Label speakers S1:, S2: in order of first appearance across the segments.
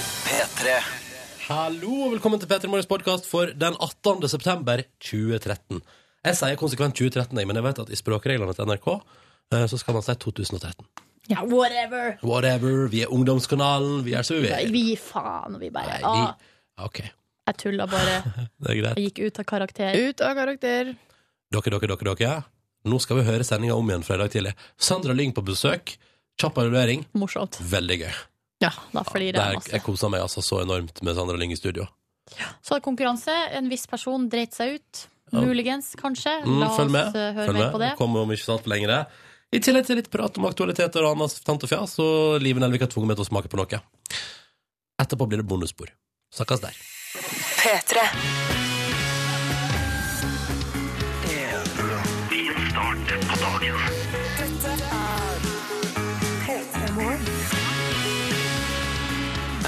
S1: P3.
S2: Hallo og velkommen til Petter Morgens podkast for den 18. september 2013. Jeg sier konsekvent 2013, jeg, men jeg vet at i språkreglene til NRK eh, så skal man si 2013.
S3: Ja, whatever.
S2: Whatever, vi er Ungdomskanalen, vi er som vi
S3: Nei,
S2: vil.
S3: Vi gir faen, og vi bare
S2: Nei,
S3: ah,
S2: vi- OK,
S3: Jeg tulla bare.
S2: det er greit.
S3: Jeg gikk ut av karakter.
S4: Ut av karakter.
S2: Dere, dere, dere, dere. Nå skal vi høre sendinga om igjen fra i dag tidlig. Sandra Lyng på besøk. Kjapp evaluering.
S3: Morsomt.
S2: Veldig gøy.
S3: Ja, da flirer
S2: Der,
S3: jeg
S2: jeg
S3: masse.
S2: kosa meg altså så enormt med Sandra Lyng i studio.
S3: Så hadde konkurranse. En viss person dreit seg ut.
S2: Ja.
S3: Muligens, kanskje.
S2: Mm,
S3: La oss
S2: følg med.
S3: eh, høre
S2: Følg
S3: mer på
S2: med.
S3: det.
S2: Det kommer om ikke sant lenger. I tillegg til litt prat om aktualiteter og annet tant og fjas, og Liven Elvik har tvunget meg til å smake på noe. Etterpå blir det bonusspor. Snakkes der.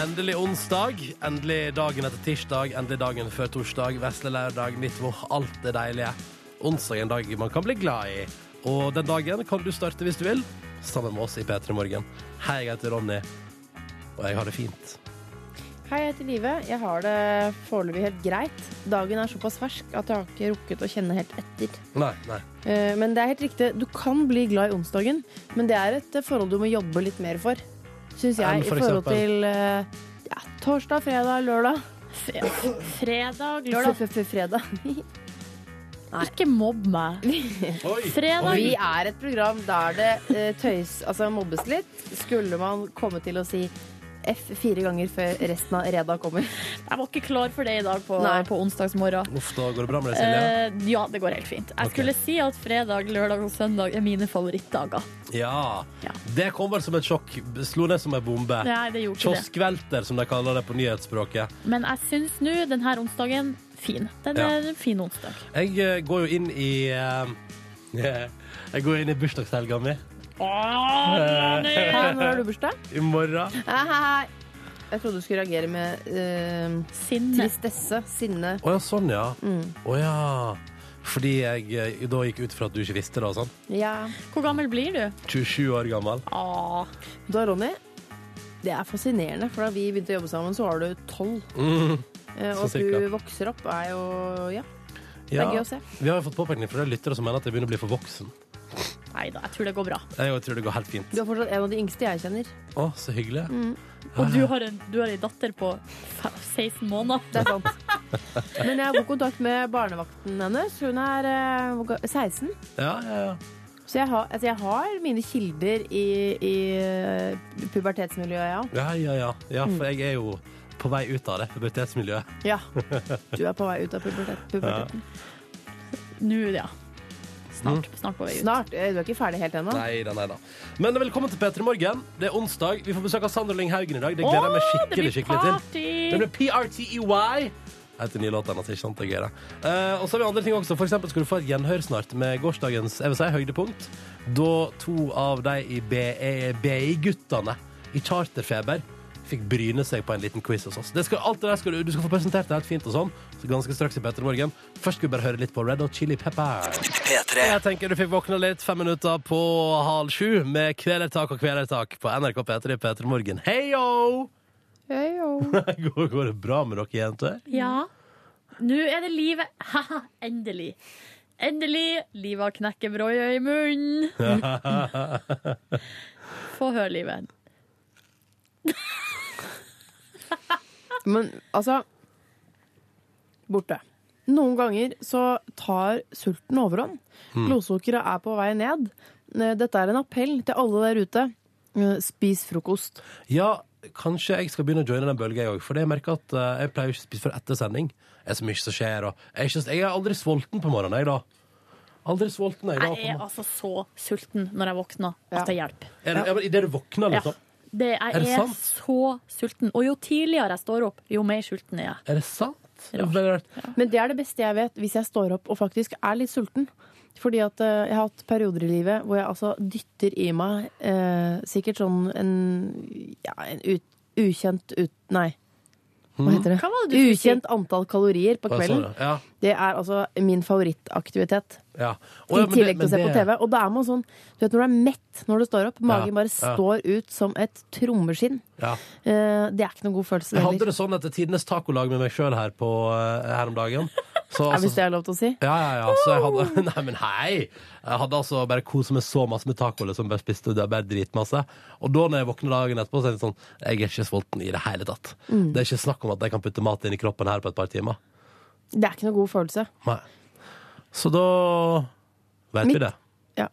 S2: Endelig onsdag, endelig dagen etter tirsdag, endelig dagen før torsdag, vesle lørdag, midtvår, alt det deilige. Onsdag er en dag man kan bli glad i, og den dagen kan du starte hvis du vil, sammen med oss i P3 Morgen. Hei, jeg heter Ronny, og jeg har det fint.
S4: Hei, jeg heter Live. Jeg har det foreløpig helt greit. Dagen er såpass fersk at jeg har ikke rukket å kjenne helt etter.
S2: Nei, nei.
S4: Eh, Men det er helt riktig, du kan bli glad i onsdagen, men det er et eh, forhold du må jobbe litt mer for. Syns jeg.
S2: Enn
S4: I
S2: for
S4: forhold
S2: eksempel?
S4: til eh, ja, torsdag, fredag, lørdag.
S3: Fre- Fredag, lørdag.
S4: F-f-f-fredag.
S3: Ikke mobb meg.
S2: Oi!
S3: Fredag.
S4: Vi er et program der det eh, tøys, altså mobbes litt. Skulle man komme til å si F fire ganger før resten av reda kommer.
S3: Jeg var ikke klar for det i dag på,
S4: Nei.
S3: på onsdagsmorgen.
S2: Uff, da går det bra med deg, Silje.
S3: Eh, ja, det går helt fint. Jeg
S2: Ok.
S3: skulle si at fredag, lørdag og søndag er mine favorittdager.
S2: Ja.
S3: ja.
S2: Det kom vel som et sjokk. Slo ned som ei bombe.
S3: Nei, det gjorde ikke det.
S2: Kioskvelter, som de kaller det på nyhetsspråket.
S3: Men jeg syns nå denne onsdagen fin. Den
S2: Ja.
S3: er en fin onsdag.
S2: Jeg eh, går jo inn i eh, Jeg går inn i bursdagshelga mi Eh,
S4: Hæ, når har du bursdag?
S2: i morgen.
S4: Hei, hei, hei. Jeg trodde du skulle reagere med eh,
S3: Sinne.
S4: tristesse, sinne.
S2: Å ja, sånn, ja.
S4: Mm.
S2: Å ja. Fordi jeg eh, da gikk ut fra at du ikke visste det. og Sånn.
S4: Ja.
S3: Hvor gammel blir du?
S2: 27 år gammel.
S3: Åh.
S4: Da, Ronny, det er fascinerende, for da vi begynte å jobbe sammen, så var du tolv. Eh, og
S2: sånn
S4: at du
S2: cirka.
S4: vokser opp, er jo Ja, det
S2: Ja.
S4: er gøy å se.
S2: Vi har jo fått påpekning fra de lyttere som mener at jeg begynner å bli for voksen.
S3: Nei da, jeg tror det går bra.
S2: Jeg tror det går helt fint.
S4: Du er fortsatt en av de yngste jeg kjenner.
S2: Å, så hyggelig.
S4: Mm.
S3: Og du har en, du har en datter på fe- 16 måneder.
S4: Det er sant. Men jeg har god kontakt med barnevakten hennes. Hun er eh, hvor ga- 16.
S2: Ja, ja, ja.
S4: Så jeg har, altså jeg har mine kilder i, i eh, pubertetsmiljøet, ja.
S2: Ja, ja, ja. ja for jeg er jo på vei ut av det pubertetsmiljøet.
S4: Ja. Du er på vei ut av pubertet, puberteten.
S3: Nå, ja. Snart,
S2: Mm.
S3: snart på vei ut.
S4: Snart. Eh, Du er ikke ferdig helt ennå.
S2: Nei da, nei da. Men velkommen til P3 Morgen. Det er onsdag. Vi får besøk av Sander Lyng Haugen i dag. Det gleder jeg meg
S3: Åh,
S2: skikkelig, skikkelig til. Det
S3: party!
S2: blir PRTEY. E Heter nye låten altså, ikke sant? Det er gøy, det. Eh, og så har vi andre ting også. For eksempel skal du få et gjenhør snart med gårsdagens jeg vil si, høydepunkt. Da to av de i BI-guttene i Charterfeber fikk bryne seg på en liten quiz hos oss. Det skal, alt det der skal du, du skal få presentert det helt fint og sånn. Så ganske straks i Petter Morgen. Først skal vi bare høre litt på Red Hot Chili Pepper.
S1: P3.
S2: Jeg tenker du fikk våkne litt fem minutter på halv sju med Kvelertak og Kvelertak på NRK P3 P3 Morgen. Heio!
S4: Eh,
S2: Går går det bra med dere jenter?
S3: Ja. Nå er det livet. Haha, endelig. Endelig. Livet har knekkebrødet i munnen. Få høre livet.
S4: Men altså Borte. Noen ganger så tar sulten overhånd.
S2: Hmm.
S4: Blodsukkeret er på vei ned. Eh, Dette er en appell til alle der ute. Eh, Spis frokost.
S2: Ja, kanskje jeg skal begynne å joine den bølgen jeg òg. For jeg merker at eh, jeg pleier jo ikke å spise før etter sending. Det er så mye som skjer, og jeg er, ikke, jeg er aldri sulten på morgenen, jeg, da. Aldri sulten, jeg, da.
S3: Jeg er altså så sulten når jeg våkner
S4: Ja.
S3: at det hjelper.
S2: Er det- ja, men Idet du våkner,
S3: Ja.
S2: liksom.
S3: Det, jeg
S2: Er
S3: er,
S2: det sant?
S3: så sulten. Og jo tidligere jeg står opp, jo mer sulten er jeg.
S2: Er det sant? Det er
S3: Rart.
S2: veldig rart.
S4: Men det er det beste jeg vet hvis jeg står opp og faktisk er litt sulten. Fordi at eh, jeg har hatt perioder i livet hvor jeg altså dytter i meg eh, sikkert sånn en, ja, en ut, ukjent ut... Nei. Hva heter det?
S3: Hva var det du skulle si?
S4: Ukjent antall kalorier på
S2: Hmm. Hva sa
S4: kvelden.
S2: du? Ja,
S4: Det er altså min favorittaktivitet.
S2: ja. Å, ja,
S4: I
S2: men det-
S4: tillegg til
S2: men
S4: å se på
S2: det-
S4: TV. Og da er man sånn Du vet når du er mett når du står opp, magen bare
S2: ja.
S4: står ut som et trommeskinn.
S2: Ja.
S4: Eh, det er ikke noen god følelse
S2: Jeg hadde
S4: heller.
S2: det sånn etter tidenes tacolag med meg sjøl her, på, eh, her om dagen. Så,
S4: Ja, hvis
S2: så,
S4: det er lov til å si.
S2: ja, ja, ja. Så jeg hadde Nei, men hei! Jeg hadde altså bare kosa meg så masse med taco. Liksom, bare spiste det, bare dritmasse. Og da når jeg våkner dagen etterpå, så er det sånn Jeg er ikke sulten i det hele tatt.
S4: Mm.
S2: Det er ikke snakk om at jeg kan putte mat inn i kroppen her på et par timer.
S4: Det er ikke noen god følelse.
S2: Nei. Så da vet
S4: Mitt-
S2: vi det.
S4: Ja.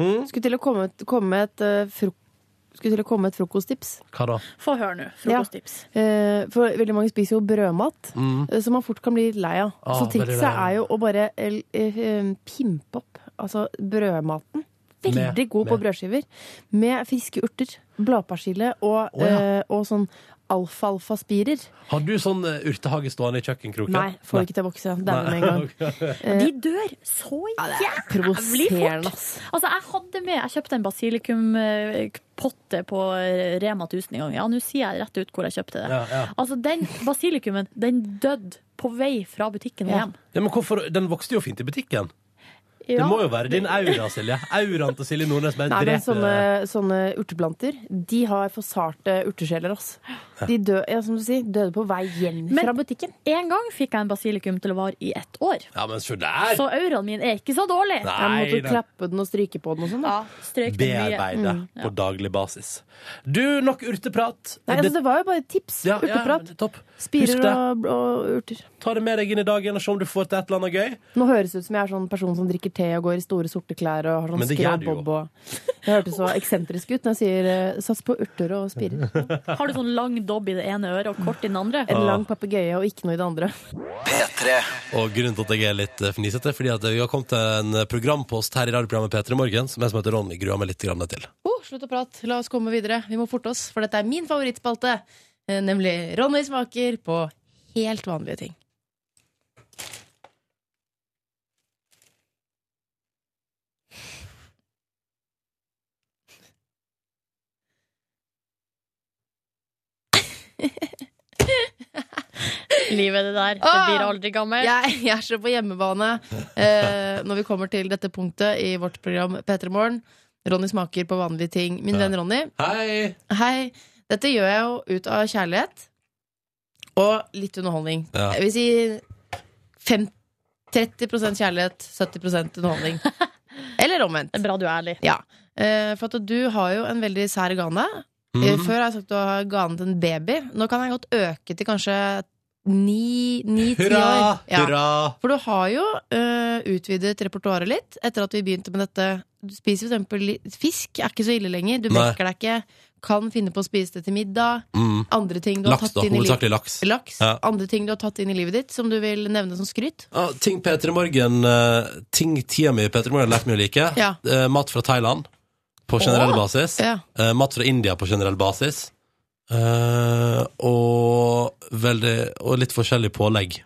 S2: Hm?
S4: Skulle til å komme, et- komme et eh, frok skulle til å komme et frokosttips.
S2: Hva da?
S3: Få høre nå. Frokosttips.
S4: Eh, For veldig mange spiser jo brødmat, eh, som man fort kan bli litt lei av.
S2: Mm. Ah,
S4: så
S2: veldig
S4: trikset
S2: lei av.
S4: er jo å bare eh, eh, pimpe opp altså brødmaten. Veldig
S2: Med-
S4: god på
S2: med-
S4: brødskiver. Med friske urter, bladpersille og,
S2: Å, ja.
S4: eh, og sånn alfalfaspirer.
S2: Har du sånn eh, urtehage stående i kjøkkenkroken?
S4: Nei, får ikke til å vokse. Dauer med en gang.
S3: De dør så jævlig
S4: Provoserende,
S3: fort.
S4: ass.
S3: Altså, jeg hadde med Jeg kjøpte en basilikumpotte på Rema 1000 en gang. Ja, nå sier jeg rett ut hvor jeg kjøpte det.
S2: Ja, ja.
S3: Altså, den basilikumen, den døde på vei fra butikken og
S4: Ja.
S3: hjem.
S2: Ja, men hvorfor? Den vokste jo fint i butikken. Det
S3: Ja.
S2: må jo være din aura, Silje. Auraen til Silje Nordnes bare
S4: Nei, men
S2: dreper
S4: sånne, sånne urteplanter, de har for sarte urtesjeler, ass. De dø, ja, som du sier, døde på vei hjem
S3: Men-
S4: fra butikken.
S3: En gang fikk jeg en basilikum til å vare i ett år.
S2: Ja, men se der!
S3: Så auraen min er ikke så dårlig.
S4: Jeg måtte
S2: Nei,
S4: jo
S2: da.
S4: klappe den og stryke på den og sånn. da.
S3: Ja, strøk den mye.
S2: Bearbeide
S4: mm,
S2: på daglig basis. Du, nok urteprat.
S4: Nei, altså, det var jo bare tips.
S2: Ja, ja, men
S4: Urteprat.
S2: det er topp.
S4: Spirer
S2: Husk det.
S4: og, og urter.
S2: Ta det med deg inn i dagen og se om du får til et eller annet gøy.
S4: Nå høres det ut som jeg er sånn person som drikker te og går i store, sorte klær og har
S2: Men
S4: sånn
S2: det
S4: skrå
S2: gjør du jo.
S4: bob og Jeg hørtes så eksentrisk ut når jeg sier eh, sats på urter og spirer.
S3: Har du sånn lang dobb i det ene øret og kort i den andre?
S4: En lang papegøye og ikke noe i det andre.
S5: P3
S2: Og grunnen til at jeg er litt eh, fnisete, fordi at vi har kommet til en eh, programpost her i radioprogrammet P3 Morgen som jeg som heter Ronny gruer meg litt grann til.
S4: Oh, slutt å prate, la oss komme videre. Vi må forte oss, for dette er min favorittspalte. eh, Nemlig Ronny smaker på helt vanlige ting.
S3: Livet det der. Det
S4: Ah!
S3: blir aldri gammelt.
S4: Jeg, jeg er så på hjemmebane eh, når vi kommer til dette punktet i vårt program P3 Morgen. Ronny smaker på vanlige ting. Min venn Ronny,
S2: Hei!
S4: hei. Dette gjør jeg jo ut av kjærlighet og litt underholdning.
S2: Ja.
S4: Jeg vil si fem, 30 kjærlighet, 70 underholdning. Eller omvendt.
S3: Det er bra du er ærlig.
S4: Ja. Eh, for at du har jo en veldig sær gane. Eh,
S2: Mhm.
S4: Før har jeg sagt du har ganen til en baby. Nå kan jeg godt øke til kanskje ni-ti år.
S2: Hurra!
S4: Ja.
S2: Hurra!
S4: For du har jo eh, utvidet repertoaret litt etter at vi begynte med dette. Du spiser for eksempel litt fisk, er ikke så ille lenger. Du
S2: Nei.
S4: mekker deg ikke. Kan finne på å spise det til middag.
S2: Mm.
S4: Andre ting du har
S2: Laks,
S4: tatt
S2: da.
S4: inn i livet
S2: Hovedsakelig laks.
S4: Laks.
S2: Ja.
S4: Andre ting du har tatt inn i livet ditt som du vil nevne som skryt.
S2: Ja, ting Peter Morgen eh, Ting tida mi Peter Morgen har lært meg å like.
S4: Ja.
S2: Eh, mat fra Thailand på generell basis.
S4: Ja.
S2: Eh, mat fra India på generell basis. Eh, og, veldig, og litt forskjellig pålegg.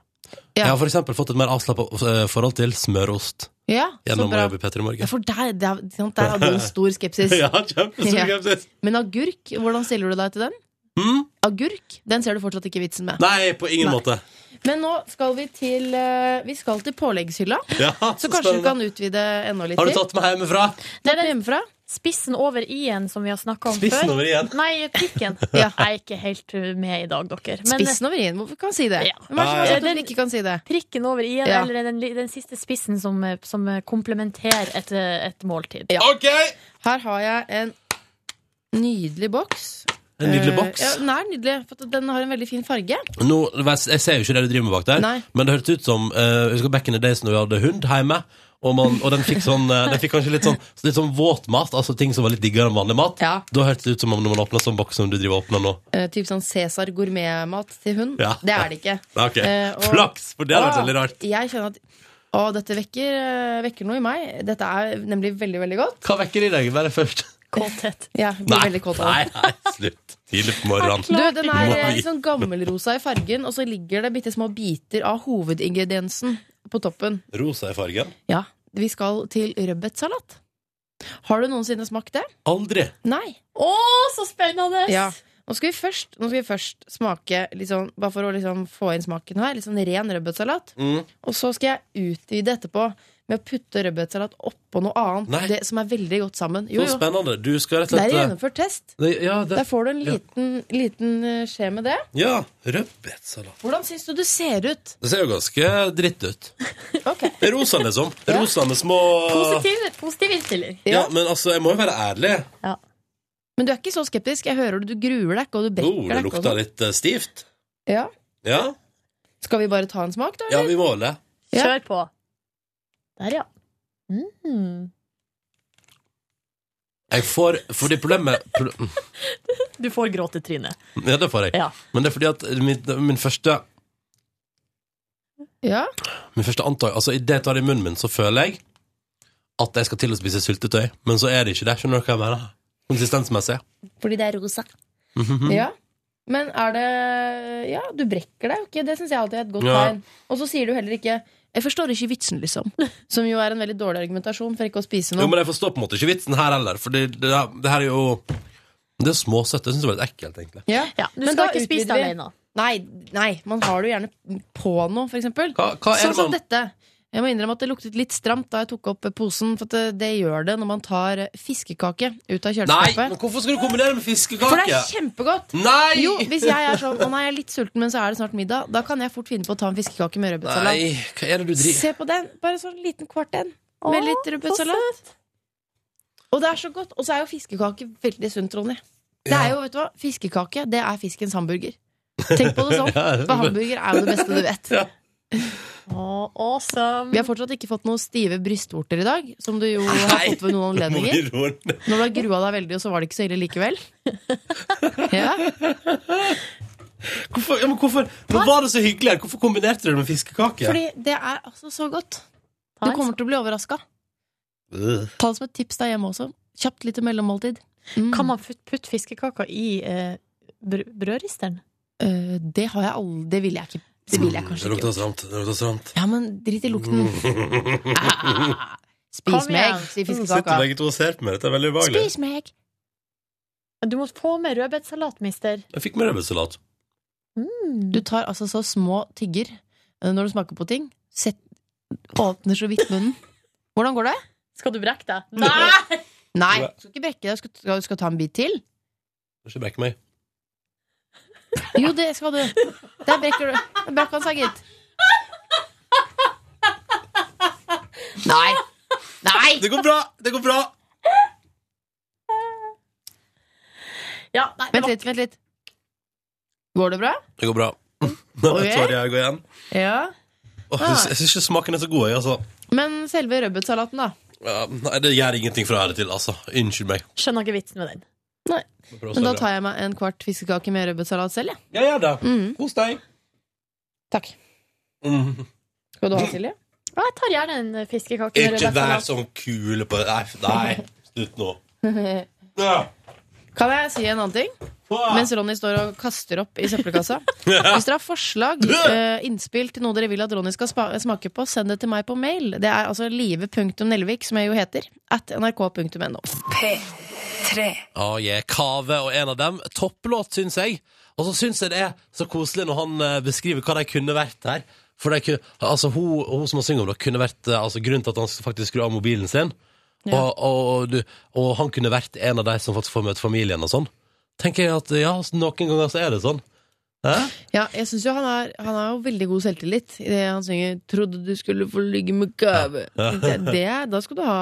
S4: Ja.
S2: Jeg har for eksempel fått et mer avslappa eh, forhold til smørost
S4: ja, så
S2: gjennom å
S4: bra.
S2: jobbe i Peter
S4: Ja,
S2: Morgen.
S4: for der, der, sant, der hadde du en stor skepsis.
S2: Ja, kjempestor
S4: Ja.
S2: skepsis.
S4: Men agurk, hvordan stiller du deg til den?
S2: Mm?
S4: Agurk, den ser du fortsatt ikke vitsen med.
S2: Nei, på ingen
S4: Nei.
S2: måte.
S4: Men nå skal vi til, eh, vi skal til påleggshylla.
S2: Ja,
S4: Så kanskje du
S2: spennende.
S4: kan utvide enda litt
S2: Har du
S4: til.
S2: tatt meg hjemmefra?
S4: Det er den hjemmefra.
S3: Spissen over i-en som vi har snakka om
S2: Spissen
S3: før.
S2: over igjen.
S3: Nei, prikken.
S4: Ja.
S3: Jeg er ikke helt med i dag, dere. Men
S4: Spissen over i-en, hvorfor kan han si det?
S3: Ja.
S4: Hvem er det som har sagt
S3: Ja, ja.
S4: at du ikke kan si det?
S3: prikken over i-en,
S4: Ja.
S3: eller den, den siste spissen som, eh, som komplementerer et, eh, et måltid.
S4: Ja.
S2: OK!
S4: Her har jeg en nydelig boks.
S2: En nydelig
S4: Eh,
S2: boks.
S4: Ja, den er nydelig, for den har en veldig fin farge.
S2: Nå, jeg ser jo ikke det du driver med bak der,
S4: Nei.
S2: men det hørtes ut som eh, Husker back in the days når vi hadde hund hjemme, og, man, og den fikk sånn eh, Den fikk kanskje litt sånn, litt sånn våtmat, altså ting som var litt diggere enn vanlig mat.
S4: Ja.
S2: Da hørtes det ut som om når man åpna sånn boks som du driver og åpner nå.
S4: Eh, typ sånn Cæsar gourmetmat til hund.
S2: Ja.
S4: Det er det ikke.
S2: Ja, ok.
S4: Eh, og-
S2: Flaks! For det hadde vært
S4: Åh,
S2: veldig rart.
S4: Jeg kjenner at å, dette vekker, eh, vekker noe i meg. Dette er nemlig veldig, veldig godt.
S2: Hva vekker i deg? Vær først.
S3: Kåthet.
S4: Jeg blir veldig kåt av det.
S2: nei, nei, slutt. Tidlig på morgenen.
S4: Du, den er
S2: Må
S4: eh,
S2: vi-
S4: litt sånn gammelrosa i fargen, og så ligger det bitte små biter av hovedingrediensen på toppen.
S2: Rosa i fargen.
S4: Ja, vi skal til rødbetsalat. Har du noensinne smakt det?
S2: Aldri.
S4: Nei.
S3: Å, så spennende!
S4: Ja. Nå skal vi først, nå skal vi først smake, litt sånn, bare for å liksom få inn smaken her, litt sånn ren rødbetsalat.
S2: Mm.
S4: Og så skal jeg utvide etterpå med å putte rødbetsalat oppå noe
S2: Nei.
S4: annet det, som er veldig godt sammen.
S2: Så
S4: Jo, jo.
S2: spennende. Du skal rett og
S4: Det er
S2: slett eh,
S4: gjennomført test.
S2: det, Ja, det,
S4: Der får du en
S2: ja.
S4: liten, liten eh, skje med det.
S2: ja rødbetsalat.
S4: Hvordan syns du det ser ut?
S2: Det ser jo ganske dritt ut.
S4: Ok.
S2: Det er rosa, liksom. Det er
S4: Ja.
S2: rosa med små
S3: Positiv, positiv innstilling.
S2: Ja, men altså, jeg må jo være ærlig.
S4: Men du er ikke så skeptisk. Jeg hører det. Du gruer deg ikke, og du
S2: Oh,
S4: brekker
S2: det
S4: deg ikke. og
S2: lukta
S4: sånn.
S2: litt eh, stivt.
S4: Ja.
S2: Ja,
S4: Skal vi bare ta en smak, da?
S2: ja vi må vel det.
S4: Ja.
S3: Kjør på. Der, ja. Mm.
S2: Jeg får Fordi problemet pro- mm,
S3: Du får gråtetryne.
S2: Ja, det får jeg.
S3: Ja.
S2: Men det er fordi at min, min første
S4: Ja.
S2: Min første antag Altså, idet jeg tar det i munnen min, så føler jeg at jeg skal til å spise syltetøy. Men så er det ikke det. Skjønner du hva jeg mener? Konsistensmessig.
S3: Fordi det er rosa.
S2: Mm.
S4: ja. Men er det Ja, du brekker deg jo ikke. Det syns jeg alltid er et godt
S2: Ja.
S4: tegn. Og så sier du heller ikke 'jeg forstår ikke vitsen', liksom. Som jo er en veldig dårlig argumentasjon for ikke å spise
S2: Jo,
S4: noe.
S2: men jeg forstår på en måte ikke vitsen her heller, for det, det, det her er jo Det er småsøtt. Det syns jeg var litt ekkelt, egentlig.
S4: Ja.
S3: Ja, du
S4: Men
S3: skal
S4: da
S3: ikke spise det
S4: utvider vi.
S3: alene.
S4: Nei, nei, man har det jo gjerne på noe, for eksempel.
S2: Hva, hva er
S4: Sånn
S2: det
S4: som
S2: man
S4: dette. Jeg må innrømme at det luktet litt stramt da jeg tok opp posen, for at det, det gjør det når man tar eh, fiskekake ut av
S2: Nei, men
S4: kjøleskapet.
S2: hvorfor skal du kombinere med fiskekake?
S4: For det er kjempegodt!
S2: Nei!
S4: Jo, hvis jeg er sånn 'Å nei, jeg er litt sulten, men så er det snart middag', da kan jeg fort finne på å ta en fiskekake med rødbetsalat.
S2: Nei, hva er det du driver
S4: Se på den! Bare sånn liten kvart en. Med
S3: Å,
S4: litt rødbetsalat. Og det er så godt. Og så er jo fiskekake veldig sunt, Ronny. Det er jo, vet du hva, fiskekake, det er fiskens hamburger. Tenk på det sånn.
S2: Ja, det er
S4: For hamburger er jo det beste du vet.
S3: Å, awesome.
S4: Vi har fortsatt ikke fått noen stive brystvorter i dag, som du jo har
S2: Nei.
S4: fått ved
S2: Nå må
S4: noen anledninger.
S2: vi roe ned.
S4: Når du har grua deg veldig, og så var det ikke så ille likevel. Ja.
S2: Hvorfor, ja, men hvorfor Nå var det så hyggelig her. Hvorfor kombinerte du det med fiskekake?
S4: Fordi det er altså så godt.
S3: Ta
S4: Du
S3: en
S4: kommer til å bli overraska.
S2: Øh.
S4: Ta det som et tips der hjemme også. Kjapt lite mellommåltid.
S3: sånn.
S4: Mm.
S3: Kan man fut- putte fiskekaker i eh, br brødristeren?
S4: Eh, det har jeg aldri Det ville jeg ikke. Det ville jeg kanskje
S2: Det
S4: ikke.
S2: lukter stramt. Det lukter stramt. Mm.
S4: Ja, men drit i lukten. Ah, Spis
S3: Kom igjen.
S4: meg, sier
S2: Sitter
S4: fiskekaka.
S2: begge to og ser på meg. Dette er veldig ubehagelig.
S4: Spis meg!
S3: Du må få med rødbetsalat, mister.
S2: Jeg fikk med rødbetsalat.
S4: Du tar altså så små tygger eh, når du smaker på ting. Sett, åpner så vidt munnen. Hvordan går det?
S3: Skal du brekke deg?
S4: Mm.
S3: Nei!
S4: Nei, du skal ikke brekke deg. Skal, skal, skal du ta en bit til?
S2: Ikke brekk meg.
S4: Jo, det skal du. Der brekker du. Der brakk han seg, gitt. Nei. Nei!
S2: Det går bra! Det går bra!
S3: Ja, nei, det
S4: Vent
S3: var
S4: litt, vent litt. Går det bra?
S2: Det går bra. Nå
S4: Ok.
S2: tar jeg og går igjen.
S4: Ja.
S2: Åh, jeg syns- jeg syns ikke smaken er så god, jeg, altså.
S4: Men selve rødbetsalaten, da?
S2: Ja, nei, det gjør ingenting fra her til, altså. Unnskyld meg.
S3: Skjønner ikke vitsen med den.
S4: Men da tar jeg meg en kvart fiskekake med rødbetsalat selv, jeg.
S2: Ja, gjør det.
S4: Mm.
S2: Kos deg.
S4: Takk.
S2: Mm.
S4: Skal du ha, Silje?
S3: Ja, jeg tar gjerne en eh, fiskekake med
S2: Ikke vær
S3: rødbetsalat.
S2: sånn kule på Nei, nei. slutt nå. Ja.
S4: Kan jeg si en annen ting?
S2: Ah.
S4: Mens Ronny står og kaster opp i søppelkassa. Hvis dere har forslag, eh, innspill til noe dere vil at Ronny skal spa- smake på, send det til meg på mail. Det er altså live.nelvik, som jeg jo heter, at nrk.no.
S2: Ja, jeg er Kave og en av dem. Topplåt, syns jeg. Og så syns jeg det er så koselig når han eh, beskriver hva de kunne vært her. For de kunne, altså, hun, hun som har sunget om det, kunne vært eh, altså, grunnen til at han faktisk skrur av mobilen sin. Og, og, og, du, og han kunne vært en av de som faktisk får møte familien og sånn. Tenker jeg at ja, altså, noen ganger så er det sånn. Hæ?
S4: Ja, jeg synes jo han er, han har jo veldig god selvtillit i det han synger 'Trodde du skulle få ligge med gave'. Det, det, er- da skal du ha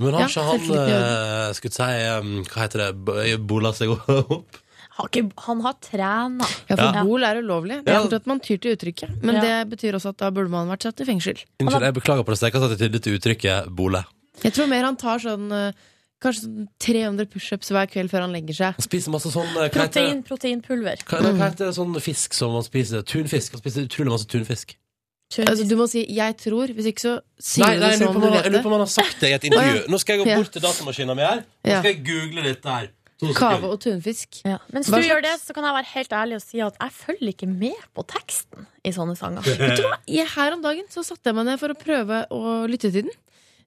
S2: Men har
S4: Ja,
S2: ikke han
S4: selvtillit i
S2: eh, skulle si eh, Hva heter det? b- Bola seg opp?
S3: Har ikke, han har trena.
S4: Ja, for
S2: Ja.
S4: bol er ulovlig. Det er
S2: Ja.
S4: fortsatt man tyr til uttrykket. Men
S3: Ja.
S4: det betyr også at da burde man vært satt i fengsel.
S2: Unnskyld, jeg beklager på det sterkeste at jeg tydde til uttrykket 'bole'.
S4: Jeg tror mer han tar sånn eh, Kanskje sånn 300 pushups hver kveld før han legger seg.
S2: Han spiser masse sånn eh, hva heter det?
S3: Protein, proteinpulver.
S2: Hva, hva heter det sånn fisk som man spiser? Tunfisk. Man spiser utrolig masse tunfisk.
S4: Altså, du må si 'jeg tror', hvis ikke så sier
S2: Nei,
S4: du
S2: nei,
S4: det
S2: jeg lurer
S4: sånn
S2: på
S4: du
S2: om han- jeg
S4: vet
S2: lurer på
S4: det.
S2: om han har sagt det i et intervju.
S4: Å, ja.
S2: Nå skal jeg gå
S4: Ja.
S2: bort til datamaskinen min her. Nå
S4: Ja.
S2: skal jeg google dette her. To
S4: Kave
S2: sekunder.
S4: og tunfisk.
S3: Ja. Mens
S4: Hva
S3: du
S4: slags-
S3: gjør det, så kan jeg være helt ærlig og si at jeg følger ikke med på teksten i sånne sanger.
S4: Vet du hva? Jeg, her om dagen så satte jeg meg ned for å prøve å lytte til den.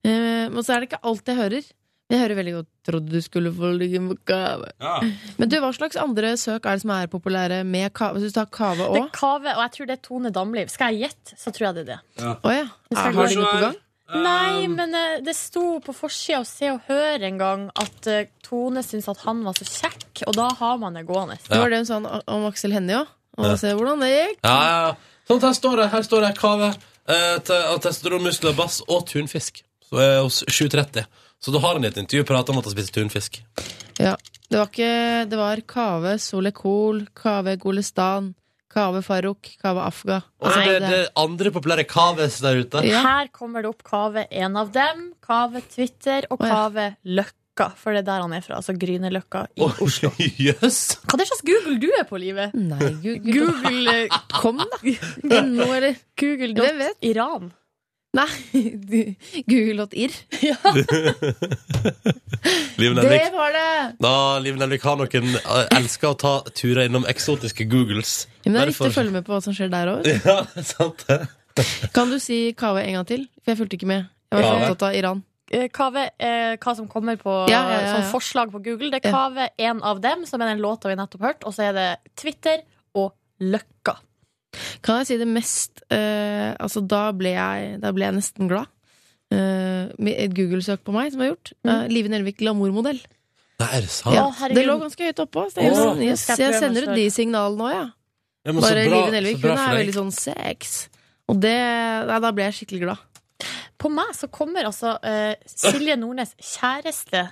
S4: Eh, Men så er det ikke alt jeg hører. Jeg hører veldig godt 'trodde du skulle få ligge med kave'.
S6: Ja.
S4: Men du, hva slags andre søk er det som er populære med kave? Hvis du tar kave
S3: Det
S4: òg?
S3: er Kave, og jeg tror det er Tone Damliv. Skal jeg gjette, så tror jeg det er det.
S4: Å ja.
S3: skal
S2: Ah,
S4: Er
S3: gå
S4: det noe på gang?
S2: Um.
S3: Nei, men eh, det sto på forsida å se og høre en gang at eh, Tone syntes at han var så kjekk, og da har man det gående.
S4: Det var det hun sa om Aksel Hennie òg.
S2: Ja.
S4: Og se hvordan det gikk.
S2: Ja, ja, ja. Sånn, her står det. Her står det kave, eh, te- og testosteron, muskler, bass og tunfisk. Så eh, hos 7.30. Så da har han i et intervju pratet om at han spiser tunfisk.
S4: Ja. Det var ikke Det var Kave Solekol, Kave Golestan, Kave Farouk, Kave Afga.
S2: Og så
S4: Altså,
S2: det,
S4: det-
S2: det er andre populære kaves der ute.
S4: Ja.
S3: Her kommer det opp Kave en av dem, Kave Twitter og
S4: Å, ja.
S3: Kave Løkka. For det er der han er fra. Altså Grünerløkka i
S2: Å,
S3: Oslo.
S2: Jøss!
S3: Hva er det slags Google du er på, livet?
S4: Nei, gud, gud.
S3: Google eh,
S4: Kom, da! Nå, eller
S3: Google
S4: Hvem vet?
S3: Iran.
S4: Nei, google.ir.
S2: Liv Nelvik.
S4: Det var det!
S2: Da, Liv Nelvik har noen eh, elsker å ta turer innom eksotiske Googles.
S4: Men det er viktig å
S2: Derfor-
S4: følge med på hva som skjer der òg.
S2: Ja, sant det.
S4: Kan du si Kave en gang til? For jeg fulgte ikke med. Jeg var så
S2: Kave?
S4: opptatt av Iran.
S3: Eh, Kave, eh, hva som kommer på eh,
S4: Ja, ja, ja, ja.
S3: som forslag på Google, det er
S4: Ja.
S3: Kave en av dem, som er den låta vi nettopp hørte, og så er det Twitter og Løkka.
S4: Kan jeg si det mest eh, Altså, da ble jeg, da ble jeg nesten glad. Eh, med et Google-søk på meg som er gjort. Eh, Live Nelvik glamourmodell.
S2: Det er sant.
S4: Ja.
S3: Å, herregud.
S4: det lå ganske høyt oppå. Så
S2: Å.
S4: jeg, sånn, yes,
S3: Skal jeg
S4: jeg
S3: prøve
S4: sender ut
S3: neste
S4: de signalene òg, ja.
S2: Ja, men så bra-
S4: Bare Live
S2: så bra
S4: Nelvik.
S2: for
S4: Hun er
S2: deg.
S4: veldig sånn sex. Og det Nei, da ble jeg skikkelig glad.
S3: På meg så kommer altså eh, Silje Nordnes kjæreste,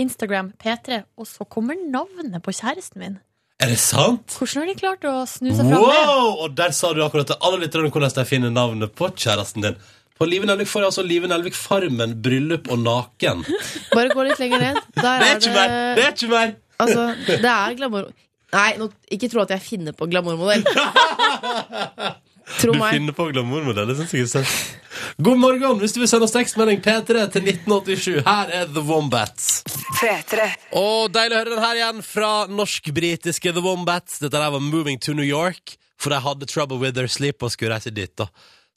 S3: Instagram, P3, og så kommer navnet på kjæresten min.
S4: sånn-
S2: Er det sant?
S3: Hvordan har de klart å snu seg fram det?
S2: Wow! Og der sa du akkurat til alle lytterne hvordan de finner navnet på kjæresten din. På Live Nelvik får jeg altså Live Nelvik Farmen, bryllup og naken.
S4: Bare gå litt lenger ned. Der
S2: Det er
S4: er
S2: ikke mer! Det
S4: det
S2: er ikke mer!
S4: Altså, det er glamour... Nei, nå, ikke tro at jeg finner på glamourmodell. Tro
S2: Du
S4: meg.
S2: finner på glamourmodell, det syns jeg er søtt. God morgen! Hvis du vil sende oss tekstmelding P3 til 1987, her er The Wombats.
S7: P3.
S2: Og deilig å høre den her igjen fra norsk-britiske The Wombats. Dette der var Moving to New York, for de hadde trouble with their sleep og skulle reise dit. da.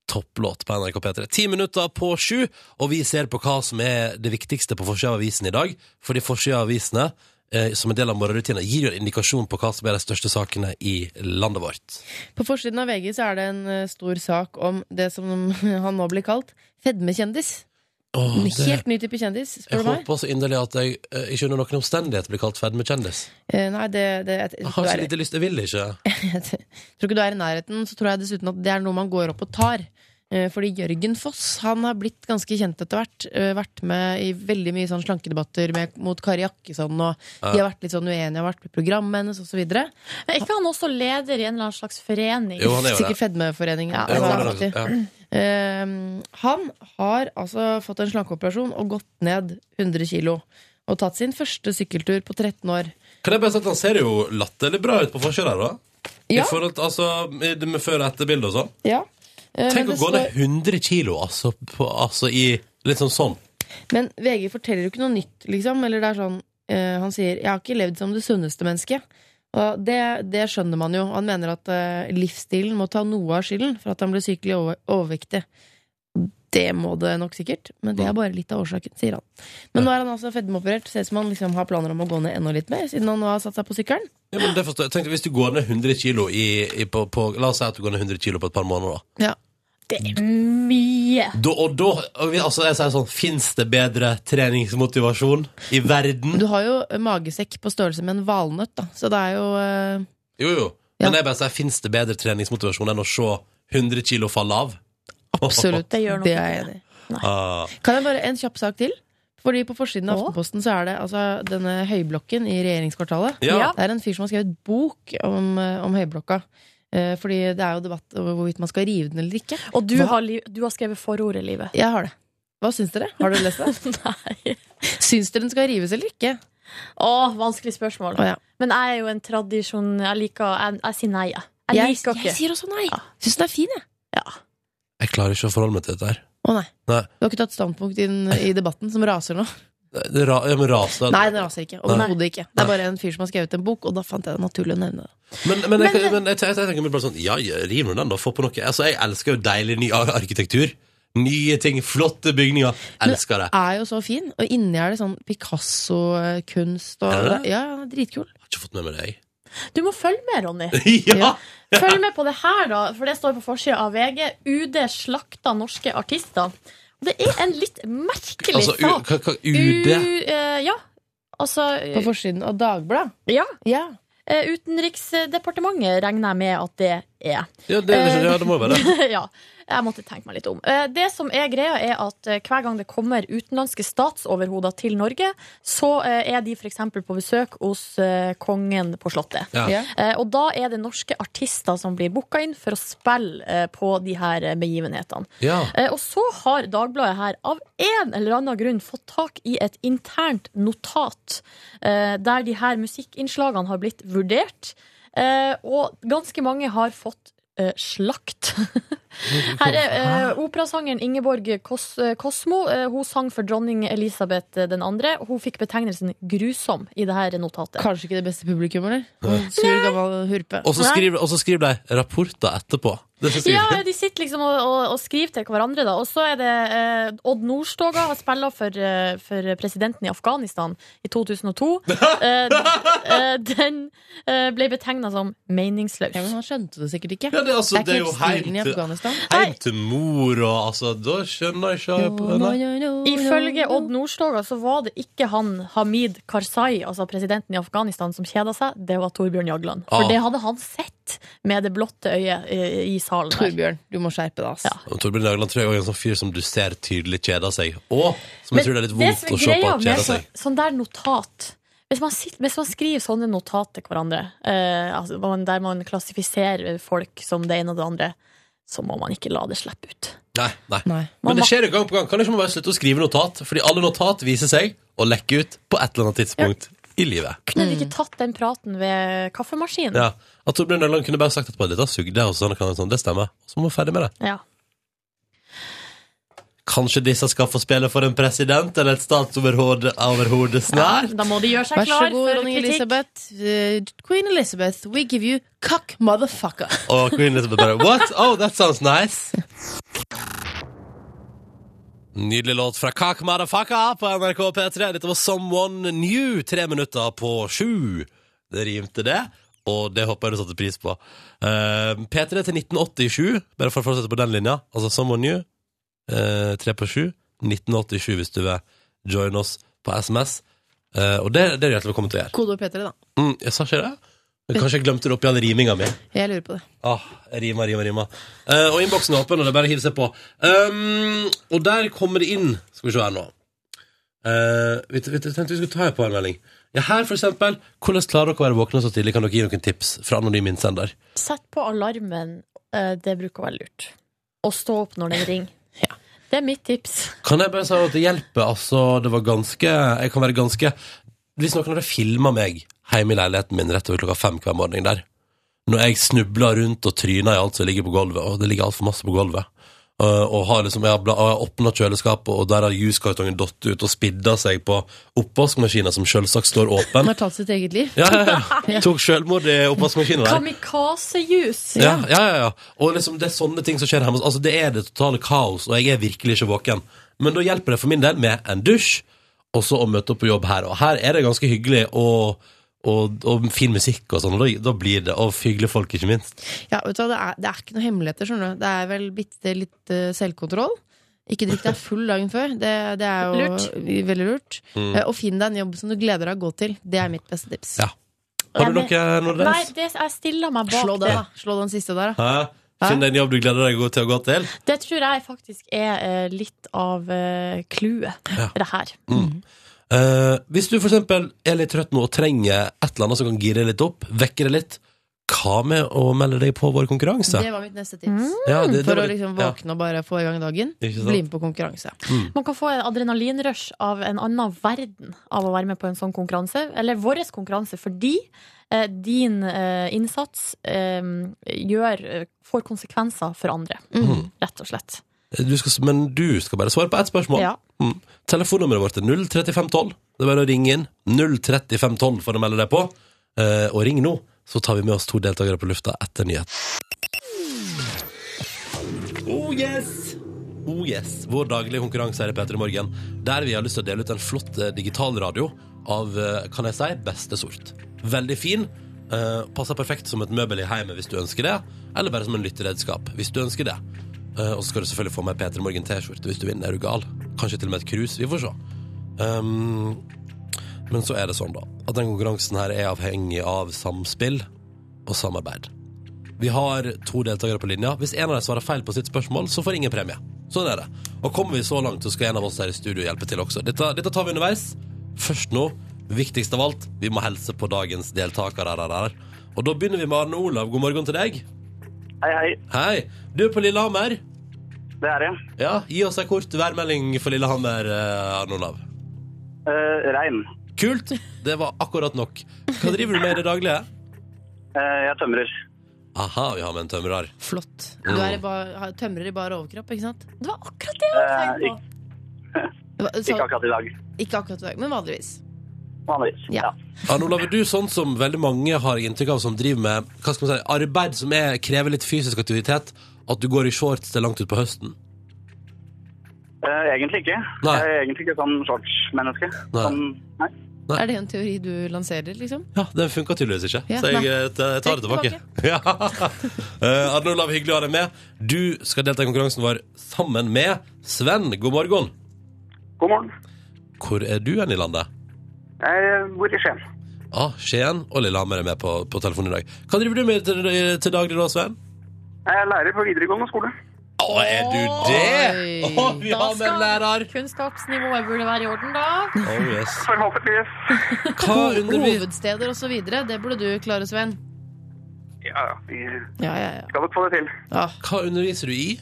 S2: Topplåt på NRK P3. Ti minutter på sju, og vi ser på hva som er det viktigste på forsida av avisen i dag. Fordi forsida av avisene eh, som en del av morgenrutinen gir jo en indikasjon på hva som er de største sakene i landet vårt.
S4: På forsiden av VG så er det en eh, stor sak om det som han nå blir kalt fedmekjendis.
S2: Åh,
S4: En
S2: det-
S4: helt ny type kjendis,
S2: jeg
S4: spør du meg.
S2: håper så inderlig at jeg eh, ikke under noen omstendighet blir kalt fedmekjendis.
S4: Eh, Nei, det, det jeg,
S2: Jeg har
S4: tror du
S2: så
S4: er,
S2: lite lyst, jeg vil ikke.
S4: jeg tror ikke du er i nærheten. Så tror jeg dessuten at det er noe man går opp og tar. Eh, Fordi Jørgen Foss han har blitt ganske kjent etter hvert. eh, Vært med i veldig mye sånn slankedebatter med, mot Kari Jakkesson. Og de har vært litt sånn uenige, har vært med i programmet hennes osv.
S3: Men Er ikke han også leder i en eller annen slags forening?
S2: Jo, han er jo det.
S4: Sikkert Fedmeforeningen.
S3: Ja,
S2: Jo,
S4: altså,
S2: han er det.
S4: aktiv.
S2: Ja.
S4: Ehm, han har altså fått en slankeoperasjon og gått ned 100 kilo. Og tatt sin første sykkeltur på 13 år.
S2: Kan jeg bare si at han ser jo latterlig bra ut på forsida der, da?
S4: Ja.
S2: I forhold til, altså, med- med før- og etterbilde og sånn.
S4: Ja. Eh,
S2: Tenk
S4: men
S2: å
S4: det
S2: gå
S4: står-
S2: ned 100 kilo, altså, på, altså i Litt sånn sånn.
S4: Men VG forteller jo ikke noe nytt, liksom. Eller det er sånn, eh, han sier 'jeg har ikke levd som det sunneste mennesket'. Og det, det skjønner man jo. Han mener at eh, livsstilen må ta noe av skylden for at han ble sykelig over, overvektig. Det må det nok sikkert, men det er bare litt av årsaken, sier han. Men nå er han altså fedmeoperert. Ser ut som han liksom har planer om å gå ned enda litt mer, siden han nå har satt seg på sykkelen.
S2: Ja, men det forstår jeg. Tenk, hvis du går ned 100 kilo i, i på, på, La oss si at du går ned 100 kilo på et par måneder, da.
S4: Ja.
S3: Det er mye!
S2: da og da og vi, altså, jeg sier sånn Fins det bedre treningsmotivasjon i verden?
S4: Du har jo magesekk på størrelse med en valnøtt, da. Så det er jo eh,
S2: Jo, jo.
S4: Ja.
S2: Men jeg bare sier, fins det bedre treningsmotivasjon enn å se 100 kilo falle av?
S4: absolutt
S3: Det gjør nok
S4: er jeg
S3: ikke det.
S4: enig i.
S2: Ah,
S4: Kan jeg bare en kjapp sak til? Fordi På forsiden av
S3: Å?
S4: Aftenposten så er det altså, denne høyblokken i regjeringskvartalet.
S2: ja.
S3: Ja.
S4: Det er en fyr som har skrevet bok om, eh, om høyblokka. Eh, fordi det er jo debatt over hvorvidt man skal rive den eller ikke.
S3: Og du
S4: Hva?
S3: har, li- du har skrevet forordet, Livet.
S4: Jeg har det. Hva syns dere? Har dere lest det?
S3: Nei.
S4: Syns dere den skal rives eller ikke?
S3: Å, vanskelig spørsmål.
S4: Å, ja.
S3: Men jeg er jo en tradisjon Jeg liker Jeg, jeg sier nei, jeg. Jeg,
S4: jeg,
S3: liker
S4: jeg
S3: ikke.
S4: sier også nei. Syns den er fin, jeg.
S2: Jeg klarer ikke å forholde meg til dette her.
S4: Å nei.
S2: Nei.
S4: Du har ikke tatt standpunkt i, den- i debatten som raser nå?
S2: Det ra, ja, men raser
S4: Nei, den raser ikke. Overhodet ikke. Det er bare en fyr som har skrevet en bok, og da fant jeg det naturlig å nevne det.
S2: Men, men, jeg, men jeg, jeg, jeg tenker bare sånn Ja, ja, riv nå den, da. Få på noe. Altså, jeg elsker jo deilig ny ar- arkitektur. Nye ting, flotte bygninger. Elsker det.
S8: Den er jo så fin, og inni er det sånn Picasso-kunst. og-
S2: Er det det?
S8: Ja, ja, dritkul.
S2: Har ikke fått med meg deg.
S3: Du må følge med, Ronny.
S2: ja!
S3: Følg med på det her, da, for det står på forsida av VG. UD slakta norske artister. Og det er en litt merkelig
S2: Altså, u,
S3: sak.
S2: hva, hva, UD
S3: U- eh, ja. Altså
S8: På forsiden av Dagbladet.
S3: Ja.
S8: Ja.
S3: eh, Utenriksdepartementet regner jeg med at det er.
S2: ja det,
S3: Eh.
S2: ja, det må jo være det.
S3: ja, jeg måtte tenke meg litt om. Eh, Det som er greia, er at eh, hver gang det kommer utenlandske statsoverhoder til Norge, så eh, er de f.eks. på besøk hos eh, kongen på Slottet.
S2: Ja.
S8: ja.
S3: Eh, Og da er det norske artister som blir booka inn for å spille eh, på de her eh, begivenhetene.
S2: Ja.
S3: Eh, Og så har Dagbladet her av en eller annen grunn fått tak i et internt notat eh, der de her musikkinnslagene har blitt vurdert, eh, og ganske mange har fått eh, slakt. Her er eh, operasangeren Ingeborg Kos eh, Kosmo. Eh, hun sang for dronning Elisabeth eh, den andre. Hun fikk betegnelsen 'grusom' i det her notatet.
S8: Kanskje ikke det beste publikum, eller? Sur, gammel hurpe.
S2: Og så
S3: Nei.
S2: skriver, og så skriver de rapporter etterpå. Det synes jeg
S3: Ja,
S2: er fint.
S3: de sitter liksom og, og, og skriver til hverandre, da. Og så er det eh, Odd Nordstoga har spilla for, eh, for presidenten i Afghanistan i 2002. Eh, d- eh, den eh, ble betegna som
S8: Ja, men
S3: meningsløs.
S8: han skjønte det sikkert ikke.
S2: Ja, det er altså- det er jo
S8: ikke stilen i
S2: helt-
S8: Afghanistan.
S2: Heim til mor og altså Da skjønner jeg ikke på Nei.
S3: Ifølge Odd Nordstoga så var det ikke han Hamid Karzai, altså presidenten i Afghanistan, som kjeda seg. Det var Torbjørn Jagland. For
S2: Ah.
S3: det hadde han sett med det blotte øyet eh, i salen. Der.
S8: Torbjørn, du må skjerpe deg, ass.
S3: Ja.
S2: Men Torbjørn Jagland tror jeg også er en sånn fyr som du ser tydelig kjeder seg. Og som jeg tror det er litt
S3: Men det
S2: vondt
S3: som
S2: å se på
S3: greia
S2: at
S3: med
S2: kjeder
S3: så-
S2: seg.
S3: Sånn der notat hvis man, sitter, hvis man skriver sånne notat til hverandre, eh, altså, hvor man- der man klassifiserer folk som det ene og det andre, så må man ikke la det slippe ut.
S2: Nei, nei.
S8: Nei.
S2: Men
S3: Mamma-
S2: det skjer jo gang på gang. Kan ikke man bare slutte å skrive notat? Fordi alle notat viser seg å lekke ut på et eller annet tidspunkt i livet.
S3: Kunne
S8: Mm.
S3: de ikke tatt den praten ved kaffemaskinen?
S2: Ja. At Torbjørn Jagland kunne bare sagt etterpå at dette sugde, og sånn, kan- sånn, det stemmer. Og så må man være ferdig med det.
S3: Ja.
S2: Kanskje disse skal få spille for en president eller et statsoverhode overhode snart?
S3: Da må de gjøre seg
S8: Vær så
S3: klar
S8: god,
S3: for
S8: dronning
S3: kritikk.
S8: Elisabeth. Eh, Queen Elizabeth, we give you cock motherfucker.
S2: Og Queen Elizabeth bare What? Oh, that sounds nice. Nydelig låt fra Kak Motherfucka på NRK P3. Dette var Someone New, tre minutter på sju. Det rimte, det. Og det håper jeg du satte pris på. Eh, P3 til 1987, bare for å fortsette på den linja. Altså Someone New, eh, tre på sju. 1987 hvis du vil joine oss på SMS. Eh, og det, det er du hjertelig velkommen til å gjøre.
S8: Kodeord P3, da.
S2: Mm, jeg sa ikke det? Men Kanskje jeg glemte det oppi all riminga mi.
S8: Jeg lurer på det.
S2: Ah, rima, rima, rima. Eh, og innboksen er åpen, og det er bare å hive seg på. Um, og der kommer det inn Skal vi se her nå. Eh, vi, vi tenkte vi skulle ta en på en melding. Ja, her, for eksempel. Hvordan klarer dere å være våkne så tidlig? Kan dere gi noen tips fra anonym innsender?
S3: Sett på alarmen, eh, det bruker å være lurt. Og stå opp når den ringer. Det er mitt tips.
S2: Kan jeg bare si at det hjelper? Altså, det var ganske Jeg kan være ganske Hvis noen hadde filma meg hjemme i leiligheten min rett over klokka fem hver morgen der, når jeg snubla rundt og tryna i alt som ligger på gulvet, og det ligger altfor masse på gulvet øh, og har liksom, Jeg har bla- jeg har åpna kjøleskapet, og der har juskartongen datt ut og spidda seg på oppvaskmaskina, som selvsagt står
S8: Han
S2: åpen.
S8: har tatt sitt eget liv.
S2: Ja, ja, ja. Tok sjølmord i oppvaskmaskina der.
S3: Kamikaze-juice.
S2: Ja, ja, ja, ja. Og liksom, det er sånne ting som skjer hjemme. hos- Altså, det er det totale kaos, og jeg er virkelig ikke våken. Men da hjelper det for min del med en dusj, og så å møte opp på jobb her. Og her er det ganske hyggelig og, og, og fin musikk og sånn, og da, da blir det. Og hyggelige folk, ikke minst.
S8: Ja, vet du hva, det er, det er ikke noe hemmeligheter, skjønner du. Det er vel bitte litt eh, selvkontroll. Ikke drikk deg full dagen før. Det, det er jo
S3: Lurt.
S8: veldig lurt. Eh, Og finn deg en jobb som du gleder deg å gå til. Det er mitt beste tips.
S2: Mm. Ja. Har du
S3: Jeg
S2: noe,
S3: Nei,
S2: Nordnes?
S3: det, jeg stiller meg bak
S8: Slå
S3: det.
S8: den, da. Slå den siste der, da.
S2: Hæ? Finn deg en jobb du gleder deg til å gå til.
S3: Det tror jeg faktisk er eh, litt av eh, clouet
S2: Ja.
S3: i det her.
S2: Eh, hvis du for eksempel er litt trøtt nå og trenger et eller annet som kan gire deg litt opp, vekke deg litt, hva med å melde deg på vår konkurranse?
S8: Det var mitt neste tips.
S2: ja, det- det
S8: For
S2: var
S8: å
S2: det-
S8: liksom
S2: ja.
S8: våkne og bare få i gang dagen.
S2: Ikke sant?
S8: Bli med på konkurranse.
S3: Man kan få en adrenalinrush av en annen verden av å være med på en sånn konkurranse, eller vår konkurranse, fordi eh, din eh, innsats eh, gjør, eh, får konsekvenser for andre,
S8: Mm.
S2: Mm.
S3: rett og slett.
S2: Du skal, men du skal bare svare på ett spørsmål.
S3: Ja.
S2: Mm. Telefonnummeret vårt er 03512. Det er bare å ringe inn. 03512 for å melde deg på. Eh, og ring nå, så tar vi med oss to deltakere på lufta etter nyhet. Oh yes! Oh yes, vår daglige konkurranse her i Petter i Morgen, der vi har lyst til å dele ut en flott eh, digital radio av, eh, kan jeg si, beste sort. Veldig fin. eh, passer perfekt som et møbel i heimet hvis du ønsker det, eller bare som en lytteredskap hvis du ønsker det. Eh, og så skal du selvfølgelig få med Peter i Morgen T-skjorte hvis du vinner. Er du gal? Kanskje til og med et krus. Vi får se. Um, men så er det sånn da At den konkurransen her er avhengig av samspill Og samarbeid Vi har to deltakere på linja Hvis en av dem svarer feil på sitt spørsmål Så får ingen premie Sånn er det Og kommer vi så langt Så skal en av oss her i studio hjelpe til også Dette, dette tar vi underveis Først nå Viktigst av alt Vi må helse på dagens deltakere der, der, der. Og da begynner vi med Arne Olav God morgen til deg
S9: Hei, hei.
S2: Hei Du er på Lillehammer
S9: Det er jeg.
S2: Ja, gi oss en kort værmelding for Lillehammer, eh, Arne Olav
S9: Eh, Rein.
S2: Kult, det var akkurat nok Hva driver du med i det daglige?
S9: Eh, jeg tømrer.
S2: Aha, vi har med en tømrer.
S8: Flott.
S2: Mm.
S8: Du er i bar, har- tømrer i bar overkropp, ikke sant?
S3: Det var akkurat det jeg hadde
S9: Eh,
S3: tenkt på.
S8: Hva-
S9: Ikke
S8: Så,
S9: akkurat i dag.
S8: ikke akkurat i dag, men vanligvis.
S9: Vanligvis.
S8: Ja.
S2: Arne Olav, er du sånn som veldig mange har inntrykk av, som driver med hva skal man si, arbeid som er, krever litt fysisk aktivitet, at du går i shorts til langt utpå høsten?
S9: Eh, egentlig ikke.
S2: Nei.
S9: Jeg er egentlig ikke sånn shortsmenneske.
S2: Nei.
S9: Sånn, nei.
S2: Nei.
S8: Er det en teori du lanserer, liksom?
S2: Ja, Den funka tydeligvis ikke,
S8: Ja,
S2: så jeg,
S8: nei.
S2: eh, t- jeg tar det tilbake. Ja. Eh, Arne Olav, hyggelig å ha deg med. Du skal delta i konkurransen vår sammen med Sven. God morgen.
S9: God morgen.
S2: Hvor er du hen i landet?
S9: Jeg bor i Skien.
S2: Ah, Skien og Lillehammer er med på, på telefonen i dag. Hva driver du med til, til daglig da, Sven?
S9: Jeg er lærer på videregående skole.
S2: Å, er du det?
S8: Oi.
S2: Å, vi
S3: Da
S2: har med en lærer!
S3: skal kunnskapsnivået burde være i orden, da.
S2: Oh, yes.
S9: Forhåpentligvis.
S2: Hva undervis...
S8: Hovedsteder osv. Det burde du klare, Sven.
S9: Ja, ja. Vi
S8: Ja, ja, ja.
S9: skal nok få det til.
S8: Ah,
S2: Hva underviser du i?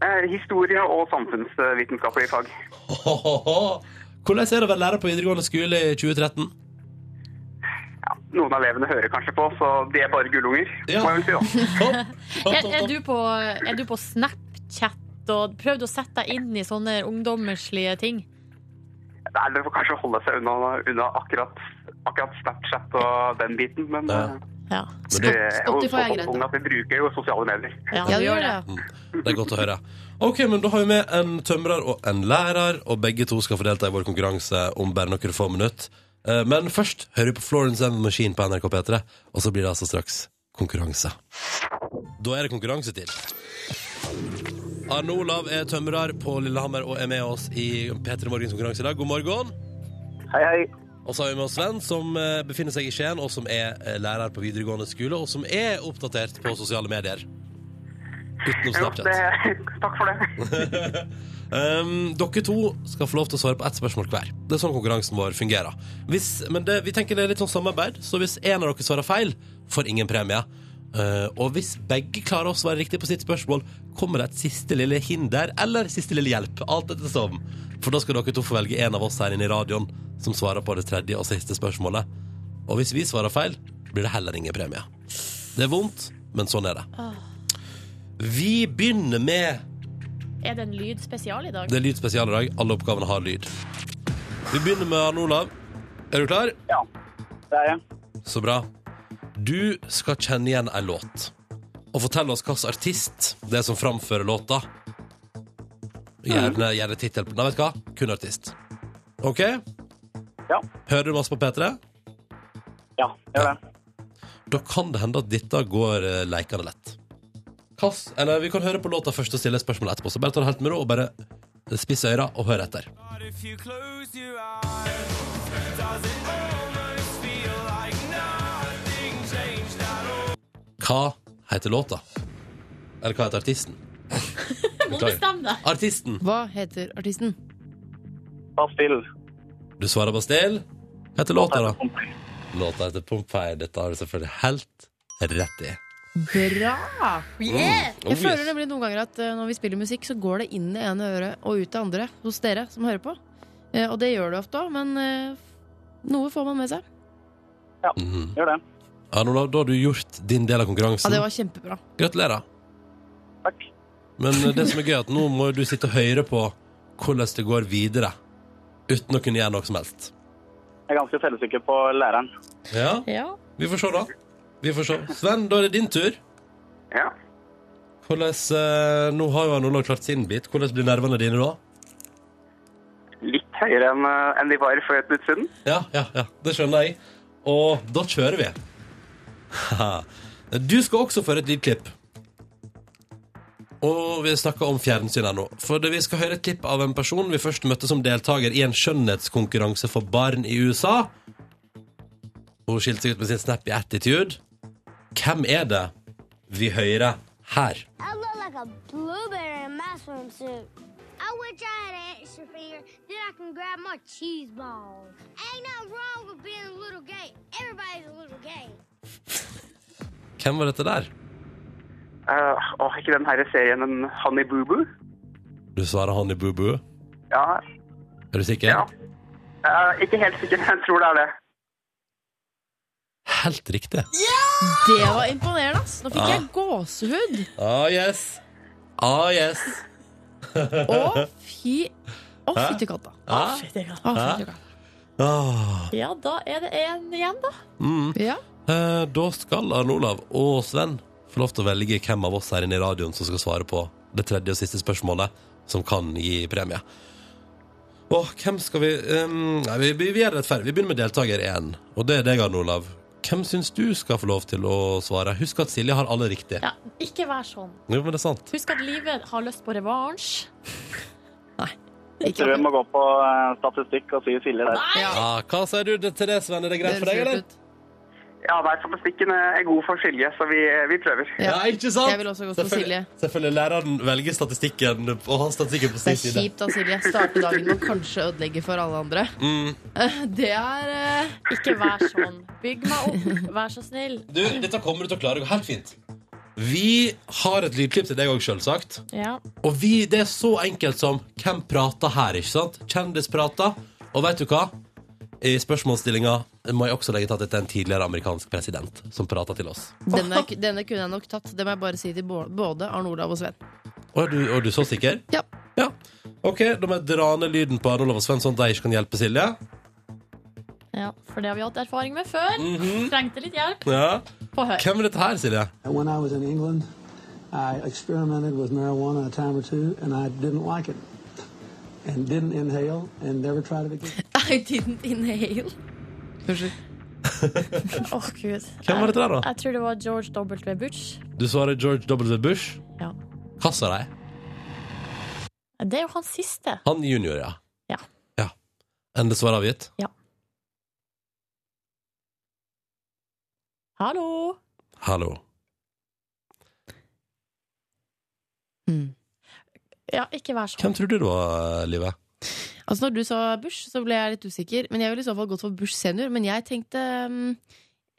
S9: Eh, historie og samfunnsvitenskapelige fag.
S2: Hohoho. Hvordan er det å være lærer på videregående skole i 2013?
S9: Ja, noen av elevene hører kanskje på, så de er bare gullunger,
S2: Ja.
S9: må jeg vel si. da.
S2: Topp, topp,
S3: Er, er,
S2: topp,
S3: du på, er du på Snapchat og prøvd å sette deg inn i sånne ungdommerslige ting?
S9: Nei, det får kanskje holde seg unna, unna akkurat, akkurat Snapchat og den biten, men
S2: Ja.
S9: eh,
S3: Ja,
S9: det er jo
S8: Spotify er
S9: såpass
S8: greit, da.
S9: ung at vi bruker jo sosiale medier.
S3: ja
S8: ja,
S3: du gjør det.
S8: det.
S2: topp. Mm, Det er godt å høre. Ok, men Da har vi med en tømrer og en lærer, og begge to skal få delta i vår konkurranse om bare noen få minutter. Eh, Men først hører vi på Florence and the Machine på NRK P3, og så blir det altså straks konkurranse. Da er det konkurransetid. Arne Olav er tømrer på Lillehammer og er med oss i P3 Morgens konkurranse i dag. God morgen.
S9: Hei, hei.
S2: Og så har vi med oss Sven, som eh, befinner seg i Skien, og som er eh, lærer på videregående skole, og som er oppdatert på sosiale medier. Utenom
S9: Jo,
S2: Snapchat.
S9: det, takk for det.
S2: Um, dere to skal få lov til å svare på ett spørsmål hver. Det er sånn konkurransen vår fungerer. Hvis, men det, vi tenker det er litt sånn samarbeid, så hvis en av dere svarer feil, får ingen premie. Uh, og hvis begge klarer å svare riktig på sitt spørsmål, kommer det et siste lille hinder eller siste lille hjelp. Alt etter som. For da skal dere to få velge en av oss her inne i radioen som svarer på det tredje og siste spørsmålet. Og hvis vi svarer feil, blir det heller ingen premie. Det er vondt, men sånn er det. Vi begynner med
S3: Er det en lydspesial i dag?
S2: det er lyd spesial i dag. Alle oppgavene har lyd. Vi begynner med Arne Olav. Er du klar?
S9: Ja, det er jeg.
S2: Så bra. Du skal kjenne igjen ei låt. Og fortelle oss hvilken artist det er som framfører låta. Gjerne, gjerne tittel på Nei, vet du hva? Kun artist. OK?
S9: Ja,
S2: Hører du masse på P3?
S9: ja, gjør det.
S2: Da kan det hende at dette går eh, leikende lett. Kass, eller Vi kan høre på låta først og stille spørsmål etterpå. Så bare ta det helt med ro og bare spiss øra og hør etter. Hva heter låta? Eller hva heter artisten?
S3: Må du
S2: Beklager.
S3: bestemme deg.
S2: Artisten!
S8: Hva heter artisten?
S9: Ta still.
S2: Du svarer Bastille. Hva heter låta, da? Låta heter Pompeii. Dette har du selvfølgelig helt rett i.
S8: Bra!
S3: Yeah!
S2: Oh,
S8: Jeg føler
S2: yes.
S8: nemlig noen ganger at eh, når vi spiller musikk, så går det inn det ene øret og ut det andre hos dere som hører på. Eh, og det gjør det ofte òg, men eh, noe får man med seg.
S2: Mhm.
S9: Gjør det.
S2: Arne Olav, da har du gjort din del av
S8: Ja,
S2: konkurransen.
S8: det var kjempebra.
S2: Gratulerer.
S9: Takk.
S2: Men eh, det som er gøy, er at nå må du sitte og høre på hvordan det går videre. Uten å kunne gjøre noe som helst.
S9: Jeg er ganske selvsikker på læreren.
S2: Ja,
S3: Ja.
S2: vi får se, da. Vi får se. Sven, da er det din tur.
S9: Ja.
S2: Hvordan, eh, nå har jo han Olav klart sin bit. Hvordan blir nervene dine da?
S9: Litt høyere enn eh, enn de var for et minutt siden.
S2: Ja, ja, ja, det skjønner jeg. Og da kjører vi. Haha. Du skal også føre et lydklipp. Og vi snakker om fjernsyn her nå. For det- vi skal høre et klipp av en person vi først møtte som deltaker i en skjønnhetskonkurranse for barn i USA. Hun skilte seg ut med sin snappy attitude. Hvem er det vi hører her?
S10: I look like a blueberry in my swimsuit. I wish I had an extra finger, then I can grab my cheese balls. Ain't nothing wrong with being a little gay. Everybody's a little gay.
S2: Hvem var dette der?
S9: Uh, og ikke den her serien en Honey Boo Boo?
S2: Du svarer Honey Boo Boo.
S9: Ja.
S2: Er du sikker?
S9: ja. Eh, ikke helt sikker, men jeg tror det er det.
S2: Helt riktig.
S4: Det var imponerende, ass. Nå fikk jeg gåsehud.
S2: Ah, yes. Ah, yes.
S4: Å, fy Å, fytti katta.
S2: Ah.
S4: Å, fytti katta.
S2: Ah.
S3: Ja, da er det en igjen, da.
S4: Ja.
S2: Eh, Da skal Arne Olav og Sven få lov til å velge hvem av oss her inne i radioen som skal svare på det tredje og siste spørsmålet, som kan gi premie. Og hvem skal vi ehm, Nei, vi, vi, vi er rettferdige. Vi begynner med deltaker én, og det er deg, Arne Olav. Hvem syns du skal få lov til å svare? Husk at Silje har alle riktig.
S3: Ja, ikke vær sånn.
S2: Jo, men det er sant.
S3: Husk at livet har lyst på revansj.
S4: Ikke
S11: Tror vi må gå på eh, statistikk og si Silje der.
S2: Ja, hva sier du til det, Sven? Er det greit for deg, eller?
S9: Ja, nei, statistikken er god for Silje, så vi, eh, vi prøver.
S2: Ja, ikke sant?
S4: Jeg vil også gå for
S2: Selvfølgelig- Selvfølgelig læreren velger statistikken og har statistikken på
S4: Det
S2: sin
S4: er
S2: side.
S4: kjipt da, Silje. Starte dagen med å kanskje ødelegge for alle andre. Det er eh,
S3: Ikke vær sånn. Bygg meg opp, vær så snill.
S2: Du, dette kommer du til å klare. Det går helt fint. Vi har et lydklipp til deg òg, sjølsagt.
S3: Ja.
S2: Og vi, det er så enkelt som Hvem prater her, ikke sant? Kjendis prater Og vet du hva? I spørsmålsstillinga må jeg også legge til at dette er en tidligere amerikansk president som prater til oss.
S4: denne, denne kunne jeg nok tatt. Det må jeg bare si til bå- både Arne Olav og Sven.
S2: Og er du, og er du så sikker?
S4: Ja.
S2: Ja. OK, da må jeg dra ned lyden på Arne Olav og Sven, sånn at de ikke kan hjelpe Silje.
S3: ja, for det har vi hatt erfaring med før. Trengte litt hjelp.
S2: Ja.
S3: På hør.
S2: Mhm. Hvem er dette her, Silje?
S12: And when I was in England, I experimented with marijuana a time or two, and I didn't like it. And didn't inhale and never tried it again.
S3: I didn't inhale.
S4: Unnskyld.
S3: Å, gud.
S2: Hvem var dette der, da?
S3: Jeg tror det var George W. Butch.
S2: Du svarer George W. Bush.
S3: Ja.
S2: Hva sa de?
S3: Det er jo han siste.
S2: Han junior, ja.
S3: Ja.
S2: ja. Endelig svar avgitt?
S3: Hallo!
S2: Hallo.
S3: Ja, ikke vær sånn.
S2: Hvem tror du det var, Live?
S4: Altså Når du sa Bush, så ble jeg litt usikker. Men Jeg ville i så fall gått for Bush senior. Men jeg tenkte mm,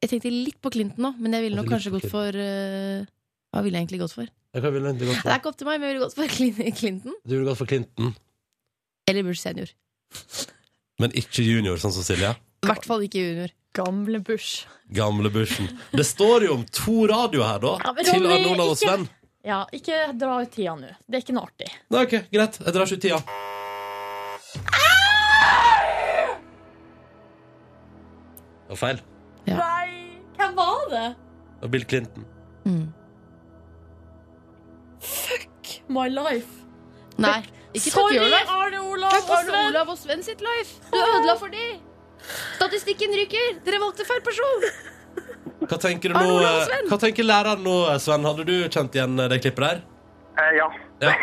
S4: Jeg tenkte litt på Clinton nå, men jeg ville nok
S2: Altså, Litt på
S4: kanskje gått for eh, Hva ville jeg egentlig gått for? Det
S2: Jeg ville egentlig gått
S4: er ikke opp til meg, men jeg ville gått for Clin- Clinton
S2: Du ville gått for Clinton,
S4: eller Bush senior.
S2: men ikke junior, sånn som Silje.
S4: I hvert fall ikke junior.
S3: Gamle Bush.
S2: Gamle bushen. Det står jo om to radioer her, da.
S3: Ja, men
S2: til
S3: Ronny,
S2: Arne Olav og
S3: ikke-
S2: Sven.
S3: Ja, ikke dra ut tida nå. Det er ikke noe artig.
S2: Nei, ok, Greit, jeg drar ikke ut tida. Det var feil.
S3: Nei! Hvem var det?
S2: Det var Bill Clinton.
S3: My life.
S4: Nei, ikke takk
S3: Sorry,
S4: your life.
S3: Arne Olav
S4: Takk
S3: og
S4: Arne
S3: Sven.
S4: Olav og Sven sitt life. Du ødela for de. Statistikken ryker. Dere valgte feil person.
S2: Hva tenker, du
S4: Arne
S2: nå,
S4: Olav og
S2: eh,
S4: Sven.
S2: hva tenker læreren nå, eh, Sven? Hadde du kjent igjen eh, det klippet der?
S9: Eh, ja.
S2: Ja.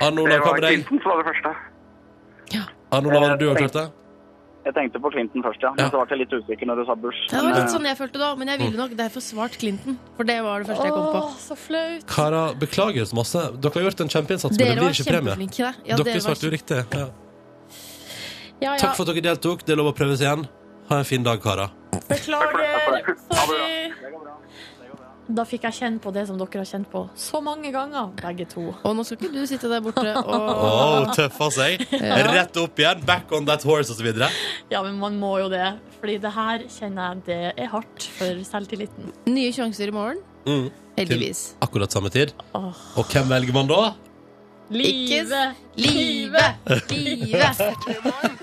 S2: Arne
S9: Det
S2: Olav, hva
S9: var
S2: med deg?
S9: Clinton Eh, som var det første.
S2: Arne Olav, hadde du også klart det?
S11: Jeg tenkte på Clinton først, ja.
S2: Ja.
S11: Men så ble jeg litt usikker når du sa Bush.
S4: Det var litt sånn jeg følte da, men jeg ville nok derfor svart Clinton. For det var det første jeg kom på.
S3: Åh, så flaut.
S2: Karer, beklager så masse. Dere har gjort en kjempeinnsats, men det
S4: Dere
S2: blir
S4: var
S2: ikke premie.
S4: kjempeflinke. da. Ja,
S2: Dere
S4: dere var
S2: svarte jo riktig. Ja.
S3: Ja, ja.
S2: Takk for at dere deltok. Det er lov å prøves igjen. Ha en fin dag, karer.
S3: Beklager.
S9: Ha det bra.
S3: Sorry. Da fikk jeg kjenne på det som dere har kjent på så mange ganger, begge to.
S4: Og nå skal ikke du sitte der borte
S2: Å,
S4: og
S2: tøffa seg. Rett opp igjen. Back on that horse, osv.
S3: Ja, men man må jo det. Fordi det her kjenner jeg det er hardt for selvtilliten.
S4: Nye sjanser i morgen.
S2: Mm.
S4: Heldigvis.
S2: Akkurat samme tid.
S3: Åh.
S2: Og hvem velger man da?
S3: Livet!
S4: Livet! Livet!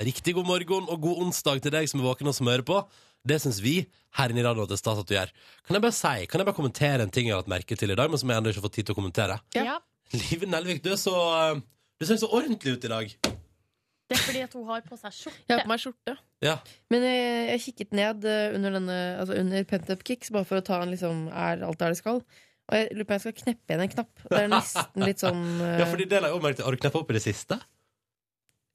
S2: Riktig god morgen og god onsdag til deg som er våken og som hører på. Det syns vi her inne i radioen at det er stas at du gjør. Kan jeg bare si, kan jeg bare kommentere en ting jeg har lagt merke til i dag, men som jeg ennå ikke har fått tid til å kommentere?
S4: Ja.
S3: Ja.
S2: Live Nelvik, du er så eh, Du ser så ordentlig ut i dag.
S3: Det er fordi at hun har på seg skjorte.
S4: Jeg har på meg skjorte.
S2: Ja.
S4: Men jeg, jeg kikket ned eh, under, denne, altså under Pent Up Kicks, bare for å ta en liksom, er alt der det skal. Og jeg lurer på om jeg skal kneppe igjen en knapp. Det er nesten litt sånn eh,
S2: ja, fordi det la jeg også merke til. Har du kneppa opp i det siste?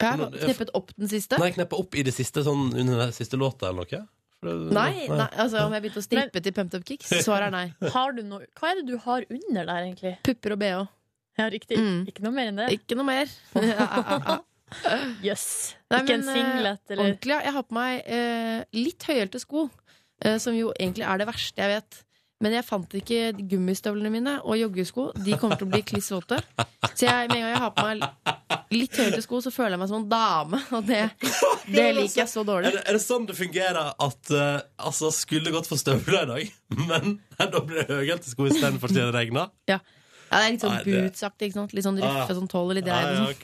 S4: jeg har Kneppet opp den siste?
S2: Nei, kneppa opp i det siste sånn under den siste låta eller noe? For det-
S4: Nei, nei, altså Om jeg begynte å strippe til Pumped Up Kicks, svaret er nei.
S3: Har du noe, hva er det du har under der, egentlig?
S4: Pupper og bh.
S3: Ja, riktig.
S4: Mm.
S3: Ikke noe mer enn det?
S4: Ikke noe mer.
S3: Jøss.
S4: Nei,
S3: Ikke en
S4: men, eh,
S3: singlet, eller?
S4: Ordentlig, ja. Jeg har på meg eh, litt høyhælte sko, eh, som jo egentlig er det verste jeg vet. Men jeg fant ikke gummistøvlene mine og joggesko. De kommer til å bli kliss våte. Så jeg, med en gang jeg har på meg litt høyhælte sko, så føler jeg meg som en dame. Og det, det liker jeg så
S2: Er
S4: dårlig.
S2: det, er det sånn det fungerer at eh, altså skulle gått for støvler i dag, men da blir det høyhælte sko istedenfor siden det regner?
S4: Ja. Ja, det er litt sånn
S2: Nei, det-
S4: bootsaktig. ikke sant? Litt sånn
S2: Ah, ja.
S4: røffe, sånn tolv eller
S2: Ja,
S4: dreie.
S2: ja,
S4: Liksom.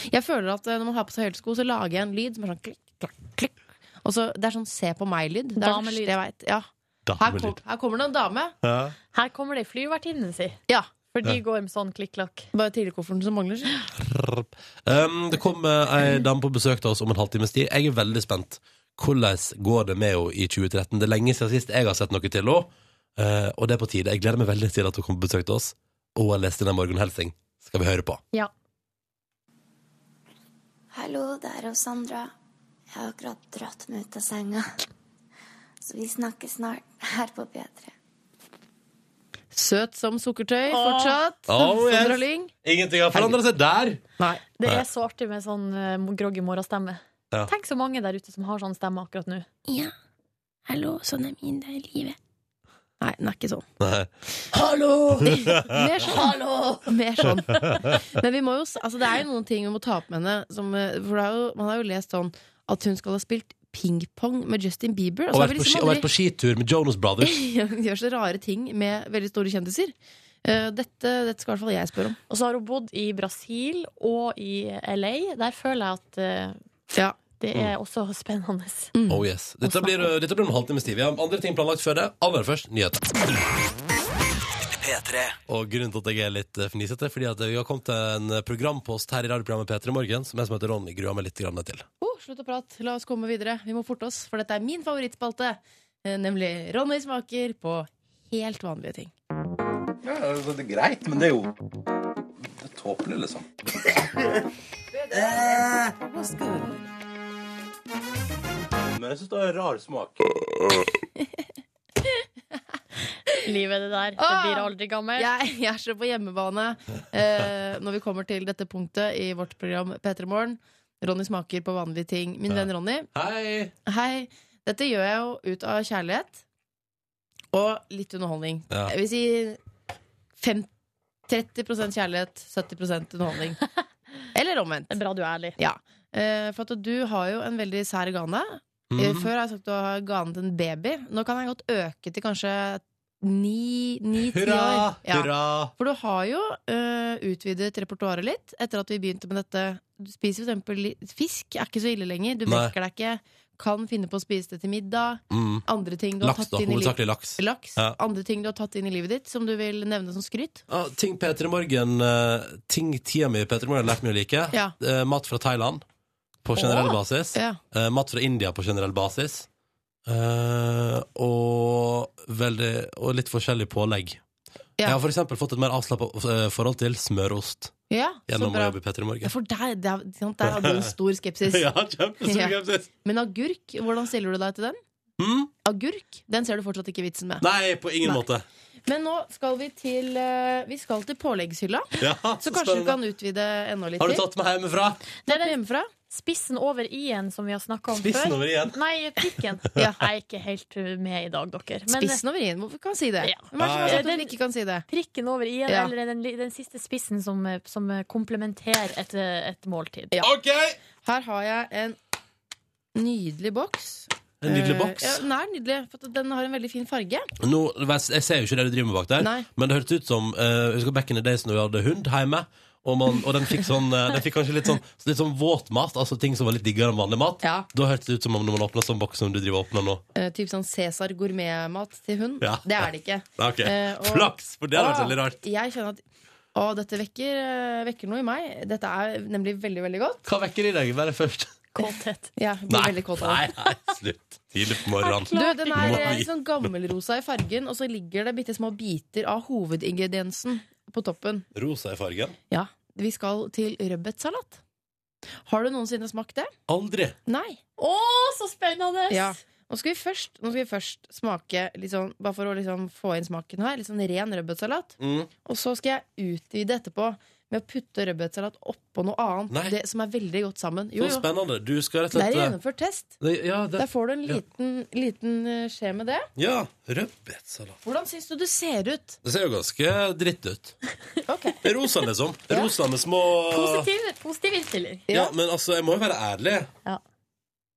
S2: ok.
S4: Jeg føler at eh, når man har på seg høyhælte sko, så lager jeg en lyd som er sånn klikk, klakk, klikk. Og så, det er sånn se på meg-lyd. Det er det
S3: Damelyd.
S4: verste jeg vet. Ja. Her, kom,
S2: Damelyd.
S4: her kommer det en dame.
S2: Ja.
S3: Her kommer det ei flyvertinne, si.
S4: Ja.
S3: For de går med sånn klikk-klakk.
S4: Bare tidligkofferten som mangler.
S2: Um, det kommer ei dame på besøk til oss om en halvtimes tid. Jeg er veldig spent. Hvordan går det med henne i 2013? Det er lenge siden sist jeg har sett noe til henne. eh, og det er på tide. Jeg gleder meg veldig til at hun kommer på besøk til oss. Og jeg leste den morgenhelsing. Skal vi høre på.
S3: Ja.
S10: Hallo, det er jo Sandra. Jeg har akkurat dratt meg ut av senga. Så vi snakkes snart her på P3.
S4: Søt som sukkertøy fortsatt.
S2: Oh, yes.
S4: Sandra Lyng.
S2: Ingenting har forandra seg der!
S4: Nei.
S3: Det er så artig med sånn uh, groggy morgenstemme.
S2: Ja.
S3: Tenk så mange der ute som har sånn stemme akkurat nå.
S10: Ja. Hallo, sånn er min del i livet.
S4: Nei, den er ikke sånn.
S2: Nei.
S4: Hallo! Mer sånn. Mer sånn. Men vi må jo, s- altså, det er jo noen ting vi må ta opp med henne. Som, eh, for det er jo, man har jo lest sånn at hun skal ha spilt pingpong med Justin Bieber.
S2: Og
S4: så har
S2: vært
S4: vi
S2: på, ski,
S4: liksom
S2: og vært på skitur med Jonas Brothers.
S4: aldri- gjør så rare ting med veldig store kjendiser. Eh, dette, dette skal i hvert fall jeg spørre om.
S3: Og så har hun bodd i Brasil og i LA. Der føler jeg at eh,
S4: Ja.
S3: det er
S2: Mm.
S3: også spennende.
S4: Mm.
S2: Oh yes. Dette blir, dette blir om en halvtimes tid. Vi har andre ting planlagt før det. Aller først nyheter. Og grunnen til at jeg er litt eh, fnisete, fordi at vi har kommet til en eh, programpost her i radioprogrammet P3 Morgen som jeg som heter Ronny gruer meg litt grann til.
S4: Oh, slutt å prate, la oss komme videre. Vi må forte oss, for dette er min favorittspalte. eh, Nemlig Ronny smaker på helt vanlige ting.
S13: Men jeg syns det har rar smak.
S3: Livet det der. Det
S4: Ah!
S3: blir aldri gammelt.
S4: Jeg, jeg er så på hjemmebane eh, når vi kommer til dette punktet i vårt program P3 Morgen. Ronny smaker på vanlige ting. Min venn Ronny,
S2: Hei!
S4: hei. Dette gjør jeg jo ut av kjærlighet og litt underholdning.
S2: Ja.
S4: Jeg vil si fem, 30 kjærlighet, 70 underholdning. Eller omvendt.
S3: Det er bra du er ærlig.
S4: Ja, eh, for at du har jo en veldig sær gane.
S2: Mm.
S4: Eh,
S2: Mhm.
S4: Før har jeg sagt du har ganen til en baby. Nå kan jeg godt øke til kanskje ni-ti år.
S2: Hurra!
S4: Ja.
S2: Hurra!
S4: For du har jo eh, utvidet repertoaret litt etter at vi begynte med dette. Du spiser for eksempel li- fisk, er ikke så ille lenger. Du
S2: Nei.
S4: mekker deg ikke. Kan finne på å spise det til middag.
S2: Mm.
S4: Andre ting du har
S2: Laks, da.
S4: tatt inn i livet
S2: Hovedsakelig laks.
S4: Laks.
S2: Ja.
S4: Andre ting du har tatt inn i livet ditt, som du vil nevne som skryt.
S2: Ja, ting P3 Morgen eh, Ting tida mi i P3 Morgen har lært meg å like.
S4: Ja.
S2: Eh, mat fra Thailand på generell basis.
S4: Ja.
S2: Eh, mat fra India på generell basis. Eh, og, veldig, og litt forskjellig pålegg. Jeg
S4: Ja.
S2: har for eksempel fått et mer avslappa eh, forhold til smørost
S4: ja, så
S2: gjennom å
S4: bra.
S2: jobbe i P3
S4: Ja,
S2: Morgen.
S4: for der, der, ikke sant, der hadde du en stor skepsis.
S2: Ja, kjempestor
S4: Men agurk, hvordan stiller du deg til den?
S2: Hm?
S4: Agurk, den ser du fortsatt ikke vitsen med.
S2: Nei, på ingen
S4: Nei.
S2: måte.
S4: Men nå skal vi til, eh, vi skal til påleggshylla.
S2: Ja,
S4: Så
S2: så
S4: kanskje du
S2: spennende.
S4: kan utvide enda litt
S2: Har du
S4: til.
S2: tatt meg hjemmefra?
S4: Det er det hjemmefra.
S3: Spissen over i-en, som vi har snakka om
S2: Spissen
S3: før.
S2: over igjen.
S3: Nei, prikken.
S4: Ja.
S3: Jeg er ikke helt eh, med i dag, dere. Men eh,
S4: Spissen over i-en. Hvorfor kan man si det?
S3: Ja.
S4: Hvem er det som har
S3: Ja,
S4: sagt
S3: den-
S4: at vi ikke kan si det?
S3: prikken over i-en,
S4: Ja.
S3: eller den, li- den siste spissen som, eh, som eh, komplementerer et, eh, et måltid.
S4: Ja.
S2: OK!
S4: Her har jeg en nydelig boks.
S2: En nydelig
S4: Eh,
S2: boks.
S4: Ja, den er nydelig, for at den har en veldig fin farge.
S2: Nå, jeg ser jo ikke det du driver med bak der,
S4: Nei.
S2: men det hørtes ut som eh, jeg husker back in the days når vi hadde hund hjemme. og, man, og den fikk sånn eh, Den fikk kanskje litt sånn, litt sånn våt mat, altså ting som var litt diggere enn vanlig mat.
S4: Ja.
S2: Da hørtes det ut som om når man åpna sånn boks som du driver og åpner nå.
S4: Eh, typ sånn Cæsar gourmetmat til hund.
S2: Ja.
S4: Det er det ikke.
S2: Nei, ok.
S4: Eh, og-
S2: Flaks! For det hadde vært veldig rart.
S4: Åh, Jeg kjenner at å, dette vekker, eh, vekker noe i meg. Dette er nemlig veldig, veldig godt.
S2: Hva vekker i deg? Vær først.
S3: Kåthet.
S4: Jeg blir
S2: Nei,
S4: veldig kåt av det.
S2: nei, nei, slutt. Tidlig på morgenen.
S4: Du, den er
S2: Må
S4: eh,
S2: vi-
S4: sånn gammelrosa i fargen, og så ligger det bitte små biter av hovedingrediensen på toppen.
S2: Rosa i fargen.
S4: Ja, Vi skal til rødbetsalat. Har du noensinne smakt det?
S2: Aldri.
S4: Nei.
S3: Å, så spennende!
S4: Ja. Nå skal vi først, nå skal vi først smake, litt sånn, bare for å liksom få inn smaken her, litt sånn ren rødbetsalat.
S2: Mm.
S4: Og så skal jeg utvide etterpå med å putte rødbetsalat oppå noe
S2: Nei.
S4: annet det, som er veldig godt sammen. Jo,
S2: Så
S4: jo.
S2: spennende. Du skal rett
S4: Det
S2: og
S4: er
S2: slett eh,
S4: gjennomført test.
S2: det, Ja,
S4: Der
S2: det,
S4: får du en
S2: Ja.
S4: liten, liten eh, skje med det.
S2: ja rødbetsalat.
S4: Hvordan syns du det ser ut?
S2: Det ser jo ganske dritt ut.
S4: Ok.
S2: Det er rosa, liksom. Det er Rosa med små
S3: Positiv, positiv innstilling.
S2: Ja, men altså, jeg må jo være ærlig.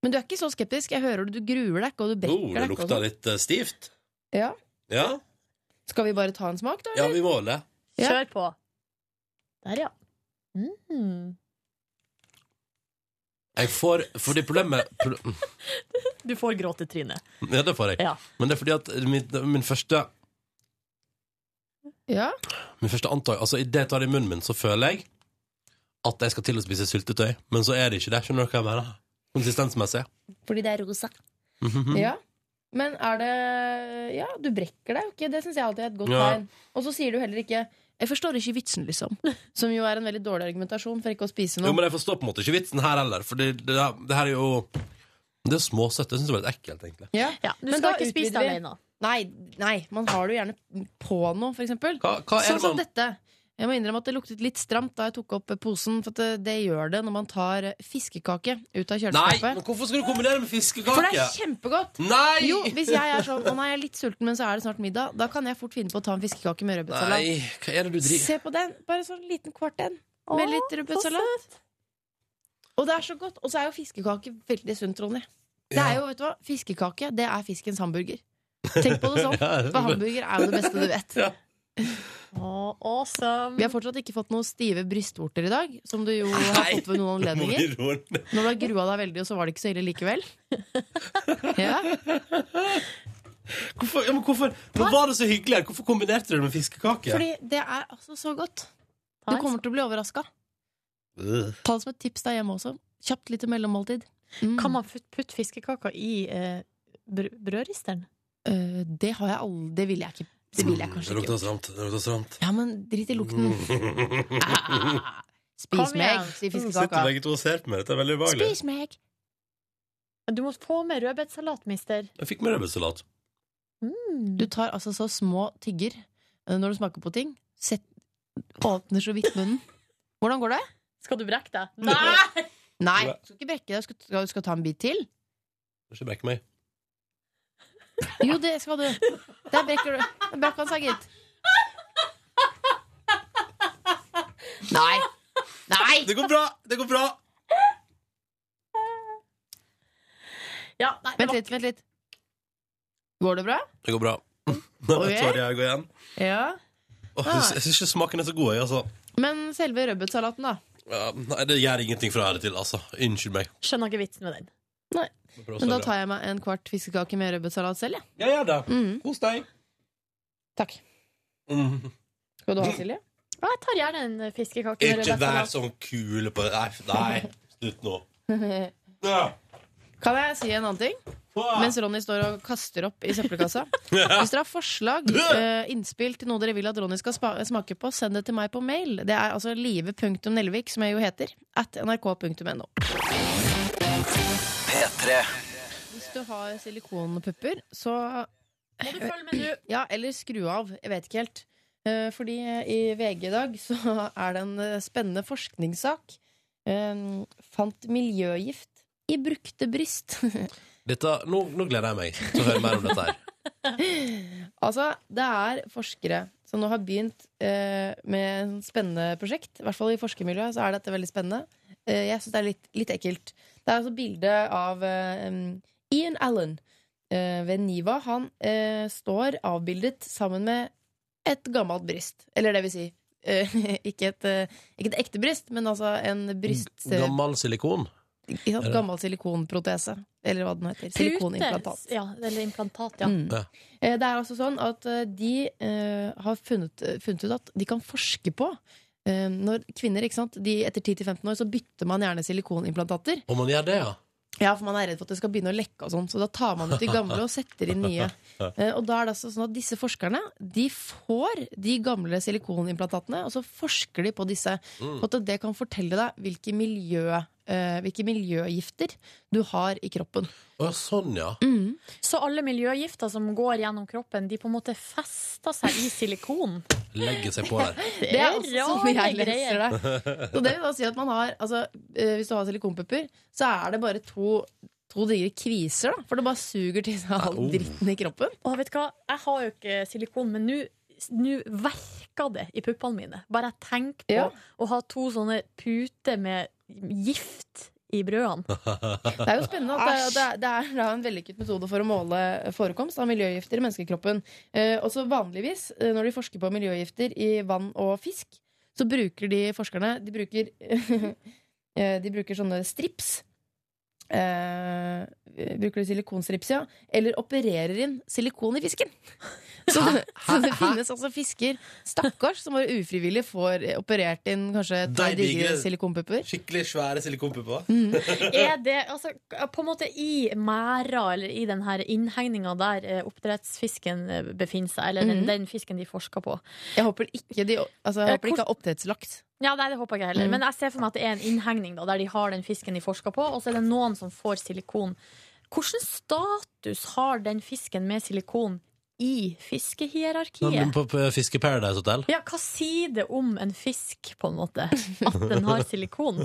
S4: Men du er ikke så skeptisk. Jeg hører det, du gruer deg ikke, og du brekker
S2: Oh, det
S4: deg ikke.
S2: lukta
S4: og sånn.
S2: litt eh, stivt.
S4: Ja.
S2: Ja,
S4: Skal vi bare ta en smak, da?
S2: ja vi må det.
S4: Ja.
S3: Kjør på. Der, ja. Mm.
S2: Jeg får Fordi problemet pro-
S3: Du får gråtetryne.
S2: Ja, det får jeg.
S3: Ja.
S2: Men det er fordi at min, min første
S4: Ja.
S2: Min første antag Altså, idet jeg tar det i munnen min, så føler jeg at jeg skal til å spise syltetøy. Men så er det ikke det. Skjønner du hva jeg mener? Konsistensmessig.
S4: Fordi det er rosa.
S2: Mhm.
S4: Ja. Men er det Ja, du brekker deg jo ikke. Det syns jeg alltid er et godt
S2: Ja.
S4: tegn. Og så sier du heller ikke 'jeg forstår ikke vitsen', liksom. Som jo er en veldig dårlig argumentasjon for ikke å spise
S2: Jo,
S4: noe.
S2: men jeg forstår på en måte ikke vitsen her heller, for det, det, det her er jo Det er småsøtt. Jeg syns det var litt ekkelt, egentlig.
S4: Ja.
S3: Ja, du
S4: Men
S3: skal
S4: da
S3: ikke spise det
S4: utvider vi.
S3: alene.
S4: Nei, nei, man har det jo gjerne på noe, for eksempel.
S2: Hva, hva er
S4: Sånn
S2: det
S4: som
S2: man
S4: dette. Jeg må innrømme at det luktet litt stramt da jeg tok opp posen, for at det, det gjør det når man tar fiskekake ut av
S2: Nei,
S4: kjøleskapet.
S2: men hvorfor skal du kombinere med
S4: For det
S2: fiskekake?
S4: er kjempegodt!
S2: Nei!
S4: Jo, hvis jeg er sånn, å nei, jeg er litt sulten, men så er det snart middag, da kan jeg fort finne på å ta en fiskekake med rødbetsalat.
S2: Nei, hva er det du driver
S4: Se på den! Bare sånn liten kvart en. Med litt rødbetsalat. Og det er så godt. Og så er jo fiskekake veldig sunt, Ronny. Det er jo, vet du hva, fiskekake, det er fiskens hamburger. Tenk på det sånn.
S2: Ja, det er
S4: For hamburger er jo det beste du vet.
S3: Å, awesome.
S4: Vi har fortsatt ikke fått noen stive brystvorter i dag, som du jo har
S2: Nei.
S4: fått ved noen
S2: Nå må vi
S4: anledninger.
S2: roe ned.
S4: Når du har grua deg veldig, og så var det ikke så ille likevel. Ja.
S2: Hvorfor, ja, men hvorfor men var det så hyggelig? her? Hvorfor kombinerte du det med fiskekake?
S4: Fordi det er altså så godt. Du
S3: Nice.
S4: kommer til å bli overraska.
S2: Øh.
S4: Ta det som et tips der hjemme også. Kjapt lite mellommåltid. Mm.
S3: Kan man putte putt fiskekaka i eh, br brødristeren?
S4: Eh, det har jeg aldri Det vil jeg ikke. Det vil jeg kanskje
S2: Mm, Det Mm.
S4: ikke.
S2: lukta stramt. Det lukta stramt.
S4: Ja, men drit i lukten. Ah, spis
S3: Kom
S4: meg,
S3: igjen.
S4: sier
S2: Nå Sitter
S4: fiskekaka.
S2: begge to og ser på meg. Dette er veldig ubehagelig.
S4: Spis meg!
S3: Du må få med rødbetsalat, mister.
S2: Jeg fikk med rødbetsalat.
S4: Du tar altså så små tygger eh, når du smaker på ting. Sett, åpner så vidt munnen. Hvordan går det?
S3: Skal du brekke deg? Nei!
S4: Nei,
S2: Nei.
S4: du skal ikke brekke deg. Du skal, skal, du skal ta en bit til.
S2: Du skal brekke meg.
S4: Jo, det skal du. Der brekker du. Der brakk han seg, gitt. Nei. Nei!
S2: Det går bra! Det går bra!
S3: Ja, nei, det
S4: Vent
S3: var
S4: litt, vent litt. Går det bra?
S2: Det går bra. Nå
S4: Ok. Ah.
S2: tør jeg å gå igjen.
S4: Ja.
S2: Åh, jeg syns- jeg syns ikke smaken er så god, jeg, altså.
S4: Men selve rødbetsalaten, da?
S2: Ja, nei, det gjør ingenting fra ære til, altså. Unnskyld meg.
S3: Skjønner ikke vitsen med den.
S2: Jeg prøver å
S4: Men da
S2: svare.
S4: tar jeg meg en kvart fiskekake med rødbetsalat selv, jeg.
S2: Ja, gjør det.
S4: Mm.
S2: Kos deg.
S4: Takk.
S2: Mm.
S4: Skal du ha, Silje?
S3: Ja, jeg tar gjerne en eh, fiskekake med
S2: Ikke vær
S3: rødbetsalat.
S2: sånn kul på Nei, nei. slutt nå. Ja.
S4: Kan jeg si en annen ting? Mens Ronny står og kaster opp i søppelkassa. Hvis dere har forslag, eh, innspill til noe dere vil at Ronny skal spa- smake på, send det til meg på mail. Det er altså live.nelvik, som jeg jo heter, at nrk.no. Hvis du har silikonpupper, så
S3: Må du følge med nå?
S4: Ja, eller skru av. Jeg vet ikke helt. Eh, Fordi i VG i dag så er det en eh, spennende forskningssak. Eh, Fant miljøgift i brukte bryst.
S2: Dette, nå, nå gleder jeg meg til å høre mer om dette her.
S4: Altså, det er forskere som nå har begynt eh, med en spennende prosjekt. I hvert fall i forskermiljøet så er dette veldig spennende. Eh, jeg syns det er litt, litt ekkelt. Det er altså bilde av eh, em, Ian Allen eh, ved Niva. Han eh, står avbildet sammen med et gammelt bryst. Eller det vil si, eh, ikke, et, eh, ikke et ekte bryst, men altså en bryst... eh,
S2: Gammel silikon.
S4: Ikke sant? Gammel silikonprotese, eller hva den heter. Silikonimplantat.
S3: Ja, eller implantat, ja.
S4: Mm. Eh, Det er altså sånn at eh, de eh, har funnet, funnet ut at de kan forske på eh, når kvinner, ikke sant, de Etter 10-15 år så bytter man gjerne silikonimplantater.
S2: Om man gjør det, ja.
S4: Ja, for man er redd for at det skal begynne å lekke og sånn, så da tar man ut de gamle og setter inn nye. Eh, Og da er det altså sånn at disse forskerne de får de gamle silikonimplantatene, og så forsker de på disse.
S10: Mm.
S4: Og at det kan fortelle deg hvilke, miljø, eh, hvilke miljøgifter du har i kroppen. Mm.
S2: Å, sånn, ja.
S3: Så alle miljøgifter som går gjennom kroppen, de på en måte fester seg i silikon?
S2: Legger seg på der.
S4: Det er altså sånn jeg
S3: rare
S4: leser det. Så det vil da si at man har altså, eh, Hvis du har silikonpupper, så er det bare to, to digre kviser, da. For det bare suger til seg all dritten i kroppen.
S3: Og vet du hva, jeg har jo ikke silikon, men nå nå verker det i puppene mine. Bare jeg tenker på å ha to sånne puter med gift i brødene.
S4: Det er jo spennende at det, det, er- det er da en vellykket metode for å måle forekomst av miljøgifter i menneskekroppen. Eh, også vanligvis, eh, når de forsker på miljøgifter i vann og fisk, så bruker de forskerne De bruker, eh, de bruker sånne strips. Eh, bruker de silikonstrips, ja? Eller opererer inn silikon i fisken. Så, så det finnes altså fisker, stakkars, som bare ufrivillig får eh, operert inn kanskje et par
S14: Dei digre.
S4: digre silikonpupper.
S14: Skikkelig svære silikonpupper.
S3: Er det altså, på en måte i mæra, eller i den her innhegninga der eh, oppdrettsfisken eh, befinner seg, eller den,
S4: Mhm.
S3: den fisken de forsker på?
S4: Jeg håper ikke de altså, jeg
S3: Eh,
S4: håper de
S3: hvor-
S4: ikke har oppdrettslaks.
S3: Ja, nei, det håper jeg ikke heller.
S4: Mm.
S3: Men jeg ser for meg at det er en innhegning da, der de har den fisken de forsker på, og så er det noen som får silikon. Hvilken status har den fisken med silikon i
S2: Men, men
S3: fiskehierarkiet?
S2: Sånn, på, på Fiske Paradise Hotel.
S3: Ja, hva sier det om en fisk, på en måte? At den har silikon?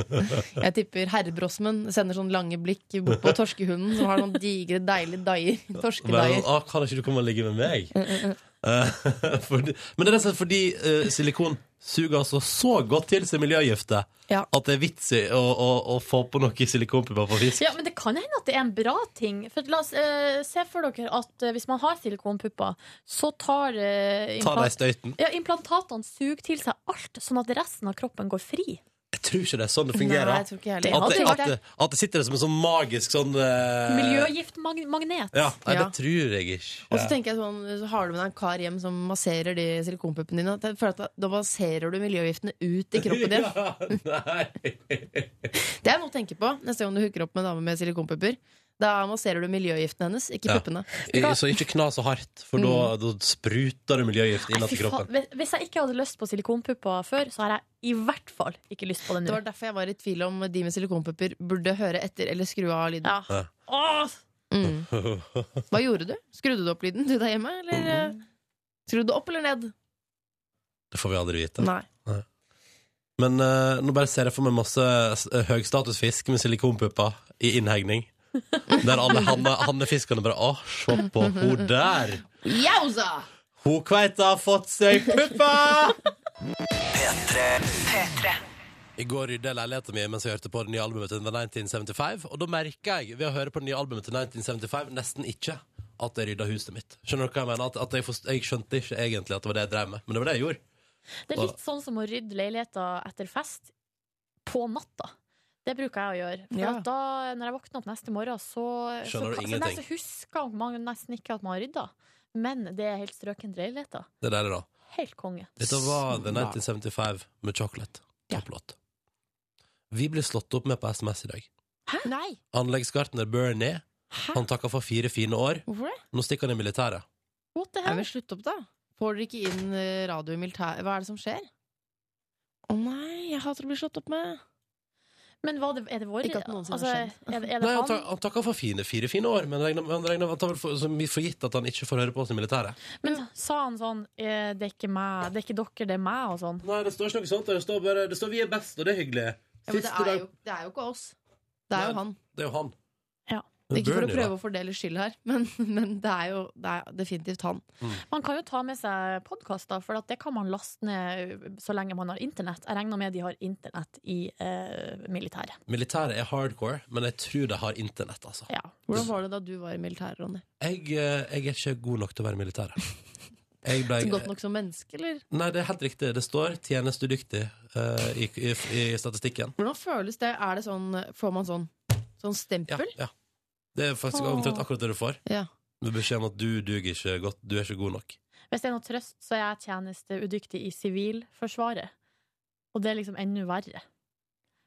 S4: Jeg tipper herrebrosmen sender sånn lange blikk bort på torskehunden som har noen digre, deilige daier.
S2: Bare
S4: Torskedaier.
S2: sånn, «Å, kan ikke du komme og ligge med meg?
S3: Mm,
S2: Eh, fordi, men det er rett og slett fordi eh, silikon suger altså så godt til seg miljøgifter
S4: Ja.
S2: at det er sånn vits i å, å, å få på noe silikonpupper på fisk.
S3: Ja, men det kan hende at det er en bra ting. For la oss eh, se for dere at eh, hvis man har silikonpupper, så tar
S2: Ta
S3: eh, implant-
S2: deg støyten.
S3: Ja, implantatene suger til seg alt, sånn at resten av kroppen går fri.
S2: Jeg tror ikke det er sånn det fungerer.
S3: Nei, jeg tror ikke jeg
S2: at,
S3: heller.
S2: det,
S3: Det hadde
S2: at, det, at det sitter som en sånn magisk sånn eh,
S3: Miljøgiftmagnet.
S2: Ja, nei,
S4: Ja.
S2: det tror jeg ikke.
S4: Og så tenker jeg sånn, så har du med deg en kar hjem som masserer de silikonpuppene dine. at jeg føler at Da da masserer du miljøgiftene ut i kroppen din. Det er noe å tenke på neste gang du hooker opp med en dame med silikonpupper. Da masserer du miljøgiftene hennes, ikke
S2: Ja.
S4: puppene.
S2: I- Så ikke kna så hardt, for da, da spruter du miljøgift inn
S3: Mm. Fy
S2: til
S3: faen,
S2: kroppen.
S3: hvis- Hvis jeg ikke hadde lyst på silikonpupper før, så har jeg i hvert fall ikke lyst på det nå.
S4: Det var derfor jeg var i tvil om de med silikonpupper burde høre etter eller skru av lyden.
S2: Ja.
S3: Åh!
S4: Mm. Hva gjorde du? Skrudde du opp lyden du der hjemme,
S2: Mhm.
S4: eller eh, skrudde du opp eller ned?
S2: Det får vi aldri vite.
S4: Nei.
S2: Men eh, nå bare ser jeg for meg masse s- høystatusfisk med silikonpupper i innhegning. Der alle hanne- hannefiskene bare Å, se på hun der!
S4: Jausa!
S2: Hun kveita har fått seg pupper! I går rydda jeg leiligheten min mens jeg hørte på det nye albumet til The 1975. Og da merka jeg ved å høre på det nye albumet til 1975 nesten ikke at jeg rydda huset mitt. Skjønner dere hva jeg mener? At, at jeg, forst- jeg skjønte ikke egentlig at det var det jeg drev med, men det var det jeg gjorde.
S3: Det er litt sånn som å rydde leiligheter etter fest på natta. Det bruker jeg å gjøre. For
S2: Ja.
S3: at da, når jeg våkner opp neste morgen, så, så,
S2: Skjønner du
S3: kan- så, nei,
S2: ingenting.
S3: så husker man nesten ikke at man har rydda. Men det er helt strøkent leiligheter.
S2: Det er deilig, da.
S3: Helt konge.
S2: Dette var The 1975 med Chocolate. Topplåt. Vi ble slått opp med på SMS i dag.
S3: Hæ? Nei!
S2: Anleggsgartner Bernie Han takka for fire fine år.
S4: Hvorfor det?
S2: Nå stikker han i militæret.
S3: What the
S4: hell? Slutt opp, da. Får dere ikke inn eh, radio i militær... Hva er det som skjer? Å nei, jeg hater å bli slått opp med.
S3: Men hva, det- er det vår
S4: Ikke at noensinne
S3: altså,
S4: har skjedd.
S3: er det- er det
S2: Nei, han,
S3: han?
S2: ta, han takka for fine fire fine år, men regner, han regner han tar vel for, som vi får gitt at han ikke får høre på oss i militæret.
S3: Men sa han sånn eh, 'Det er ikke meg, det er ikke dere, det er meg', og sånn?
S2: Nei, det står ikke noe sånt. Det står bare det står 'vi er best', og det er hyggelig.
S4: Ja, men det er, jo, det er jo ikke oss. Det er jo han.
S2: Det er jo han.
S4: Ikke for å
S2: Bernie, da.
S4: prøve å fordele skyld her, men, men det er jo det er definitivt han.
S3: Man kan jo ta med seg podkaster, for at det kan man laste ned så lenge man har internett. Jeg regner med de har internett i eh, militæret.
S2: Militæret er hardcore, men jeg tror de har internett, altså.
S4: Hvordan var det da du var i militæret, Ronny?
S2: Jeg, eh, jeg er ikke god nok til å være i militæret. Jeg ble,
S4: Så godt nok som menneske, eller?
S2: Nei, det er helt riktig. Det står 'tjenestedyktig' eh, i, i, i statistikken.
S4: Hvordan føles det? Er det sånn, får man sånn, sånn stempel?
S2: Ja. Det er faktisk
S4: Åh.
S2: omtrent akkurat det du får.
S4: Ja.
S2: Med beskjed om at du duger ikke godt, du er ikke god nok.
S3: Hvis det er noe trøst, så er jeg tjenesteudyktig i Sivilforsvaret. Og det er liksom enda verre.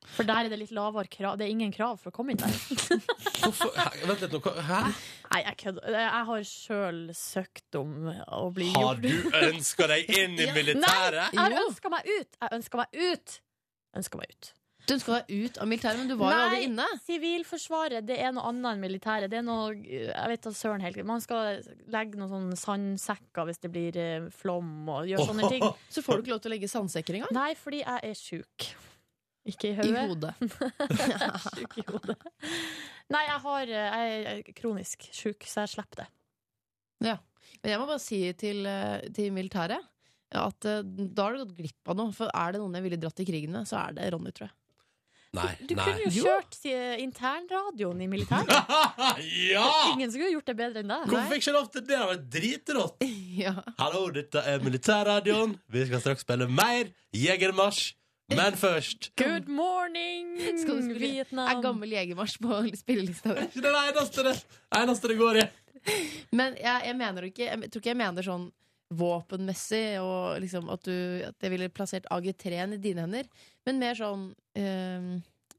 S3: For der er det litt lavere krav. Det er ingen krav for å komme inn der.
S2: Hæ, Vent litt nå, hva- hæ?
S3: Nei, jeg kødder. Jeg har sjøl søkt om å bli
S14: Har
S3: gjort
S14: du ønska deg inn i militæret?
S3: Nei, jeg ønska meg ut! Jeg ønska meg ut! Ønska meg ut.
S4: Du ønska deg ut av militæret, men du var jo aldri inne.
S3: Sivilforsvaret det er noe annet enn militæret. Det er noe, jeg vet da søren helt Man skal legge noen sånne sandsekker hvis det blir eh, flom, og gjøre sånne ting.
S4: Så får du ikke lov til å legge sandsekker engang?
S3: Nei, fordi jeg er sjuk. Ikke i
S4: I
S3: hodet.
S4: hodet.
S3: Sjuk i hodet. Nei, jeg, har, eh, jeg er kronisk sjuk, så jeg slipper det.
S4: Ja. Men jeg må bare si til, eh, til militæret at eh, da har du gått glipp av noe. For er det noen jeg ville dratt i krigen med, så er det Ronny, tror jeg.
S2: Nei.
S3: Du
S2: nei.
S3: kunne jo kjørt si, internradioen i militæret.
S2: Ja!
S3: Ingen skulle gjort det bedre enn deg.
S2: Hvorfor fikk ikke lov til det? Det var dritrått!
S4: Ja.
S2: Hallo, dette er Militærradioen. Vi skal straks spille mer Jegermarsj. Men først
S3: Good morning,
S4: Skal du spille
S3: Mm, Vietnam.
S4: Er gammel jegermarsj på spillelista di?
S2: Det er det eneste det, eneste det går i.
S4: Men jeg, jeg mener jo ikke Jeg tror ikke jeg mener sånn våpenmessig og liksom at du At jeg ville plassert AG3-en i dine hender, men mer sånn eh,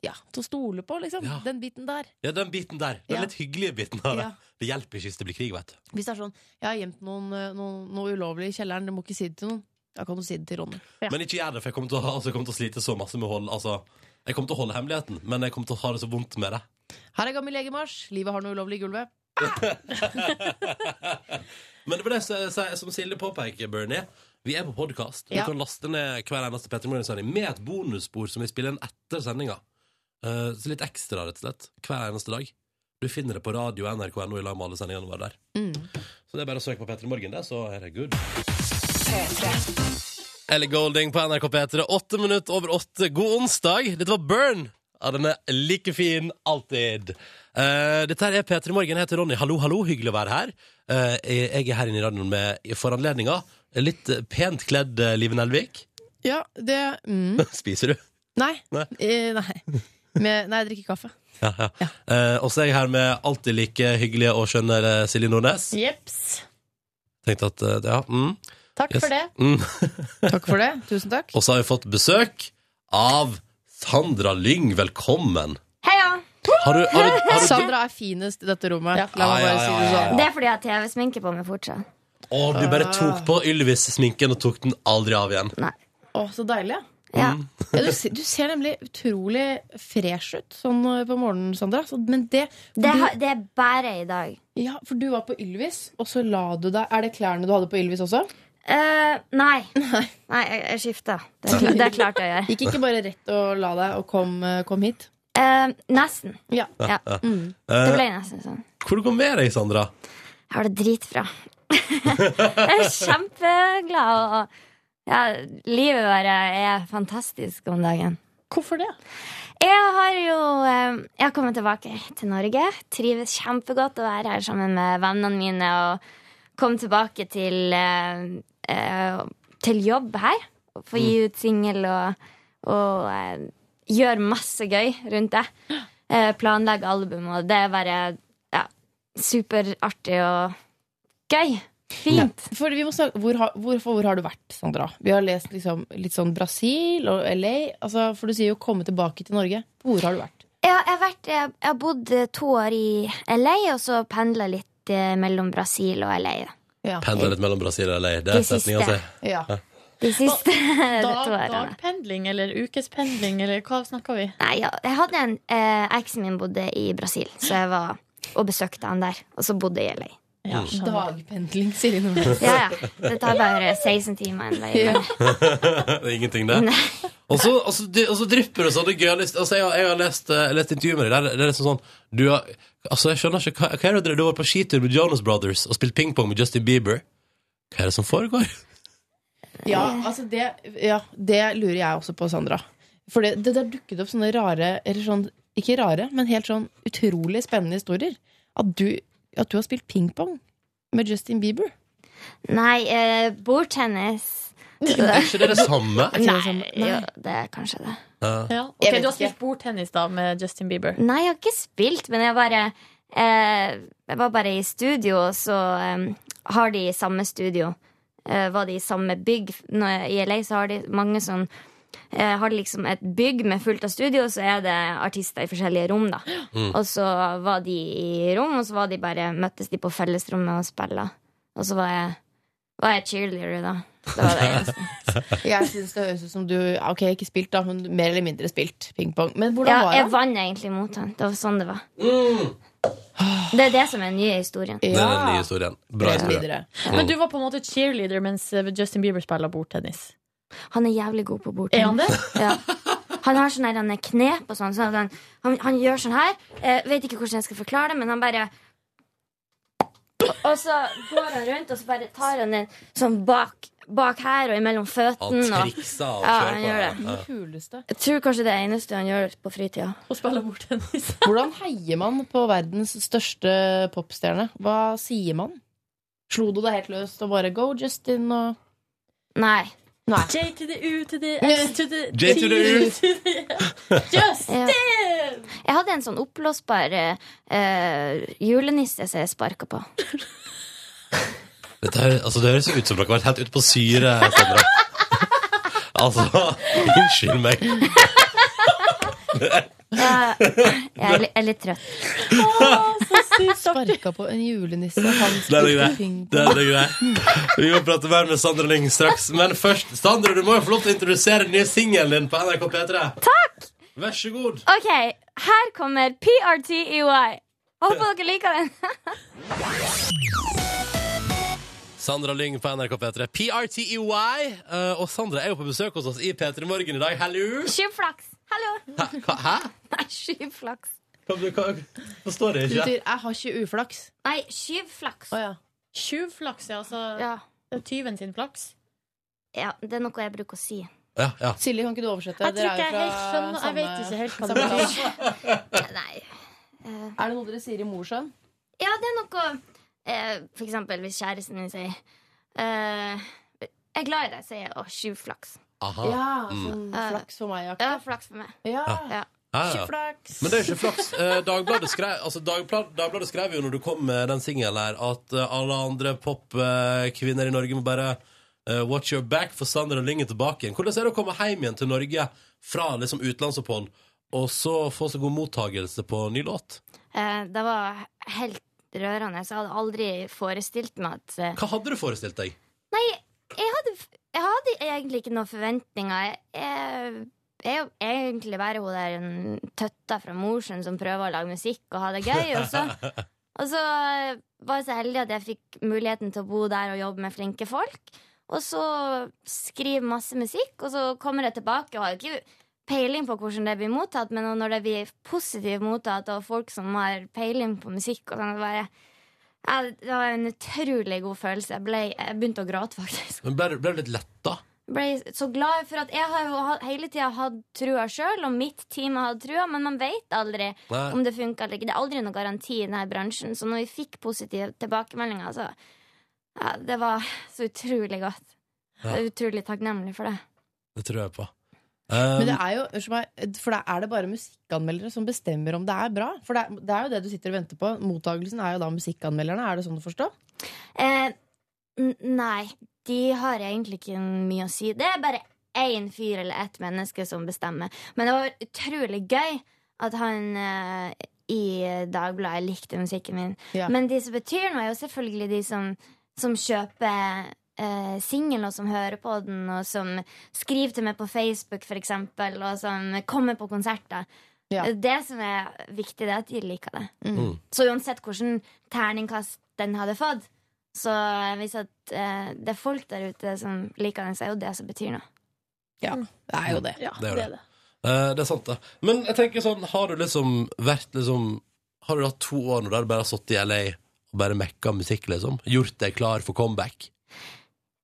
S4: Ja, til å stole på, liksom.
S2: Ja.
S4: Den biten der.
S2: Ja, den biten der. Den
S4: Ja.
S2: litt hyggelige biten av det.
S4: Ja.
S2: Det hjelper ikke hvis det blir krig, vet du.
S4: Hvis det er sånn Jeg har gjemt noen, eh, noen, noe ulovlig i kjelleren, du må ikke si det til noen. Da kan du si det til Ronny.
S3: Ja.
S2: Men ikke gjør det, for jeg kommer til å, altså, jeg kommer til å slite så masse med å holde altså, Jeg kommer til å holde hemmeligheten, men jeg kommer til å ha det så vondt med det.
S4: Her er gammel legemarsj. Livet har noe ulovlig i gulvet.
S2: Men det var det som- som Silje påpeker, Bernie. Vi er på podkast. Du
S4: Ja.
S2: kan laste ned hver eneste Petter Morgen-sending med et bonusspor som vi spiller inn etter sendinga. Eh, så litt ekstra, rett og slett. Hver eneste dag. Du finner det på radio nrk.no i lag med alle sendingene våre der.
S4: Mm.
S2: Så det er bare å søke på Petter Morgen, det, så er det good. Ellie Golding på NRK P3. Åtte minutter over åtte. God onsdag. Dette var Burn. Ja, den er like fin alltid. Eh, dette her er P3 Morgen. Jeg heter Ronny. Hallo, hallo. Hyggelig å være her. Eh, jeg- jeg er her inne i radioen med for anledninga. Litt eh, pent kledd eh, Live Nelvik.
S4: Ja, det mm.
S2: Spiser du?
S4: Nei.
S2: Nei.
S4: Eh, nei. Med, nei, jeg drikker kaffe.
S2: Ja, ja. Eh, og så er jeg her med alltid like hyggelige og skjønne eh, Silje Nordnes.
S3: Jeps.
S2: Tenkte at, eh, ja, mm,
S3: Takk
S2: yes.
S3: for det.
S2: Mm.
S4: Takk for det. Tusen takk.
S2: Og så har vi fått besøk av Sandra Lyng. Velkommen.
S10: Heia!
S2: Har du, har du, har du
S4: Sandra er finest i dette rommet. La meg
S2: Ja,
S4: bare
S2: ja,
S4: si
S2: ja,
S4: det
S2: ja,
S4: sånn.
S10: Det er fordi jeg har TV-sminke på meg fortsatt.
S2: Å, du bare tok på Ylvis-sminken og tok den aldri av igjen.
S4: Å, så deilig, ja.
S10: Ja.
S4: Ja, du, se- du ser nemlig utrolig fresh ut sånn eh, på morgenen, Sandra. Så, men det,
S10: Det,
S4: du,
S10: har- det er bare i dag.
S4: ja, For du var på Ylvis, og så la du deg Er det klærne du hadde på Ylvis også?
S10: Eh, nei. Nei, jeg, jeg skifta. Det, kla- det klarte jeg å gjøre.
S4: Gikk ikke bare rett og la deg og kom, eh, kom hit?
S10: Eh, nesten.
S4: Ja.
S10: Ja. Det
S2: Eh,
S10: ble nesten sånn.
S2: hvor går det med deg, Sandra?
S10: Jeg har det dritbra. jeg er kjempeglad. Og, ja, livet bare er fantastisk om dagen.
S3: Hvorfor det?
S10: Jeg har jo eh, Jeg har kommet tilbake til Norge. Trives kjempegodt å være her sammen med vennene mine og kom tilbake til eh, eh, Til jobb her. og Få gi ut singel og, og eh, gjøre masse gøy rundt det. Eh, planlegge album, og det er bare ja, superartig og gøy. Fint.
S4: For vi må snakke, hvor, har, hvor, for hvor har du vært, Sandra? Vi har lest liksom, litt sånn Brasil og LA. Altså, for du sier jo 'komme tilbake til Norge'. Hvor har du vært?
S10: Ja, jeg har, vært, jeg, jeg har bodd eh, to år i LA, og så pendla litt eh, mellom Brasil og LA. da.
S2: Pendler litt mellom Brasil og LA. Det er altså.
S10: Det siste.
S2: setninga si.
S4: Ja.
S10: De siste to
S3: Dag,
S10: årene.
S3: dagpendling eller ukespendling, eller hva snakker vi?
S10: Nei, ja, jeg hadde en eh, Eksen min bodde i Brasil, så jeg var og besøkte han der. Og så bodde jeg i LA.
S3: Ja, skjønner.
S4: Dagpendling, Silje Nordnes.
S10: Ja, ja. Det tar bare 16 timer en vei.
S4: Ja.
S2: Det er ingenting, det. Og så, og så, og så drypper det sånn. det er gøy. Altså, jeg, har- jeg har lest, eh, lest intervjuet med deg. Det er- Det er liksom sånn du har, Altså, jeg skjønner ikke Hva, hva er det dere du har vært på skitur med Jonas Brothers og spilt pingpong med Justin Bieber? Hva er det som foregår?
S4: Ja, altså det, ja, det lurer jeg også på, Sandra. For det, det der dukket opp sånne rare Eller sånn, ikke rare, men helt sånn utrolig spennende historier. At du, at du har spilt pingpong med Justin Bieber.
S10: Nei, eh, bordtennis.
S2: Er ikke det det samme?
S10: Nei, Jo, det er kanskje det.
S3: Ja.
S10: Jeg
S3: Ok,
S10: vet
S3: Du har
S10: ikke.
S3: spilt bordtennis da med Justin Bieber.
S10: Nei, jeg har ikke spilt, men jeg bare eh, Jeg var bare i studio, og så eh, har de i samme studio. Eh, var de i samme bygg. Når jeg, I LA så har de mange sånn eh, Har de liksom et bygg med fullt av studio, og så er det artister i forskjellige rom, da.
S12: Mm.
S10: Og så var de i rom, og så var de bare, møttes de på fellesrommet og spilla. Og så var jeg, var jeg cheerleader, da. Det var det eneste.
S4: Jeg synes det høres ut som du Ok, ikke spilt, da, men mer eller mindre spilt pingpong. Men hvordan
S10: Ja,
S4: var
S10: jeg
S4: det? Mm.
S10: vant egentlig mot han. Det var sånn det var. Det er det som er den nye historien.
S2: Det er den nye historien. Bra historie.
S3: Men du var på en måte cheerleader mens eh, Justin Bieber spiller bordtennis.
S10: Han er jævlig god på bordtennis.
S3: Er han det?
S10: Ja. Han har sånne derne knep og sånn. sånn at han, han, han gjør sånn her. Eh, vet ikke hvordan jeg skal forklare det, men han bare Og så går han rundt, og så bare tar han den sånn bak, bak her og imellom føttene.
S2: Han trikser og
S10: ja,
S2: kjører
S10: han
S2: på,
S10: gjør
S2: ja.
S10: det.
S2: Ja.
S4: Kuleste.
S10: Jeg tror kanskje det er det eneste han gjør på fritida.
S3: Å spille bordtennis.
S4: Hvordan heier man på verdens største popstjerne? Hva sier man? Slo du deg helt løst og bare 'go, Justin'? og
S10: Nei.
S3: J to the U to the S to the
S4: J to the U.
S3: T to the Justin!
S10: Jeg hadde en sånn oppblåsbar eh, eh, julenisse som jeg sparka på.
S2: Dette høres, altså, det høres ut som dere har vært helt ute på syre. eh, Sandra. altså, unnskyld meg.
S10: Ja, jeg er, li- jeg er litt trøtt.
S4: Sparka på en julenisse. Han
S2: Den er
S4: spilte
S2: grei.
S4: pingpong.
S2: Den er grei. Vi må prate mer med Sandra Lyng straks. Men først, Sandra, du må jo få lov til å introdusere den nye singelen din på NRK P3.
S10: Takk!
S2: Vær så god.
S10: Ok, her kommer PRTEY. E Håper dere liker den.
S2: Sandra Lyng på NRK P3. PRTEY. eh, og Sandra er jo på besøk hos oss i P3 Morgen i dag. Hallo!
S10: Skyv flaks. Hallo.
S2: Hva? Hæ?
S10: Nei, skyv flaks.
S2: Hva, hva, forstår
S4: Det
S2: jeg
S4: betyr
S2: ikke.
S4: 'jeg har ikke uflaks'.
S10: Nei, skyv flaks.
S4: Å ja.
S3: Tjuv flaks, ja. Altså, Det er tyven sin flaks.
S10: Ja, det er noe jeg bruker å si.
S2: Ja, ja.
S4: Silje, kan ikke du oversette?
S3: Jeg tror
S4: Dere er jo
S3: ikke jeg helt
S4: fra
S3: skjønner- jeg
S4: samme-
S3: vet ikke helt hva
S4: samme
S3: det betyr.
S4: land.
S10: Nei.
S4: Er det noe dere sier i morsønn?
S10: Ja, det er noe eh, For eksempel hvis kjæresten min sier eh, Jeg er glad i deg, sier jeg. Å, skyv flaks.
S2: Aha.
S4: Ja,
S2: Mm.
S4: sånn flaks for meg.
S10: Ja, flaks for meg.
S2: Ja. Ja, ja.
S4: Ikke flaks.
S2: Men det er jo ikke flaks. Eh, Dagbladet skrev, altså Dagbladet, Dagbladet skrev jo når du kom med den singelen her, at eh, alle andre popkvinner i Norge må bare eh, watch your back, for Sander og Lyng er tilbake igjen. Hvordan er det å komme hjem igjen til Norge fra liksom utenlandsopphold, og så få så god mottagelse på ny låt?
S10: Eh, det var helt rørende. Så jeg hadde aldri forestilt meg at eh,
S2: Hva hadde du forestilt deg?
S10: Nei, jeg hadde, jeg hadde egentlig ikke noen forventninger. Jeg, jeg er jo egentlig bare hun der mm, tøtta fra Mosjøen som prøver å lage musikk og ha det gøy. Og så, og så eh, var jeg så heldig at jeg fikk muligheten til å bo der og jobbe med flinke folk. Og så skrive masse musikk, og så kommer jeg tilbake og har jo ikke peiling på hvordan det blir mottatt, men når det blir positivt mottatt av folk som har peiling på musikk, og sånn, så bare ja, det var en utrolig god følelse. Jeg, ble, jeg begynte å gråte, faktisk.
S2: Men ble, du- ble du litt letta?
S10: Jeg ble så glad for at jeg har jo ha- hele tida hatt trua sjøl, og mitt team har hatt trua, men man veit aldri
S2: Nei.
S10: om det funker eller ikke. Det er aldri noen garanti i denne bransjen, så når vi fikk positive tilbakemeldinger, så ja, Det var så utrolig godt.
S2: Ja.
S10: Jeg er utrolig takknemlig for det.
S2: Det tror jeg på.
S4: Men det
S2: Um,
S4: er jo, unnskyld meg, eh, for da er det bare musikkanmeldere som bestemmer om det er bra. For det er, det er jo det du sitter og venter på. Mottagelsen er jo da musikkanmelderne. Er det sånn å forstå?
S10: Eh, n- nei, de har egentlig ikke mye å si. Det er bare én fyr eller ett menneske som bestemmer. Men det var utrolig gøy at han eh, i Dagbladet likte musikken min.
S12: Ja.
S10: Men de som betyr noe, er jo selvfølgelig de som, som kjøper eh, singelen, og som hører på den, og som skriver til meg på Facebook, for eksempel, og som kommer på konserter.
S12: Ja.
S10: Det som er viktig, det er at de liker det.
S12: Mm.
S10: Så uansett hvilken terningkast den hadde fått, så hvis at eh, det er folk der ute som liker den, så er jo det som betyr noe.
S4: Mm. Ja, det er jo det.
S2: det er jo det. Eh, det er sant, det. Men jeg tenker sånn, har du liksom vært liksom Har du hatt to år nå der du bare har sittet i LA og bare mekka musikk, liksom? Gjort deg klar for comeback?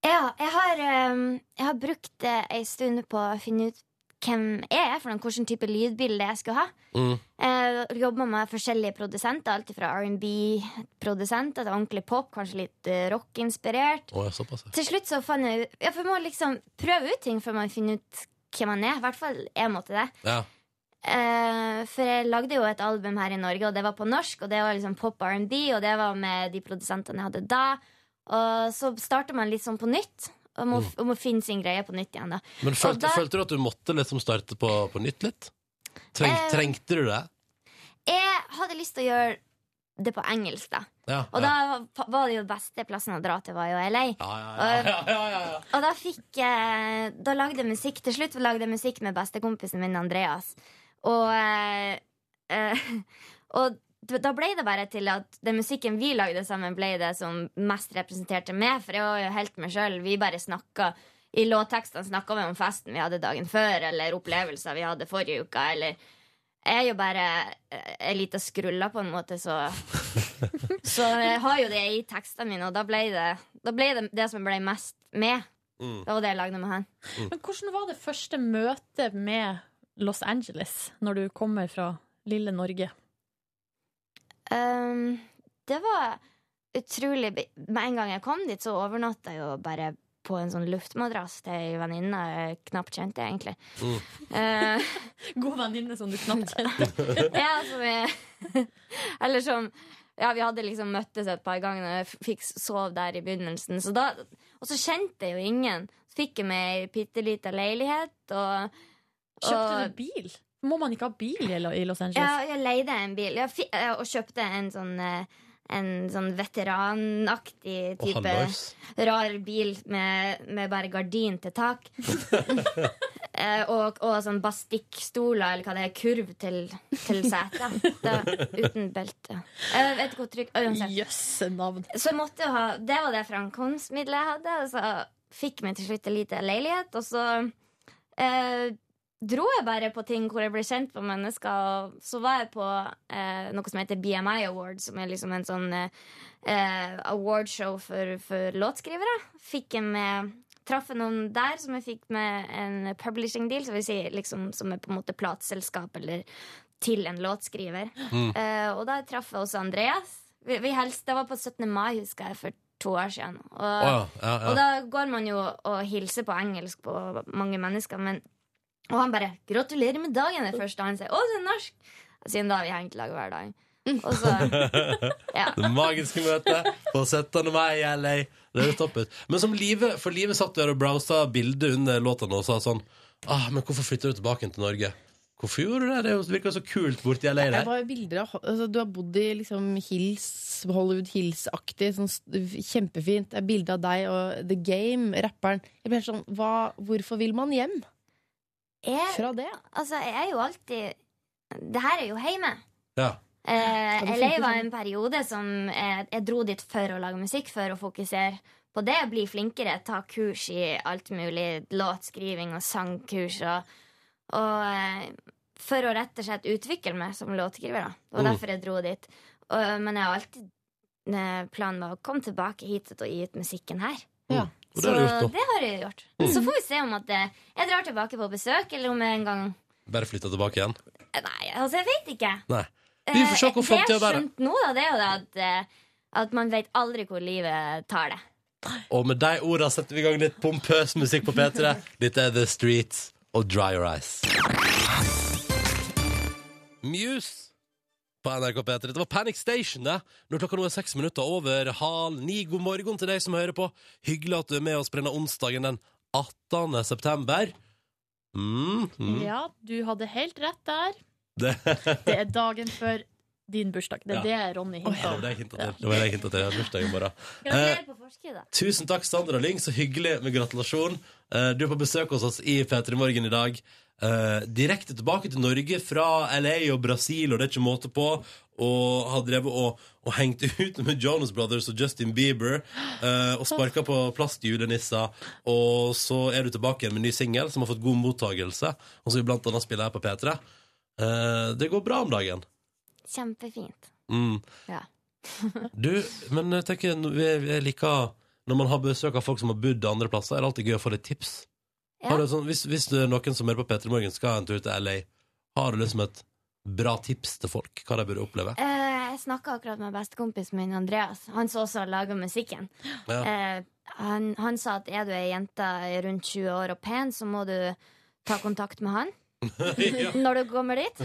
S10: Ja, jeg har, eh, jeg har brukt eh, ei stund på å finne ut hvem jeg er, for noen- hvilken type lydbilde jeg skulle ha.
S12: Mm.
S10: Eh, Jobba med forskjellige produsenter, alt fra R&B-produsenter til ordentlig pop, kanskje litt eh, rock-inspirert.
S2: Å, ja, såpass. ja.
S10: Til slutt så fant jeg ut Ja, for man må liksom prøve ut ting før man finner ut hvem man er. I hvert fall jeg måtte det.
S2: Ja.
S10: Eh, for jeg lagde jo et album her i Norge, og det var på norsk. Og det var liksom pop R&B, og det var med de produsentene jeg hadde da. Og så starter man litt sånn på nytt. Og må, og må finne sin greie på nytt igjen, da.
S2: Men
S10: Og
S2: følte,
S10: da-
S2: følte du at du måtte liksom starte på, på nytt litt? Treng,
S10: Eh.
S2: trengte du det?
S10: Jeg hadde lyst til å gjøre det på engelsk, da.
S2: Ja, ja.
S10: Og da var det jo beste plassen å dra til, var jo LA.
S2: ja, ja, ja, ja, ja.
S10: Og, og da fikk eh, Da lagde jeg musikk til slutt lagde jeg musikk med bestekompisen min Andreas. Og, eh, eh, og d- da ble det bare til at den musikken vi lagde sammen, ble det som mest representerte meg, for jeg var jo helt meg sjøl. Vi bare snakka. I låttekstene snakka vi om festen vi hadde dagen før, eller opplevelser vi hadde forrige uka, eller jeg er jo bare eh, ei lita skrulla, på en måte, så Så jeg har jo det i tekstene mine, og da ble det da ble det, det som jeg ble mest med.
S2: Mm.
S10: Det var det jeg lagde med han.
S3: Men hvordan var det første møtet med Los Angeles når du kommer fra lille Norge?
S10: Ehm, det var utrolig bi- Med en gang jeg kom dit, så overnatta jeg jo bare på en sånn luftmadrass til ei venninne jeg knapt kjente, egentlig.
S3: God venninne som du knapt
S10: kjente. ja, som jeg Eller som Ja, vi hadde liksom møttes et par ganger, og jeg f- fikk sove der i begynnelsen. Så da, og så kjente jeg jo ingen. Så fikk jeg meg ei bitte lita leilighet, og
S3: Kjøpte
S10: og-
S3: du bil? Må man ikke ha bil i Lo- i Los Angeles?
S10: Ja, jeg leide en bil jeg fi, eh, og kjøpte en sånn eh, en sånn
S2: Å,
S10: veteranaktig type
S2: hallois.
S10: rar bil med, med bare gardin til tak. Eh, og, og sånn bastikkstoler, eller hva det er, kurv til, til setet. Da, uten belte. Jeg vet ikke hvor trykk Uansett. Så jeg måtte jo ha Det var det framkomstmiddelet jeg hadde. Og så fikk meg til slutt en liten leilighet, og så eh, dro jeg bare på ting hvor jeg ble kjent med mennesker. Og så var jeg på eh, noe som heter BMI Award, som er liksom en sånn eh, eh, awardshow for, for låtskrivere. Fikk jeg med Traff jeg noen der som jeg fikk med en publishing deal, så vil si liksom, som er på en måte plateselskap eller til en låtskriver.
S12: Mm.
S10: Eh, og da traff jeg også Andreas. Vi, vi helst, det var på 17. mai, husker jeg, for to år siden. Og,
S12: Å ja, ja, ja.
S10: og da går man jo og hilser på engelsk på mange mennesker, men og han bare 'Gratulerer med dagen' det første han sier. 'Å, du er norsk!' Siden da har vi hengt lag hver dag. Og så, Ja.
S2: Det magiske møtet på 17. mai i LA. Det er topp ut. Men som Live, for Live satt der og browsa bildet under låtene og sa sånn ah, Men hvorfor flytter du tilbake igjen til Norge? Hvorfor gjorde du det? Det er jo- virker jo så kult borti LA
S4: Jeg
S2: der.
S4: var jo bilder av, altså, du har bodd i liksom Hills, Hollywood Hills-aktig. Sånn, s- kjempefint. Det er bilde av deg og The Game, rapperen. Jeg blir helt sånn, hva, Hvorfor vil man hjem?
S10: Jeg,
S4: Fra det?
S10: Altså, jeg er jo alltid Det her er jo hjemme.
S2: Ja.
S10: Eh, LA
S12: det funker
S10: var
S12: sånn.
S10: en periode som eh, jeg dro dit for å lage musikk, for å fokusere på det, bli flinkere, ta kurs i alt mulig, låtskriving og sangkurs, og, og eh, for å rett og slett utvikle meg som låtskriver. da. Det var
S12: Mm.
S10: derfor jeg dro dit. Og, men jeg har alltid eh, planen var å komme tilbake hit og gi ut musikken her.
S12: Og det
S10: Så
S12: har du gjort nå.
S10: det har jeg gjort.
S2: Mm.
S10: Så får vi se om at eh, jeg drar tilbake på besøk, eller om jeg en gang
S2: Bare flytta tilbake igjen.
S10: Nei, altså, jeg vet ikke.
S2: Nei. Vi får se
S10: Eh,
S2: hvor framtida
S10: Det jeg har
S2: bærer.
S10: skjønt nå, da, det er jo det at, eh, at man vet aldri hvor livet tar det.
S2: Og med de orda setter vi i gang litt pompøs musikk på P3. Dette er The Streets og Dry Your Eyes. Muse på NRK P3. Det var Panic Station, det. Når klokka nå er seks minutter over halv ni. God morgen til deg som hører på. Hyggelig at du er med oss på denne onsdagen den 18. september. Mm, mm.
S3: Ja, du hadde helt rett der.
S2: Det,
S3: Det er dagen før din bursdag. Det er det Ronny
S2: det
S3: hinter
S2: var
S3: om.
S2: det jeg hintet til. Det var det jeg hintet til. Jeg hadde bursdag i morgen. Eh,
S10: på forskuddet.
S2: Tusen takk, Sandra Lyng. Så hyggelig med gratulasjon. Eh, Du er på besøk hos oss i P3 Morgen i dag. Eh, Direkte tilbake til Norge fra LA og Brasil, og det er ikke måte på. Og har drevet og, og hengt ut med Jonas Brothers og Justin Bieber. eh, og sparka på plastjulenisser. Og så er du tilbake igjen med en ny singel som har fått god mottakelse. Og som vi blant annet spiller her på P3. Eh, det går bra om dagen.
S10: Kjempefint.
S2: Mm.
S10: Ja.
S2: Du, men jeg tenker vi, vi liker Når man har besøk av folk som har bodd andre plasser Er det alltid gøy å få litt tips Har du sånn, hvis, hvis det er noen som hører på Petter i Morgen skal ha en tur til LA, har du liksom et bra tips til folk hva de burde oppleve?
S10: Eh, jeg snakka akkurat med bestekompisen min Andreas, han som også lager musikken.
S2: Ja.
S10: Eh, han, han sa at er du ei jente rundt 20 år og pen, så må du ta kontakt med han
S2: Ja.
S10: når du kommer dit.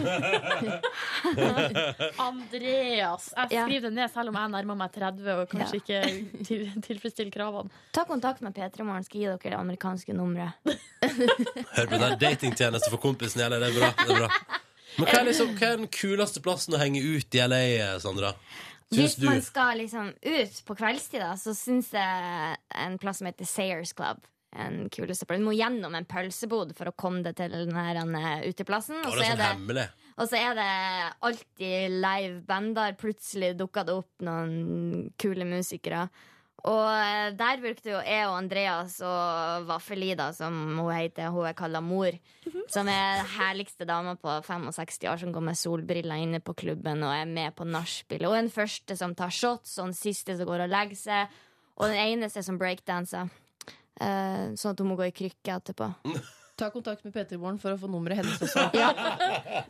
S3: Andreas. Jeg
S10: Ja.
S3: skriver det ned, selv om jeg nærmer meg 30 og kanskje ikke til, tilfredsstiller kravene.
S10: Ta kontakt med P3 Morgen, skal gi dere det amerikanske nummeret.
S2: Hør på den datingtjenesten for kompisen i LA, det er bra. Det er bra. Men hva er, liksom, hva er den kuleste plassen å henge ut i LA, Sandra? Syns
S10: Hvis
S2: du?
S10: man skal liksom ut på kveldstid, da, så syns jeg en plass som heter Sayers Club en kuleste plass. Du må gjennom en pølsebod for å komme deg til den her eh, uteplassen.
S2: Å,
S10: og
S2: det
S10: så
S2: er
S10: er
S2: sånn
S10: det-
S2: hemmelig.
S10: Og så er det alltid live band der. Plutselig dukka det opp noen kule musikere. Og eh, der brukte jo jeg og Andreas og Vaffelida, som hun heter, hun er kalla mor, som er den herligste dama på 65 år som går med solbriller inne på klubben og er med på nachspiel. Og den første som tar shots, og den siste som går og legger seg, og den eneste som breakdanser. Eh, sånn at hun må gå i krykke etterpå.
S4: Ta kontakt med Peter i morgen for å få nummeret hennes også.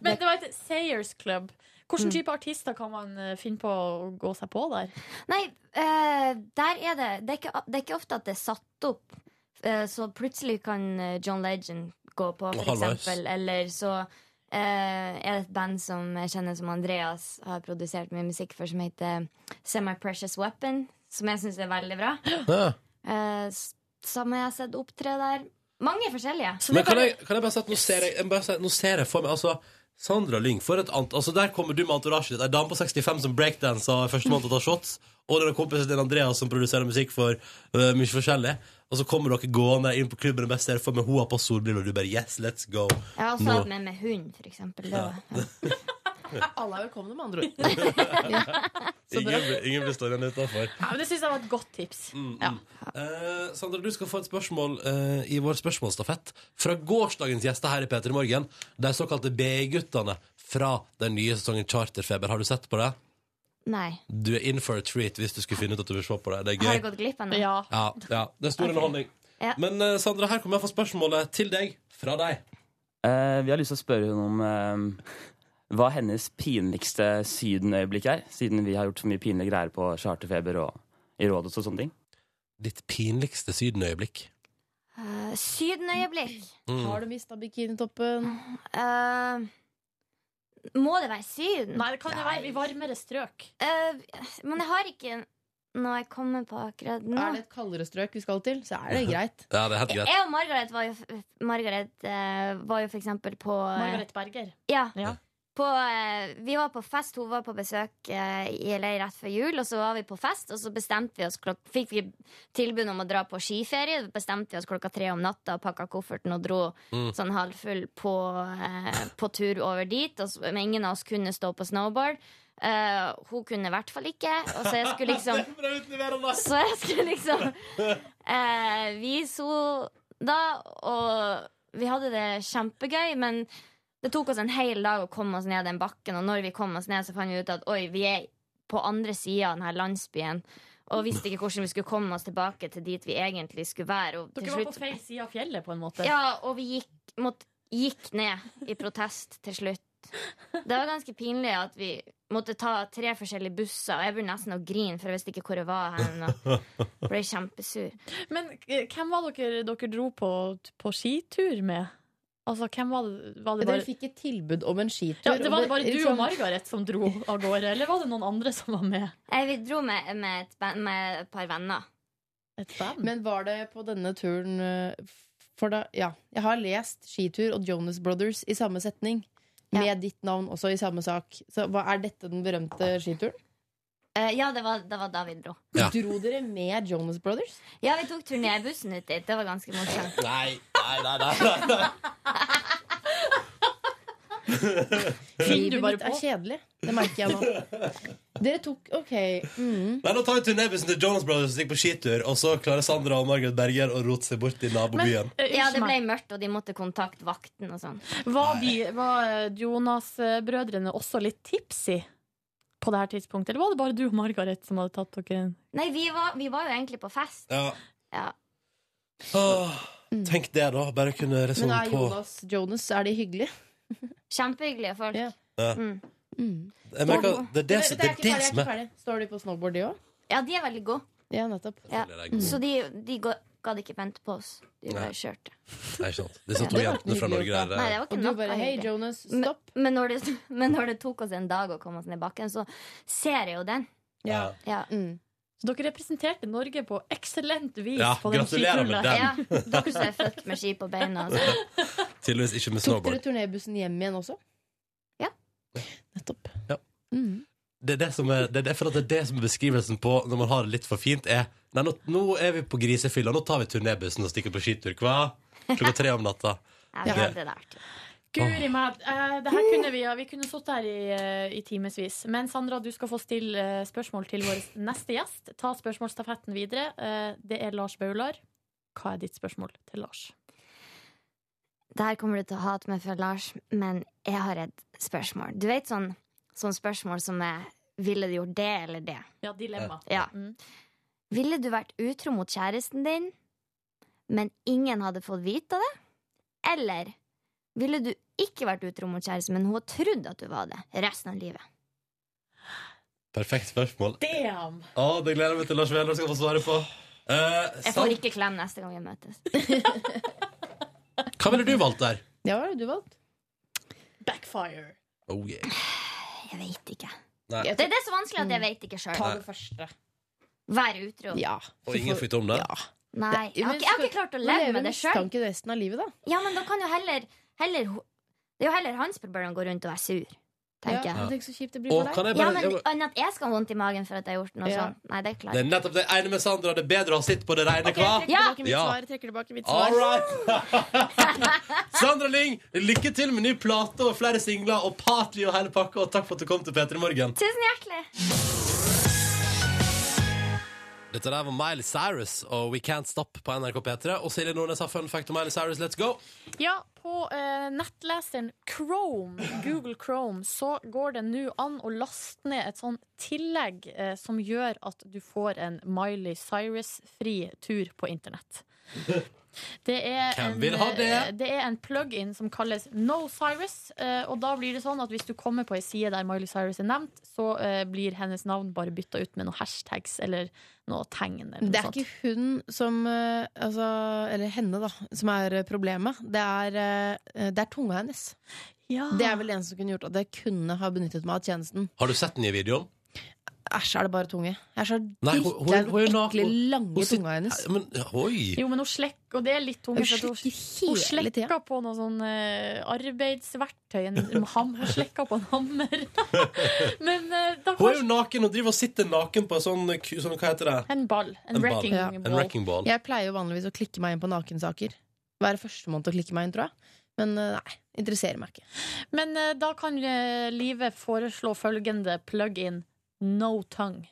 S3: Men det var et Sayers Club. Hvilken type artister kan man eh, finne på å gå seg på der?
S10: Nei, eh, der er det det er, ikke, det er ikke ofte at det er satt opp. Eh, så plutselig kan eh, John Legend gå på,
S12: Og
S10: for
S12: Halvveis.
S10: eksempel. Eller så eh, er det et band som jeg kjenner som Andreas har produsert mye musikk for, som heter Semi-Precious Weapon. Som jeg syns er veldig bra.
S2: Ja.
S10: Eh, s- som jeg har sett opptre der. Mange forskjellige.
S2: Men kan jeg, kan jeg bare si at nå ser jeg, jeg må bare si, at nå ser jeg for meg altså, Sandra Lyng, for et annet altså, Der kommer du med entourasjet ditt. Ei dame på 65 som breakdanser førstemann til å ta shots. Og den kompisen din Andreas som produserer musikk for øh, mye forskjellig. Og så kommer dere gående inn på klubben og bare ser for meg hun har på solbriller, og du bare Yes, let's go.
S10: Jeg har også
S2: Nå.
S10: hatt med meg hund, for eksempel. Det
S2: Ja.
S10: var-
S4: Alle er velkomne, med andre ord.
S2: Ingen, blir- ingen blir stående utafor.
S3: Ja, men Det syns jeg var et godt tips.
S2: Mm.
S3: Ja.
S2: Eh, Sandra, du skal få et spørsmål eh, i vår spørsmålsstafett fra gårsdagens gjester her i P3 Morgen. De såkalte BI-guttene fra den nye sesongen Charterfeber. Har du sett på det?
S10: Nei.
S2: Du er in for a treat hvis du skulle finne ut at du vil se på det. Det
S10: Har
S2: er
S10: jeg
S2: gøy.
S10: gått glipp av noe?
S2: Ja, ja. Det er stor underholdning.
S10: Ja.
S2: Men eh, Sandra, her kommer jeg få spørsmålet til deg fra deg.
S11: Eh, vi har lyst til å spørre henne om eh, hva hennes pinligste sydenøyeblikk er, siden vi har gjort så mye pinlige greier på charterfeber og i rådet og sånne ting.
S2: Ditt pinligste sydenøyeblikk?
S10: Eh, sydenøyeblikk.
S11: Mm.
S4: Har du mista bikinitoppen?
S10: Eh, må det være Syden?
S3: Nei, det kan jo være i varmere strøk.
S10: men jeg har ikke noe jeg kommer på akkurat nå.
S4: Er det et kaldere strøk vi skal til, så er det greit.
S2: Ja, det er helt greit.
S10: Jeg og Margaret var jo, f- Margaret, eh, var jo for eksempel på eh,
S3: Margaret Berger.
S10: Ja. På, eh, vi var på fest, hun var på besøk eh, i LA rett før jul, og så var vi på fest, og så bestemte vi oss klok fikk vi tilbud om å dra på skiferie. Bestemte vi oss klokka tre om natta og pakka kofferten og dro
S12: Mm.
S10: sånn halvfull på, eh, på tur over dit. Og så, men ingen av oss kunne stå på snowboard. Eh, hun kunne i hvert fall ikke. Og så jeg skulle liksom Så jeg skulle liksom eh, vise henne da, og vi hadde det kjempegøy, men det tok oss en hel dag å komme oss ned den bakken, og når vi kom oss ned, så fant vi ut at oi, vi er på andre sida av denne landsbyen, og visste ikke hvordan vi skulle komme oss tilbake til dit vi egentlig skulle være. Og til
S3: Dere var på
S10: slutt-
S3: feil side av fjellet, på en måte.
S10: Ja, og vi gikk, måtte, gikk ned i protest til slutt. Det var ganske pinlig at vi måtte ta tre forskjellige busser, og jeg begynte nesten å grine, for jeg visste ikke hvor jeg var hen, og ble kjempesur.
S3: Men eh, hvem var dere dere dro på, på skitur med? Altså, hvem var, var det
S4: Dere
S3: bare
S4: fikk et tilbud om en skitur.
S3: ja, det var det bare du
S4: liksom-
S3: og Margaret som dro av gårde, eller var det noen andre som var med?
S10: Nei, vi dro med, med, et, band- med et par venner.
S4: Men var det på denne turen eh, For da, ja Jeg har lest skitur og Jonas Brothers i samme setning Med ditt navn også i samme sak Så hva, er dette den berømte skituren?
S10: Eh, ja, det var, det var da vi dro.
S4: Dro dere med Jonas Brothers?
S10: Ja, vi tok turnébussen ut dit. Det var ganske morsomt.
S2: Nei, nei, nei. nei, nei.
S4: Finner
S2: du bare
S4: mitt er kjedelig Det merker jeg nå Dere tok, ok mm.
S2: Nei, nå tar vi turnébussen til Jonas Brothers som gikk på skitur, og så klarer Sandra og Margaret Berger å rote seg bort i nabobyen.
S3: eh,
S10: Ja, det ble mørkt, og de måtte kontakte vakten og sånn.
S3: Var, de, var eh, Jonas-brødrene også litt tipsy på det her tidspunktet, eller var det bare du og Margaret som hadde tatt dere en
S10: Nei, vi var, vi var jo egentlig på fest.
S2: Ja.
S10: Ja.
S2: Tenk det, da. Bare kunne
S4: Men
S2: resonne Sånn
S4: er
S2: på
S4: Jonas Jonas, er de hyggelige?
S10: Kjempehyggelige folk.
S2: Ja.
S10: Mm.
S2: Eh, Jeg merker, det er det, som- det,
S4: Men, er
S2: er
S4: ikke
S2: det
S4: ferdig, jeg er
S2: som
S4: ikke
S2: er
S4: ferdig. Står de på snowboard, de òg?
S10: Ja, de er veldig gode.
S4: Ja, nettopp.
S10: Ja.
S2: er gode.
S10: Så de, de ga- gadd ikke vente på oss. De
S2: Mm. Nei.
S10: bare kjørte.
S2: Nei, ikke sant. Disse to jentene fra Norge eh, der
S10: Nei, det var ikke
S4: Og du
S10: noe
S4: bare,
S10: hyggelig.
S4: «Hei, Jonas,
S10: Men, men, når det, men når det tok oss en dag å komme oss ned bakken, så ser jeg jo den.
S2: Ja.
S3: Mm. Så dere representerte Norge på eksellent vis
S2: Ja,
S3: på den
S2: gratulerer med
S3: skituren.
S2: den.
S10: Ja, dere som er født med ski på beina. Altså.
S2: Tydeligvis ikke med
S4: Tok dere
S2: snowboard.
S4: turnébussen hjem igjen også?
S2: Det er det som er, det er, derfor at det er det som er beskrivelsen på når man har det litt for fint, er Nei, nå, nå er vi på grisefylla, nå tar vi turnébussen og stikker på skitur, hva? Klokka tre om natta.
S3: Ja,
S2: Det-
S3: det Guri meg. eh, det her kunne vi, ja, vi kunne sittet her i, eh, i timevis. Men Sandra, du skal få stille eh, spørsmål til vår neste gjest. Ta spørsmålsstafetten videre. Eh, det er Lars Baular. Hva er ditt spørsmål til Lars?
S10: Det her kommer du til å hate meg for, Lars, men jeg har et spørsmål. Du vet sånn, sånn spørsmål som er Ville du gjort det eller det?
S3: Ja, dilemma.
S10: Ja. Ville du vært utro mot kjæresten din, men ingen hadde fått vite det? Eller ville du ikke vært utro mot kjæresten, men hun har trodd at du var det resten av livet?
S2: Perfekt spørsmål.
S3: Damn!
S2: Å, det gleder jeg meg til Lars Vehler skal få svare på. Eh,
S10: Jeg får
S2: sant.
S10: ikke klem neste gang vi møtes.
S2: Hva ville du valgt der?
S4: Ja, hva er det du valgte?
S3: Backfire.
S2: Oh, yeah.
S10: Jeg vet ikke.
S2: Nei.
S10: Det er det som er vanskelig at jeg vet ikke sjøl.
S2: Ta det
S4: første.
S10: Være utro.
S2: Og ingen får vite om det?
S10: Nei, jeg har, ikke, jeg har ikke klart å leve med det sjøl.
S4: Mistanke resten av livet, da.
S10: Ja, men da kan jo heller, heller ho- Det er jo heller hans problem å gå rundt og være sur. Tenker
S4: Ja, men
S10: jeg.
S4: tenk så kjipt det blir for Og deg. kan jeg
S10: Ja,
S4: bare-
S10: men
S2: jeg bare-
S10: Annet at jeg skal ha vondt i magen for at jeg har gjort noe
S4: Ja.
S10: sånn. Nei, det klarer
S2: Det er
S10: jeg
S2: nettopp det ene med Sandra. Det er bedre å ha sitt på det reine, hva?
S4: Jeg trekker tilbake mitt svar. Jeg trekker tilbake mitt svar.
S2: All right. Sandra Lyng, lykke til med ny plate og flere singler og party og hele pakka, og takk for at du kom til P3 Morgen.
S10: ikke. Tusen hjertelig!
S2: Dette der var Miley Cyrus og We Can't Stop på NRK P3. Og Silje Nordnes har fun fact om Miley Cyrus. Let's go!
S3: Ja, på eh, nettleseren Chrome, Google Chrome, så går det nå an å laste ned et sånn tillegg eh, som gjør at du får en Miley Cyrus-fri tur på internett. Det er,
S2: Hvem
S3: en,
S2: vil ha det?
S3: eh, det er en plug-in som kalles No Cyrus. eh, Og da blir det sånn at hvis du kommer på ei side der Miley Cyrus er nevnt, så eh, blir hennes navn bare bytta ut med noen hashtags eller noe tegn. Eller noe
S4: Det er
S3: sånt.
S4: ikke hun som eh, altså, Eller henne, da, som er eh, problemet. Det er, eh, det er tunga hennes.
S3: Ja.
S4: Det er vel det eneste som kunne gjort at jeg kunne ha benyttet meg av tjenesten.
S2: Har du sett den nye videoen?
S4: Æsj, er det bare tunge? Jeg er så
S2: Nei, hun- hun-
S4: drittlei av
S2: hun er jo
S4: den ekle,
S2: naken.
S4: lange tunga hennes.
S2: Men, oi!
S3: Jo, men hun slekker, og det er litt tungt.
S4: Hun
S3: for at
S4: slekker
S3: hun, hun
S4: hele
S3: slekker på noe sånn eh, arbeidsverktøy. En, ham, hun slekker på en hammer. men eh, da
S2: Hun er jo naken og driver og sitter naken på en sånn, ku- sånn hva heter det?
S3: En ball. En,
S2: En ball.
S3: wrecking
S2: Ja.
S3: ball.
S2: En wrecking ball.
S4: Jeg pleier jo vanligvis å klikke meg inn på nakensaker. Være førstemann til å klikke meg inn, tror jeg. Men eh, nei, interesserer meg ikke.
S3: Men eh, da kan eh, Live foreslå følgende plug-in no tongue.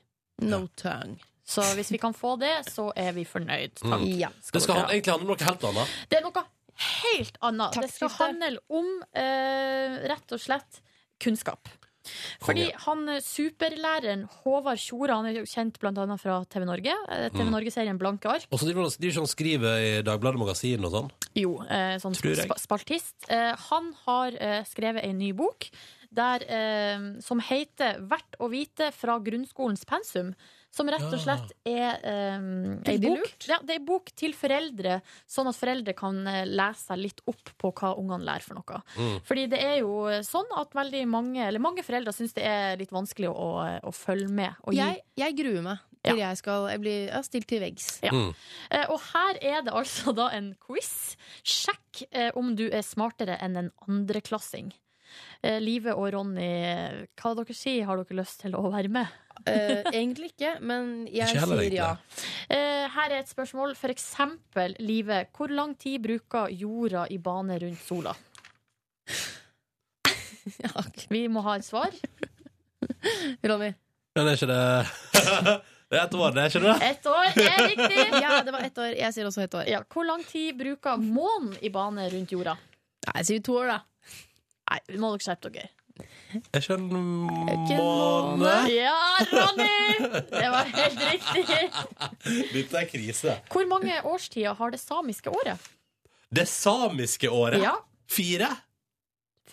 S4: No tongue.
S3: Så hvis vi kan få det, så er vi fornøyd. Takk.
S2: Mm.
S3: Skal
S2: Det skal
S3: dere
S2: han-
S3: ha.
S2: egentlig handle om noe helt annet.
S3: Det er noe helt annet. det skal handle om eh, rett og slett kunnskap. Fordi han eh, superlæreren Håvard Tjora, han er jo kjent bl.a. fra TV Norge. eh, TV
S2: Mm.
S3: Norge-serien Blanke ark.
S2: Og så driver han driver ikke han og skriver i Dagbladet Magasin og sånn.
S3: Jo, eh, sånn
S2: Tror jeg.
S3: spa- spaltist. Eh, han har eh, skrevet en ny bok der, eh, som heter 'Verdt å vite fra grunnskolens pensum'. Som rett og
S12: Ja.
S3: slett
S2: Ah.
S3: er eh, ei
S12: Veldig
S3: bok, ja, det er ei bok til foreldre, sånn at foreldre kan eh, lese seg litt opp på hva ungene lærer for noe.
S12: Mm.
S3: Fordi det er jo sånn at veldig mange, eller mange foreldre syns det er litt vanskelig å, å følge med. Og gi
S4: Jeg, jeg gruer meg til jeg skal jeg blir ja, stilt til veggs.
S3: Ja. Eh, Og her er det altså da en quiz. Sjekk eh, om du er smartere enn en andreklassing. Eh, Live og Ronny, hva dere sier, har dere lyst til å være med?
S4: Eh, egentlig ikke, men jeg
S3: Ikke heller,
S4: sier ja.
S3: Eh, Her er et spørsmål. For eksempel, Live, hvor lang tid bruker jorda i bane rundt sola? Vi må ha et svar.
S4: Ronny.
S2: Men er ikke det Det er et år, det, er ikke det?
S3: Ett år er riktig!
S4: Ja, det var ett år. Jeg sier også ett år.
S3: Ja, hvor lang tid bruker månen i bane rundt jorda?
S4: Nei, sier vi to år, da.
S3: Nei, må dere skjerpe dere.
S2: Er ikke en
S3: Ikke en
S2: måned?
S3: måned. Ja, Ronny! Det var helt riktig.
S2: Dette er krise.
S3: Hvor mange årstider har det samiske året?
S2: Det samiske året.
S4: Ja.
S2: Fire?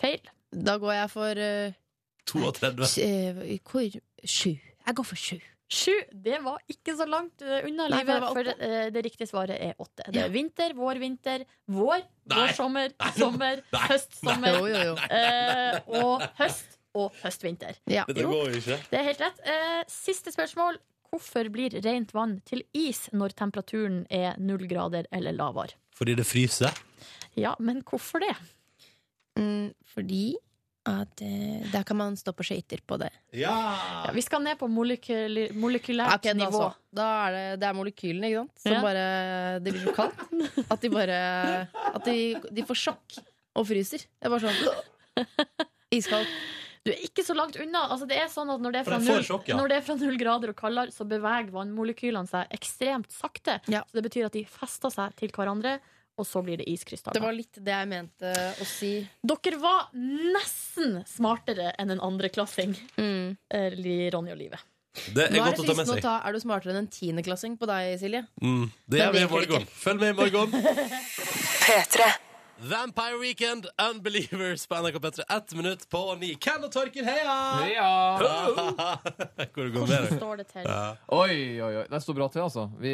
S3: Feil.
S4: Da går jeg for eh,
S2: 32.
S4: s- eh, hvor? Sju. Jeg går for sju.
S3: Sju. Det var ikke så langt eh, unna
S4: Nei, for det
S3: livet,
S4: var
S3: for
S4: åtte.
S3: eh, det riktige svaret er åtte. Det
S4: Ja.
S3: er vinter, vår, vinter, vår,
S4: Nei.
S3: vår sommer,
S4: Nei, nå-
S3: sommer,
S4: Nei.
S3: høst,
S4: Nei.
S3: sommer,
S4: Jo, jo, jo.
S3: eh, og høst og høst-vinter.
S2: Dette går jo ikke.
S3: Det er helt rett. Eh, siste spørsmål. Hvorfor blir rent vann til is når temperaturen er null grader eller lavere?
S2: Fordi det fryser.
S3: Ja, men hvorfor det?
S4: Mm, fordi at eh, der kan man stå på skøyter på det.
S3: Ja, vi skal ned på molekyl molekylært
S4: Ok, da,
S3: nivå.
S4: så. altså. da er det, det er molekylene, ikke sant? Som
S3: Ja.
S4: bare Det blir så kaldt at de bare At de, de får sjokk og fryser. Det er bare sånn iskaldt.
S3: Du er ikke så langt unna. Altså, det er sånn at når det er
S4: For
S3: fra
S4: den får
S3: null,
S4: sjokk, ja.
S3: når det er fra null grader og kaldere, så beveger vannmolekylene seg ekstremt sakte. Så det betyr at de fester seg til hverandre, og så blir det iskrystaller.
S4: Det var litt det jeg mente å si.
S3: Dere var nesten smartere enn en andreklassing, eh, Li- Ronny og Live.
S2: Det er
S4: Nå
S2: godt å ta
S4: fristende
S2: med seg.
S4: ta- er du smartere enn en tiendeklassing på deg, Silje?
S2: Mm, det
S4: Men
S2: gjør vi i
S4: det gikk
S2: morgen. Følg med i morgen.
S4: P3.
S2: Vampire Weekend, Unbelievers på NRK P3. Ett minutt på ni. Ken og Torken, heia! Hvor går det med deg?
S3: står det til?
S2: Ja.
S12: Oi, oi, oi. Det står bra til, altså. Vi,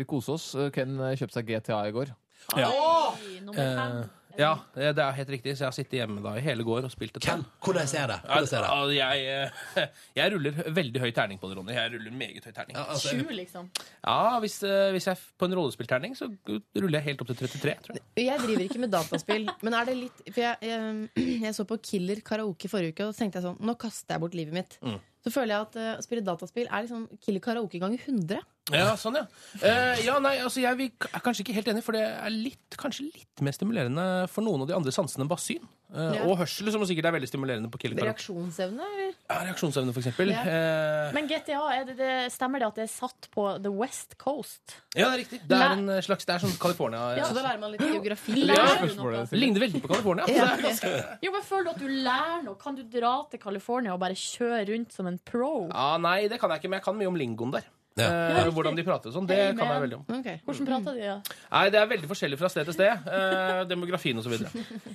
S12: vi koser oss. Ken eh, kjøpte seg GTA i går.
S15: Eh, ja, det det er helt riktig. Så jeg har sittet hjemme da i hele går og spilt et spill.
S2: Hvordan ser det?
S15: Ja, ja, Jeg, eh, jeg ruller veldig høy terning på det, Ronny. Jeg ruller meget høy terning.
S3: Sju, liksom.
S15: Ja, hvis, eh, hvis jeg f- på en rollespillterning, så ruller jeg helt opp til 33, tror jeg.
S4: Jeg driver ikke med dataspill, men er det litt For jeg, jeg, jeg så på Killer karaoke forrige uke, og så tenkte jeg sånn Nå kaster jeg bort livet mitt.
S15: Mm.
S4: Så føler jeg at eh, å spille dataspill er liksom Killer karaoke ganger 100.
S15: Ja, sånn, ja. Eh, ja, nei, altså, jeg vil- er kanskje ikke helt enig, for det er litt, kanskje litt mer stimulerende for noen av de andre sansene enn bare syn. Eh,
S4: Ja.
S15: Og hørsel, som sikkert er veldig stimulerende på Kill Karaoke.
S4: Reaksjonsevne, eller?
S15: Ja, reaksjonsevne, for eksempel.
S3: Ja.
S15: Eh,
S3: Men GTA, er det, det, stemmer det at det er satt på The West Coast?
S15: ja, det er riktig. Det er en slags, det er sånn California
S4: Så da lærer man litt geografi.
S15: Det er spørsmålet, Silje. Ligner veldig på California. så det er ganske-
S3: Jo, men Føler du at du lærer noe? Kan du dra til California og bare kjøre rundt som en pro?
S15: Ja, nei, det kan jeg ikke, men jeg kan mye om lingoen der. Eh, hvordan de prater og sånn. Det
S3: Hey,
S15: kan jeg
S3: man.
S15: veldig om.
S3: Hvordan prata de, da?
S15: Nei, det er veldig forskjellig fra sted til sted. Eh, demografien og så videre.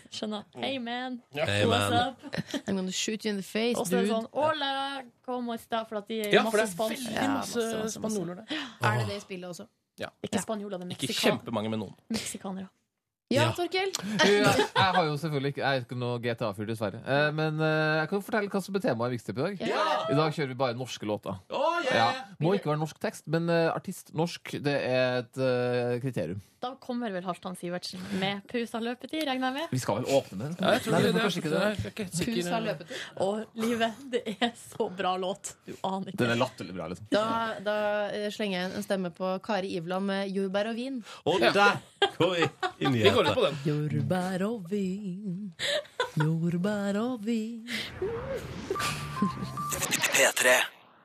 S3: Skjønner. Hey, man.
S15: Ja.
S4: Hey,
S3: What's
S4: man.
S3: up?
S4: I'm gonna shoot you in the face,
S3: Og så er det
S4: dude.
S3: sånn Hola, como esta? For at de er
S15: Ja, for
S3: masse
S15: det er
S3: spansk.
S15: veldig masse spanjoler der.
S4: Er det det i spillet også?
S15: Ja.
S3: Ikke spanjoler, det er
S15: Ikke
S3: meksikan
S15: kjempemange, men noen.
S3: meksikanere.
S4: Ja, Torkel.
S12: Du, Jeg jeg har jo selvfølgelig ikke Jeg er ikke noe GTA-fyr, dessverre. Eh, Men eh, jeg kan jo fortelle hva som er temaet i Vikstip i dag.
S15: Ja!
S12: I dag kjører vi bare norske låter.
S15: Oh,
S12: Ja. Må ikke være norsk tekst, men eh, artist norsk, det er et eh, kriterium.
S3: Da kommer vel Halvdan Sivertsen med Pusa løpetid, regner jeg med?
S12: Vi skal vel åpne med den?
S15: Ja, jeg tror
S12: Nei,
S15: det-
S12: vi får
S15: det-
S12: kanskje ikke
S15: det
S12: det.
S15: er ikke sikker- eh.
S3: Pusa løpetid. Og livet, det er så bra låt. Du aner ikke.
S12: Den er latterlig bra, liksom.
S4: Da, da eh, slenger jeg inn en stemme på Kari Iveland med jordbær og vin.
S2: Og der går vi inn i
S4: Vi går
S2: hjertet.
S4: ut på den. Jordbær og vin, jordbær og vin.
S2: P3.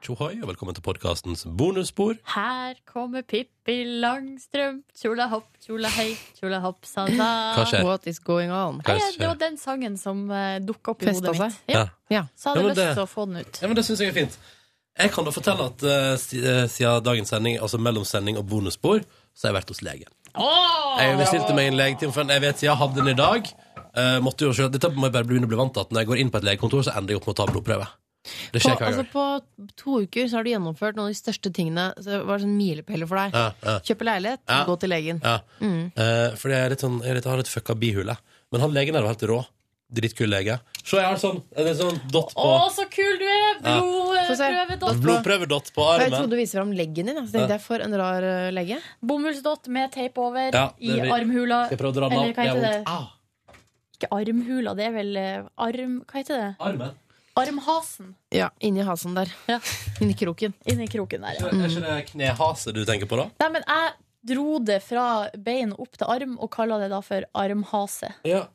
S2: Tjohoi, og velkommen til podkastens bonusspor.
S3: Her kommer Pippi Langstrømp, tjola hopp, tjola hei, tjola hopp, sa sa.
S2: Hva skjer?
S4: What is going on?
S2: Hva
S3: Nei,
S2: skjer?
S3: Det var den sangen som uh, dukka opp i hodet
S4: Festa
S3: mitt.
S4: seg?
S3: Ja.
S4: Ja.
S3: Så hadde
S2: Ja,
S3: jeg
S2: men
S3: lyst
S2: det-
S3: til å få den ut.
S2: Ja, men Det syns jeg er fint. Jeg kan da fortelle at eh, si- eh, siden dagens sending, altså mellom sending og bonusspor, så har jeg vært hos legen. Jeg bestilte meg en legetime, for jeg vet jeg hadde den i dag. Eh, måtte jo selv, Dette må jeg bare begynne å bli vant til, at når jeg går inn på et legekontor, så ender jeg opp med å ta blodprøve. Det
S4: På,
S2: skjer hver
S4: altså,
S2: gang.
S4: på to uker så har du gjennomført noen av de største tingene. Så det var sånn milepæler for deg.
S2: Ja, ja.
S4: Kjøpe leilighet,
S2: Ja.
S4: gå til legen.
S2: Ja.
S4: Mm.
S2: Eh, fordi jeg, er litt sånn, jeg er litt, har litt fucka bihule. Men han legen der var helt rå. Drittkul lege. Se, jeg har sånn, en sånn dott på
S3: Å, så kul du er!
S2: Ja.
S4: Få se.
S3: Blodprøvedott.
S2: Blodprøvedott på
S4: Jeg trodde
S2: armen.
S4: du viste fram leggen din. ja.
S2: Ja.
S4: Så tenkte jeg for en rar eh, lege.
S3: Bomullsdott med teip over
S2: Ja, det
S3: i
S2: blir-
S3: armhula.
S2: Skal jeg prøve å dra den
S3: Eller
S2: opp?
S3: hva
S2: Det er
S3: heter det?
S2: vondt. Ah, Au.
S3: Ikke armhula, det er vel eh, arm... Hva heter det?
S2: Armen.
S3: Armhasen.
S4: Ja, inni hasen der. Inni kroken.
S3: Inni kroken der, ja.
S2: Er ikke det knehase du tenker på, da?
S3: Nei, men jeg dro det fra bein opp til arm og kalla det da for armhase.
S2: Ja.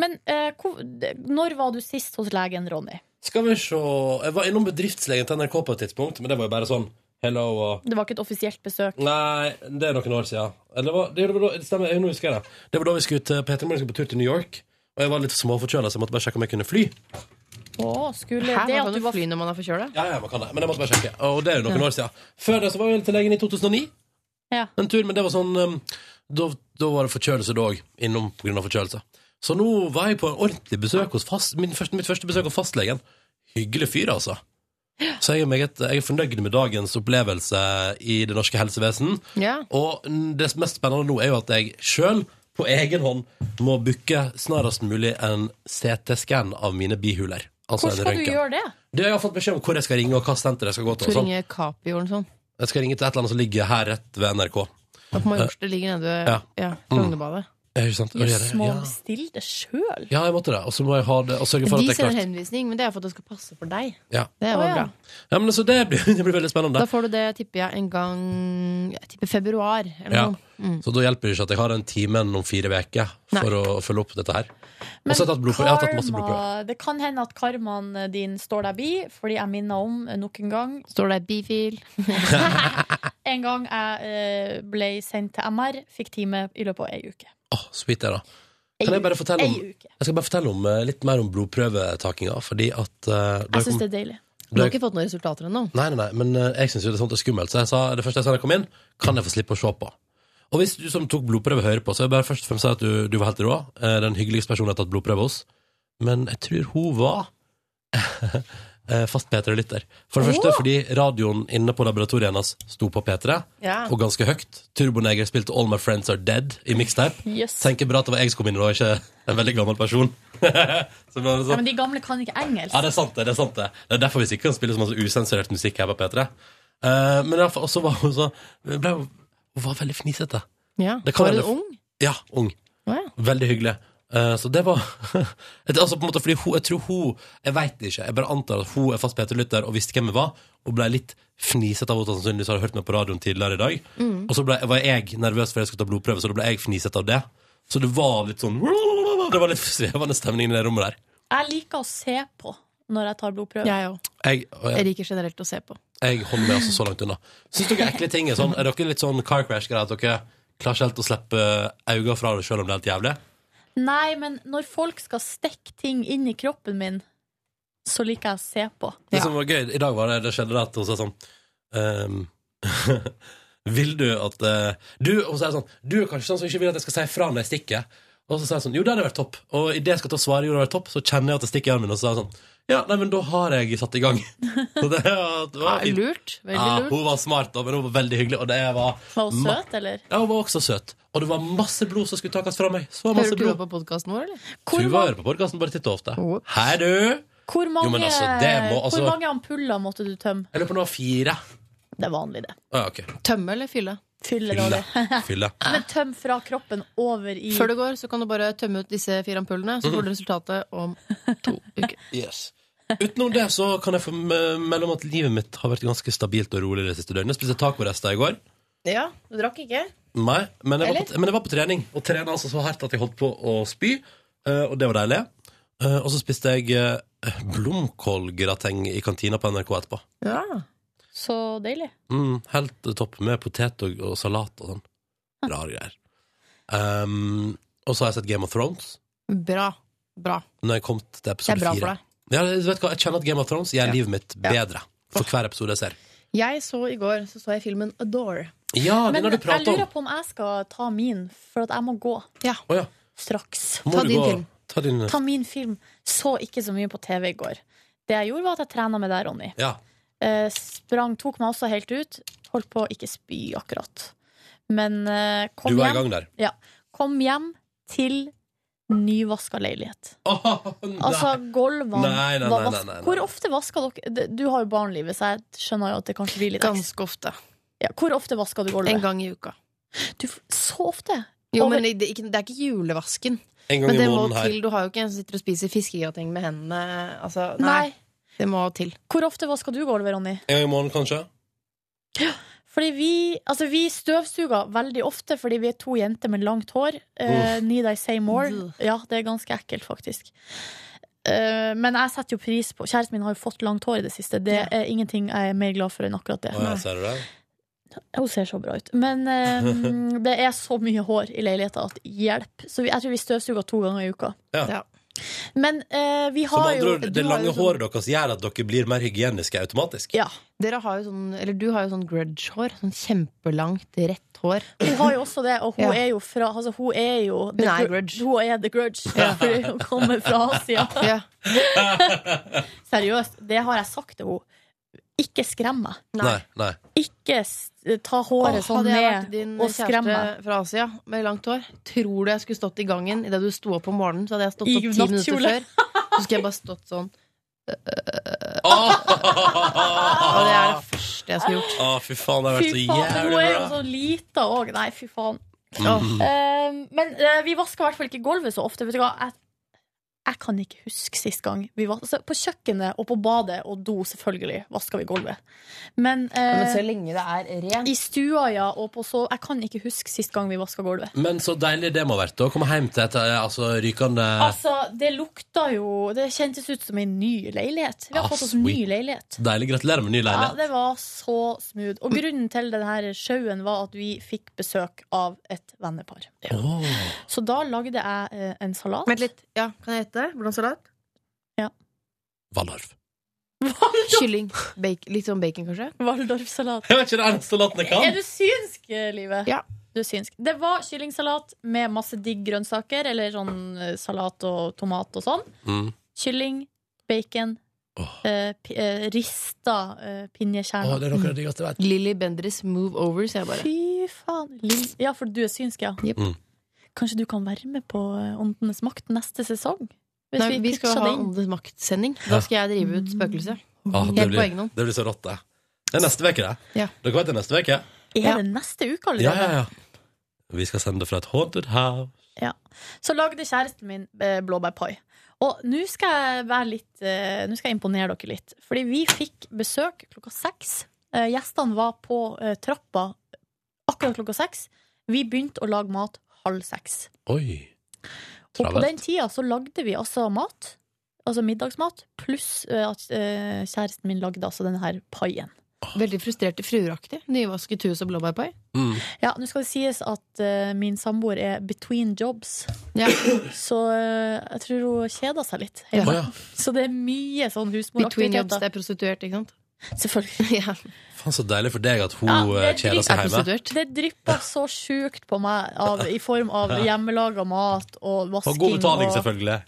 S3: Men eh, hvor, d- når var du sist hos legen, Ronny?
S2: Skal vi se Jeg var innom bedriftslegen til NRK på et tidspunkt, men det var jo bare sånn hello og
S3: Det var ikke et offisielt besøk.
S2: Nei, det er noen år siden. Eller det var, det var da, det stemmer, jeg, nå husker jeg det. Det var da vi skulle ut Peter Morgen skulle på tur til New York, og jeg var litt småforkjøla, så jeg måtte bare sjekke om jeg kunne fly.
S3: Å, skulle
S4: Her
S3: det at
S4: man kan
S3: du
S4: du
S3: var
S4: fly når man er forkjøla.
S2: Ja, ja, man kan det, men jeg måtte bare sjekke. Og det er jo noen år siden. Før det så var jeg til legen i 2009.
S3: Ja.
S2: En tur, men det var sånn um, da, da var det forkjølelse da òg, innom pga. forkjølelse. Så nå var jeg på en ordentlig besøk hos fast, min første, mitt første besøk hos fastlegen. Hyggelig fyr, altså. Så jeg er, meget, jeg er fornøyd med dagens opplevelse i det norske helsevesen.
S4: Ja.
S2: Og det mest spennende nå er jo at jeg sjøl, på egen hånd, må booke snarest mulig en CT-scan av mine bihuler. Altså
S4: Hvor
S2: en
S4: skal du
S2: røntgen.
S4: gjøre det?
S2: Det har jeg fått beskjed om hvor jeg skal ringe, og hva senter jeg skal gå
S4: Du
S2: til. og sånn.
S4: ringer Capio eller noe sånt.
S2: Jeg skal ringe til et eller annet som ligger her rett ved NRK.
S4: Og på Majorstua ligger nede ved
S2: Ja.
S4: ja,
S2: Mm.
S4: Frognerbadet.
S2: Eh, Ikke sant? Og gjøre det. Ja.
S4: bestill det sjøl!
S2: ja, jeg måtte det. Og så må jeg ha det, og sørge for at
S4: De
S2: det er
S4: sender
S2: klart.
S4: henvisning, men det er for at det skal passe for deg.
S2: Ja.
S4: Det var
S2: Å, ja.
S4: bra.
S2: Ja, men altså, det, blir, det blir veldig spennende.
S4: Da får du det, tipper jeg, en gang Jeg tipper februar eller
S2: Ja.
S4: noe. Mm.
S2: Så da hjelper det ikke at jeg har den timen om fire uker for å følge opp dette her. Og så har jeg tatt blodprøve. Jeg har tatt masse blodprøver.
S3: karma- det kan hende at karmaen din står deg bi, fordi jeg minner om eh, nok en gang
S4: Står det bifil?
S3: En gang jeg eh, ble sendt til MR, fikk time i løpet av ei uke.
S2: Åh, sweet det, da. Kan jeg bare fortelle om,
S3: Ei uke.
S2: jeg skal bare fortelle om eh, litt mer om blodprøvetakinga, fordi at eh, da
S4: Jeg synes
S2: kom-
S4: det er deilig.
S2: da
S4: Du har
S2: jeg-
S4: ikke fått noen resultater ennå.
S2: Nei, nei, nei, men eh, jeg syns jo det er sånt det er skummelt. Så jeg sa, det første jeg sa da jeg kom inn, kan jeg få slippe å se på. Og hvis du som tok blodprøve, hører på, så vil jeg bare først og fremst si at du, du var helt rå. Eh, Den hyggeligste personen jeg har tatt blodprøve hos. Men jeg tror hun var eh, fast P3-lytter. For det første
S15: Åh!
S2: fordi radioen inne på laboratoriet hennes sto på P3,
S15: Ja.
S2: og ganske høyt. Turboneger spilte All My Friends Are Dead i mixtape.
S3: Yes.
S2: Tenker bra at det var jeg som kom inn, og ikke en veldig gammel person. så ble det
S3: Ja,
S2: sånn.
S3: men de gamle kan ikke engelsk.
S2: Ja, det er sant det. Det er sant det Det er derfor vi ikke kan spille så masse usensurert musikk her på P3. Eh, men i alle fall, og så var hun så ble, hun- Hun var veldig fnisete.
S4: Ja.
S2: Det kan
S4: Var
S2: hende-
S4: hun ung?
S2: Ja, ung.
S4: Å, ja.
S2: Veldig hyggelig. Eh, så det var Et- Altså på en måte fordi hun, Jeg tror hun Jeg vet ikke. Jeg bare antar at hun er fast P3-lytter og visste hvem jeg var, og ble litt fnisete av henne, sånn sannsynligvis har hun hørt meg på radioen tidligere i dag.
S15: Mm.
S2: Og så ble, var jeg nervøs for jeg skulle ta blodprøve, så da ble jeg fnisete av det. Så det var litt sånn Det var litt svevende stemning i det rommet der.
S3: Jeg liker å se på når jeg tar blodprøve.
S4: Jeg òg.
S2: Jeg, og jeg-
S4: Jeg liker generelt å se på.
S2: Jeg holder meg altså så langt unna. Syns dere ekle ting er sånn? Er dere litt sånn car crash-greier at dere klarer ikke helt å slippe eh, øynene fra det selv om det er helt jævlig?
S3: Nei, men når folk skal stikke ting inn i kroppen min, så liker jeg å se på.
S2: Det som var gøy i dag, var det, det skjedde det at hun sa sånn ehm, Vil du at eh, Du og så er det sånn, du er kanskje sånn som ikke vil at jeg skal si fra når jeg stikker. Og så sa jeg sånn Jo, det hadde vært topp. Og idet jeg skal ta svaret, jo, det hadde vært topp, så kjenner jeg at det stikker i armen. Og så sa jeg sånn Ja, nei, men da har jeg satt i gang. Så det, var- det var fint.
S4: Lurt. Veldig
S2: Ja,
S4: lurt.
S2: hun var smart, da, men hun var veldig hyggelig. Og det var,
S4: Var hun
S2: ma-
S4: søt, eller?
S2: Ja, hun var også søt. Og det var masse blod som skulle takes fra meg. Så masse
S4: Hører du
S2: blod.
S4: på podkasten vår, eller?
S2: Tuva hører på podkasten bare titt og ofte. Hei, du!
S3: Hvor mange,
S2: Jo, men altså, det må altså
S3: hvor mange ampuller måtte du tømme?
S2: Jeg lurer på om det var fire.
S3: Det er vanlig, det.
S2: Å, ja, ok.
S4: Tømme eller fylle?
S3: Fylle,
S2: Fylle. Fylle.
S3: Men tøm fra kroppen over i
S4: Før du går, så kan du bare tømme ut disse fire ampullene, så
S2: Mm.
S4: får du resultatet om
S2: Yes. Utenom det så kan jeg få me- melde om at livet mitt har vært ganske stabilt og rolig det siste døgnet. Spiste tacorester i går.
S4: Ja, du drakk ikke?
S2: Nei, men jeg, var
S4: Eller?
S2: på, men jeg var på trening. Og trena altså så hardt at jeg holdt på å spy. eh, Og det var deilig. Eh, Og så spiste jeg eh, blomkålgrateng i kantina på NRK etterpå.
S4: Ja.
S3: Så deilig.
S2: Mm, helt topp med potet og, og salat og sånn. Rare greier. Um, og så har jeg sett Game of Thrones.
S4: Bra. Bra.
S2: Når jeg kom til episode fire.
S4: Det er bra for deg.
S2: Ja, du vet hva, jeg kjenner at Game of Thrones gjør livet mitt bedre for hver episode jeg ser.
S4: Jeg så i går så så jeg filmen Adore.
S2: Ja, den
S3: Men
S2: har du
S3: jeg
S2: pratet om!
S3: lurer på om jeg skal ta min, for at jeg må gå.
S2: Å ja.
S3: Straks.
S2: Må du gå- Ta din
S3: Ta min film. Så ikke så mye på TV i går. Det jeg gjorde, var at jeg trena med deg, Ronny.
S2: Ja.
S3: Eh, sprang, tok meg også helt ut. Holdt på å ikke spy, akkurat. Men eh, kom
S2: Du var i
S3: hjem.
S2: gang der.
S3: Ja. Kom hjem til nyvaska leilighet. altså, gulvene
S2: Nei, nei, nei,
S3: var
S2: nei,
S3: vask-
S2: nei, nei.
S3: Hvor ofte vasker dere D- Du har jo barnlivet, så jeg skjønner jo at det kanskje blir litt
S4: Ganske ofte.
S3: Ja, hvor ofte vasker du gulvet?
S4: En gang i uka.
S3: Du, f- så ofte?
S4: Jo,
S3: Over-
S4: men det, det er ikke, det er ikke julevasken.
S2: En gang
S4: men
S2: i
S4: det
S2: måneden
S4: må
S2: her.
S4: til. Du har jo ikke en som sitter og spiser fiskegrateng med hendene. Altså, nei.
S3: Nei.
S4: Det må til.
S3: Hvor ofte vasker du gulvet, Ronny?
S2: En gang i måneden, kanskje?
S3: Fordi vi, altså vi støvsuger veldig ofte fordi vi er to jenter med langt hår. Eh,
S2: Uff.
S3: need I say more?
S4: Ugh.
S3: Ja, det er ganske ekkelt, faktisk. Eh, men jeg setter jo pris på Kjæresten min har jo fått langt hår i det siste. Det er ingenting jeg er mer glad for enn akkurat det.
S2: Å ja, ser du det?
S3: Hun ser så bra ut. Men eh, det er så mye hår i leiligheten at hjelp. Så vi- jeg tror vi støvsuger to ganger i uka.
S2: Ja.
S8: Men eh, vi
S2: Som
S8: har
S2: andre
S8: jo
S2: ord,
S8: du
S2: det
S8: har
S2: lange
S8: jo sånn-
S2: håret deres gjør at dere blir mer hygieniske automatisk.
S3: Ja.
S4: Dere har jo sånn, eller du har jo sånn grudge-hår. Sånn kjempelangt, rett hår.
S3: Hun har jo også det, og hun
S4: Ja.
S3: er jo fra altså, Hun er jo
S4: Hun er
S3: gru- Hun er the grudge, fordi hun kommer fra Asia. Seriøst, det har jeg sagt til henne. Ikke skrem meg.
S2: Nei, nei.
S3: Ikke s- ta håret sånn
S4: hadde jeg vært
S3: ned
S4: din
S3: og skrem
S4: kjæreste
S3: meg.
S4: fra Asia med langt hår, tror du jeg skulle stått i gangen idet du sto opp om morgenen? Så hadde jeg stått
S3: I
S4: opp ti minutter
S3: nattkjole.
S4: før. Så skulle jeg bare stått sånn.
S2: Og
S4: det er det første jeg skulle gjort.
S2: Å, fy faen, det har vært
S3: Fy
S2: så
S3: faen, men
S2: jævlig
S3: hun er jo
S2: bra.
S3: så lita òg. Nei, fy faen.
S4: Mm.
S2: Mhm.
S3: Eh, men eh, vi vasker i hvert fall ikke gulvet så ofte. Vet du hva? Jeg, jeg kan ikke huske sist gang. Vi vas- altså, på kjøkkenet og på badet og do, selvfølgelig, vasker vi gulvet. Men,
S4: Ja, men
S3: eh,
S4: så lenge det er rent.
S3: i stua, ja, og på så Jeg kan ikke huske sist gang vi vaska gulvet.
S2: Men så deilig det må ha vært å komme hjem til et eh, altså, rykende
S3: Altså, det lukta jo Det kjentes ut som en ny leilighet. Vi har
S2: Ah,
S3: fått oss
S2: sweet.
S3: ny leilighet.
S2: Deilig. Gratulerer med ny
S3: Ja,
S2: leilighet.
S3: det var så smooth. Og grunnen til denne sjauen var at vi fikk besøk av et vennepar. Så da lagde jeg eh, en salat.
S4: Vent litt. Ja, kan jeg gjette? Hvordan salat?
S2: Waldorf.
S4: Kylling. Bacon. Litt sånn bacon, kanskje?
S3: Waldorfsalat.
S2: Jeg vet ikke det eneste salaten jeg
S3: Er
S2: kan.
S3: du synsk, eh, Live?
S4: Ja.
S3: Du er synsk. Det var kyllingsalat med masse digg grønnsaker, eller sånn eh, salat og tomat og sånn.
S2: Mm.
S3: Kylling, bacon, eh, pi- eh, rista eh, pinjekjerner.
S4: Lilly Bendriss Move Over, sier jeg bare.
S3: Fy faen. Liv- Ja, for du er synsk, ja.
S2: Mm.
S3: Kanskje du kan være med på eh, Åndenes makt neste sesong? Hvis
S4: Nei, vi,
S3: vi
S4: skal
S3: pitcher
S4: ha
S3: det inn.
S4: Åndenes makt-sending. Da skal jeg drive ut spøkelset.
S2: Ah, det,
S4: Helt på
S2: blir,
S4: egen hånd.
S2: det blir så rått, det. Det er neste uke, det.
S4: Ja.
S2: Dere vet det er neste uke?
S3: Er det neste uke
S2: Ja,
S3: allerede?
S2: ja, ja. Vi skal sende det fra et haunted house.
S3: Ja. Så lagde kjæresten min eh, blåbærpai. Og nå skal jeg være litt eh, Nå skal jeg imponere dere litt. Fordi vi fikk besøk klokka seks. Eh, gjestene var på eh, trappa akkurat klokka seks. Vi begynte å lage mat halv seks.
S2: Oi.
S3: Og på
S2: Travelt.
S3: den tida så lagde vi altså mat. Altså middagsmat, pluss eh, at eh, kjæresten min lagde altså denne her paien.
S4: Veldig frustrerte frueraktig. Nyvasket hus og blåbærpai.
S2: Mm.
S3: Ja, nå skal det sies at eh, min samboer er between jobs. Så eh, jeg tror hun kjeder seg litt.
S4: Ja.
S3: hjemme.
S4: Å, ja.
S3: Så det er mye sånn
S4: Between jobs, det
S3: husmoraktiviteter.
S4: er prostituert, ikke sant?
S3: Selvfølgelig.
S2: Faen, så deilig for deg at hun eh,
S3: Ja, det
S2: kjeder seg hjemme.
S3: drypper- det drypper så sjukt på meg av, i form av
S2: Ja.
S3: hjemmelaga mat og
S2: Og
S3: vasking.
S2: god betaling,
S3: og-
S2: selvfølgelig.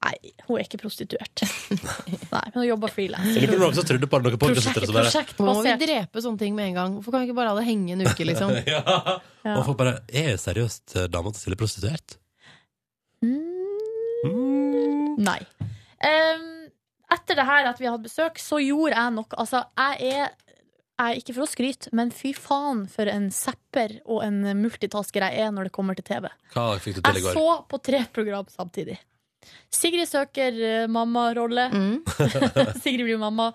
S3: Nei, hun er ikke prostituert. Nei, men hun jobber frilans.
S2: Jeg lurer på om noen som trodde på det, noen podcaster som bare
S4: Nå må vi drepe sånne ting med en gang. Hvorfor kan vi ikke bare la det henge en uke, liksom?
S2: ja.
S4: Ja.
S2: Og folk bare Er seriøst eh, dama til Silje prostituert?
S3: Mm, Nei. Em, etter det her at vi hadde besøk, så gjorde jeg noe. Altså, jeg er, jeg er ikke for å skryte, men fy faen for en zapper og en multitasker jeg er når det kommer til TV.
S2: Hva fikk du til
S3: Jeg
S2: i går?
S3: så på tre program samtidig. Sigrid søker eh, mammarolle. Sigrid blir mamma.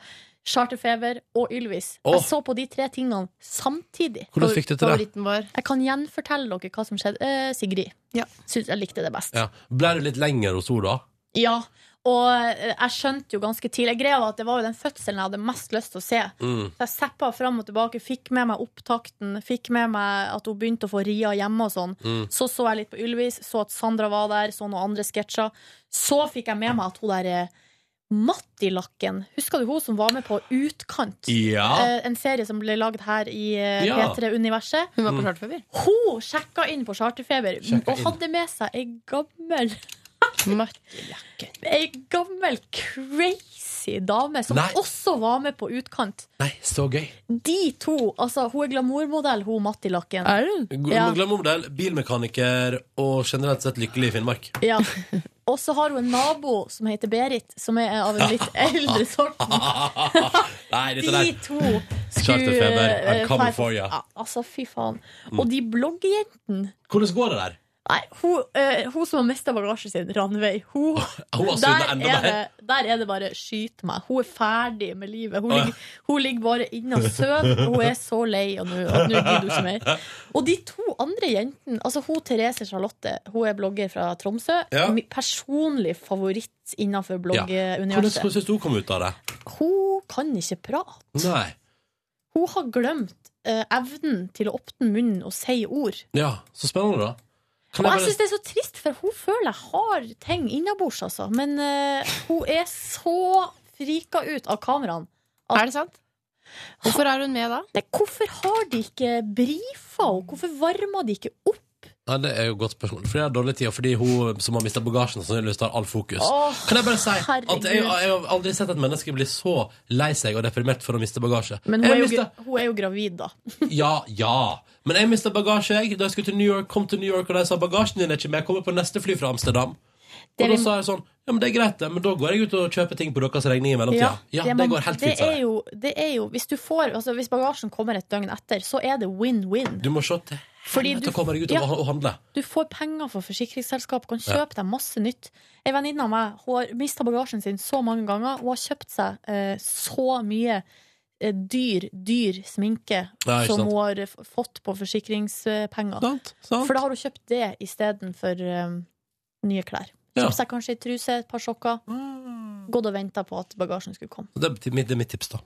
S3: Charterfeber og Ylvis.
S2: Åh.
S3: Jeg så på de tre tingene samtidig.
S2: Hvordan fikk du til det? Favoritten
S3: Jeg kan gjenfortelle dere hva som skjedde. Eh, Sigrid syns jeg likte det best.
S2: Ja. Ble du litt lenger hos henne da?
S3: Ja, og eh, jeg skjønte jo ganske tidlig Greia var at det var jo den fødselen jeg hadde mest lyst til å se.
S2: Mm.
S3: Så jeg zappa fram og tilbake, fikk med meg opptakten, fikk med meg at hun begynte å få ria hjemme og sånn.
S2: Mm.
S3: Så så jeg litt på Ylvis, så at Sandra var der, så noen andre sketsjer. Så fikk jeg med meg at hun der eh, Mattilakken, husker du hun som var med på Utkant?
S2: Ja.
S3: Eh, En serie som ble lagd her i eh,
S2: Ja.
S3: P3-universet.
S4: Hun var på Mm. Charterfeber?
S3: Hun sjekka inn på Charterfeber og
S4: Sjekka inn.
S3: hadde med seg ei gammel Ei gammel crazy dame som
S2: Nei.
S3: også var med på Utkant.
S2: Nei, så gøy.
S3: De to, altså Hun er glamourmodell, hun Mattilakken. Er
S2: God-
S3: Ja.
S2: Glamourmodell, bilmekaniker og generelt sett lykkelig i Finnmark.
S3: Ja. Og så har hun en nabo som heter Berit, som er av en litt eldre sort.
S2: Nei, dette der
S3: De to skulle
S2: Charterfeber,
S3: eh,
S2: I'm coming
S3: fær-
S2: for you.
S3: Ja, Altså, fy faen.
S2: Mm.
S3: Og de bloggjentene
S2: Hvordan går det der?
S3: Nei, hun, eh, hun som har mista bagasjen sin, Ranveig, hun
S2: Hun har
S3: der,
S2: sunnet enda
S3: er det,
S2: mer.
S3: der er det bare 'skyt meg'. Hun er ferdig med livet. Hun,
S2: Å, ja.
S3: ligger, hun ligger bare inne og sover. og Hun er så lei, og nå og nå gidder hun ikke mer. Og de to andre jentene, altså hun Therese Charlotte, hun er blogger fra Tromsø.
S2: Ja.
S3: Min personlig favoritt
S2: Ja.
S3: innenfor
S2: Hvordan
S3: blogguniverset.
S2: hvordan synes du hun kom ut av det?
S3: Hun kan ikke prate.
S2: Nei.
S3: Hun har glemt eh, evnen til å åpne munnen og si ord.
S2: Ja, så spennende, da.
S3: Og jeg syns det er så trist, for hun føler jeg har ting innabords, altså. Men eh, hun er så frika ut av kameraene.
S4: Er det sant? Hvorfor er hun med da?
S3: Nei, hvorfor har de ikke brifa henne? Hvorfor varmer de ikke opp?
S2: Nei, Det er jo et godt spørsmål. Fordi jeg har dårlig tid, og fordi hun som har mista bagasjen, sannsynligvis tar all fokus.
S3: Åh,
S2: kan jeg bare si at jeg,
S3: herregud.
S2: jeg har aldri sett et menneske bli så lei seg og deprimert for å miste bagasje.
S3: Men hun
S2: Jeg
S3: er, jo,
S2: mistet-
S3: gra- hun er jo gravid, da.
S2: Ja, ja. Men jeg mista bagasje jeg, da jeg skulle til New York. Kom til New York, og de sa bagasjen din er ikke med. Jeg kommer på neste fly fra Amsterdam.
S3: Det
S2: og da
S3: vi-
S2: sa jeg sånn Ja, men det er greit, det, men da går jeg ut og kjøper ting på deres regning i mellomtida. Ja, det,
S3: man-
S2: går helt
S3: det
S2: fint. sa
S3: er
S2: jeg.
S3: jo, det er jo, hvis, du får, altså, hvis bagasjen kommer et døgn etter, så er det win-win.
S2: Du må se til
S3: Fordi
S2: helvete
S3: du-
S2: å komme deg ut
S3: ja.
S2: og ha- og handle.
S3: Du får penger fra forsikringsselskapet, kan
S2: Ja.
S3: kjøpe deg masse nytt. Ei venninne av meg hun har mista bagasjen sin så mange ganger. Hun har kjøpt seg eh, så mye eh, dyr, dyr sminke
S16: Ja, ikke
S3: som
S16: sant.
S3: hun har eh, f- fått på forsikringspenger. For da har hun kjøpt det istedenfor eh, nye klær.
S2: Ja.
S3: Kjøpt seg kanskje ei truse, et par sokker. Gått og venta på at bagasjen skulle komme.
S2: Så Det, er mitt- det er mitt tips, da.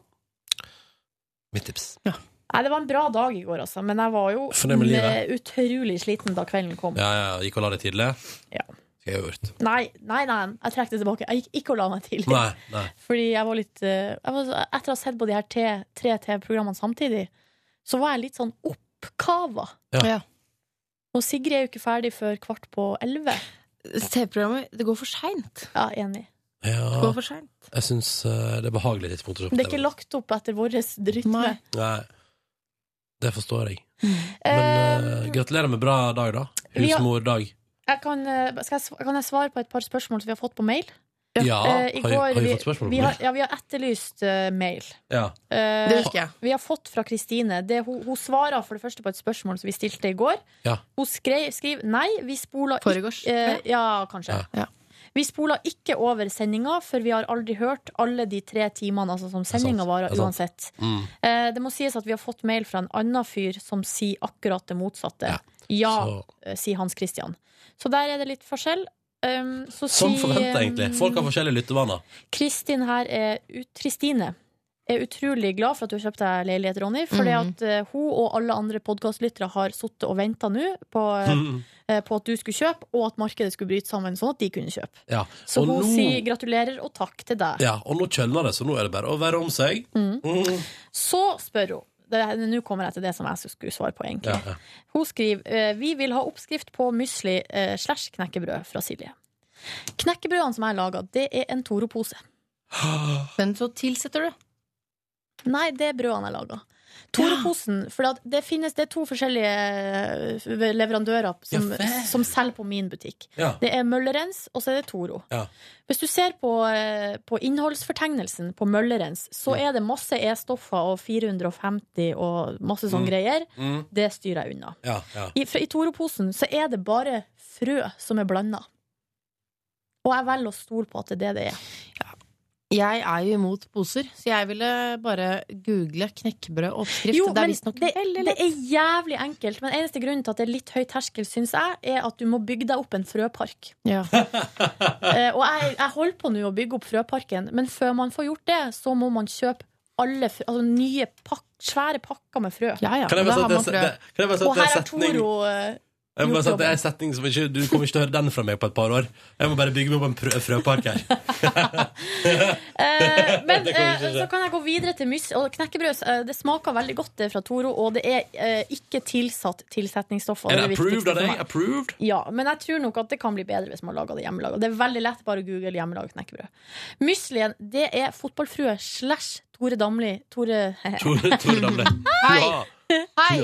S2: Mitt tips.
S3: Nei, Det var en bra dag i går, altså. Men jeg var jo
S2: Fornøyd med livet.
S3: eh, utrolig sliten da kvelden kom.
S2: Ja, ja, Gikk og la deg tidlig?
S3: Ja.
S2: Skal jeg ha gjort.
S3: Nei, nei, nei, jeg trekker det tilbake. Jeg gikk ikke og la meg tidlig.
S2: Nei, nei.
S3: Fordi jeg var litt eh, jeg var, så- Etter å ha sett på de her te- tre TV-programmene samtidig, så var jeg litt sånn oppkava.
S2: Ja.
S3: Og Sigrid er jo ikke ferdig før kvart på elleve.
S4: TV-programmet Det går for seint.
S3: Ja, enig.
S4: Det
S2: Ja,
S4: går for seint.
S2: jeg syns eh, det er behagelig tidspunkt å se på
S3: Det er ikke
S2: TV.
S3: lagt opp etter vår rytme.
S2: Nei. Det forstår jeg.
S3: Eh,
S2: Men eh, gratulerer med bra dag, da.
S3: vi har-
S2: Husmordag.
S3: jeg kan, eh, skal jeg, sv- kan jeg svare på et par spørsmål som vi har fått på mail?
S2: Ja, har
S3: Eh, i
S2: vi- har vi fått spørsmål på
S3: vi,
S2: mail?
S3: har, ja, vi har etterlyst eh, mail.
S2: Ja.
S3: Eh,
S2: Det husker jeg.
S3: Vi har fått fra Kristine. Det- Hun, hun svarer for det første på et spørsmål som vi stilte i går.
S2: Ja.
S3: Hun skrev, skriver nei, vi spola
S4: Foregårs.
S3: eh, ja, kanskje.
S4: Ja.
S3: Vi spola ikke over sendinga, for vi har aldri hørt alle de tre timene altså, som sendinga varer
S4: Det er sant. Mm.
S3: uansett. Eh, det må sies at vi har fått mail fra en annen fyr som sier akkurat det motsatte. Ja, eh, sier Hans Christian. Så der er det litt forskjell. Um, så
S2: Som
S3: sier,
S2: forventa, egentlig.
S3: um,
S2: Folk har forskjellige lyttevaner.
S3: Kristin her er ut, Kristine er utrolig glad for at du har kjøpt deg leilighet, Ronny. For det at eh, hun og alle andre podkastlyttere har sittet og venta nå på, eh,
S2: Mhm.
S3: eh, på at du skulle kjøpe, og at markedet skulle bryte sammen, sånn at de kunne kjøpe.
S2: Ja.
S3: Så
S2: Og
S3: hun
S2: nå-
S3: sier gratulerer og takk til deg.
S2: Ja, og nå kjølner det, så nå er det bare å være om seg.
S3: Mm.
S2: Mm.
S3: Så spør hun det, Nå kommer jeg til det som jeg skulle svare på, egentlig.
S2: Ja, ja.
S3: Hun skriver eh, Vi vil ha oppskrift på mysli eh, slash knekkebrød fra Silje. Knekkebrødene som jeg lager, det er en Toro-pose.
S4: Men så tilsetter du?
S3: Nei, det er brødene jeg lager. Toro-posen, for at det finnes det er to forskjellige eh, leverandører som,
S4: Ja, vel.
S3: som selger på min butikk.
S4: Ja.
S3: Det er Møllerens, og så er det Toro.
S2: Ja.
S3: Hvis du ser på, eh, på innholdsfortegnelsen på Møllerens, så
S2: Mm.
S3: er det masse E-stoffer og 450 og masse sånne
S2: Mm.
S3: greier.
S2: Mm.
S3: Det styrer jeg unna.
S2: Ja, ja.
S3: I, fra- I Toro-posen så er det bare frø som er blanda. Og jeg velger å stole på at det er det det er.
S4: Jeg er jo imot poser, så jeg ville bare google knekkebrødoppskrift.
S3: Jo,
S4: det er
S3: men
S4: visstnok
S3: det,
S4: veldig
S3: det
S4: lett.
S3: er jævlig enkelt. Men eneste grunnen til at det er litt høy terskel, syns jeg, er at du må bygge deg opp en frøpark.
S4: Ja.
S3: Eh, og jeg, jeg holder på nå å bygge opp frøparken, men før man får gjort det, så må man kjøpe alle frø, altså nye pakk, svære pakker med frø.
S2: Kan jeg bare si at det er- det- kan jeg bare si at
S3: og
S2: det er
S3: her har
S2: setning-
S3: Toro eh,
S2: Jeg må bare si at
S3: gjort
S2: Det er
S3: jobben.
S2: en setning som ikke, Du kommer ikke til å høre den fra meg på et par år. Jeg må bare bygge meg opp en prø- frøpark her.
S3: Eh, men
S2: Det kommer ikke
S3: eh,
S2: til å skje.
S3: så kan jeg gå videre til mus og knekkebrød. eh, Det smaker veldig godt det fra Toro, og det er eh, ikke tilsatt tilsetningsstoffer. og
S2: Er det
S3: det
S2: approved
S3: viktigste
S2: av
S3: for
S2: deg?
S3: meg.
S2: Approved?
S3: Ja, men jeg tror nok at det kan bli bedre hvis man lager det hjemmelaga. Det er veldig lett bare å google hjemmelaga knekkebrød. Muslien, det er fotballfrue slash Tore Damli. Tore
S2: Tore, Tore Damli. Ja.
S4: Hei!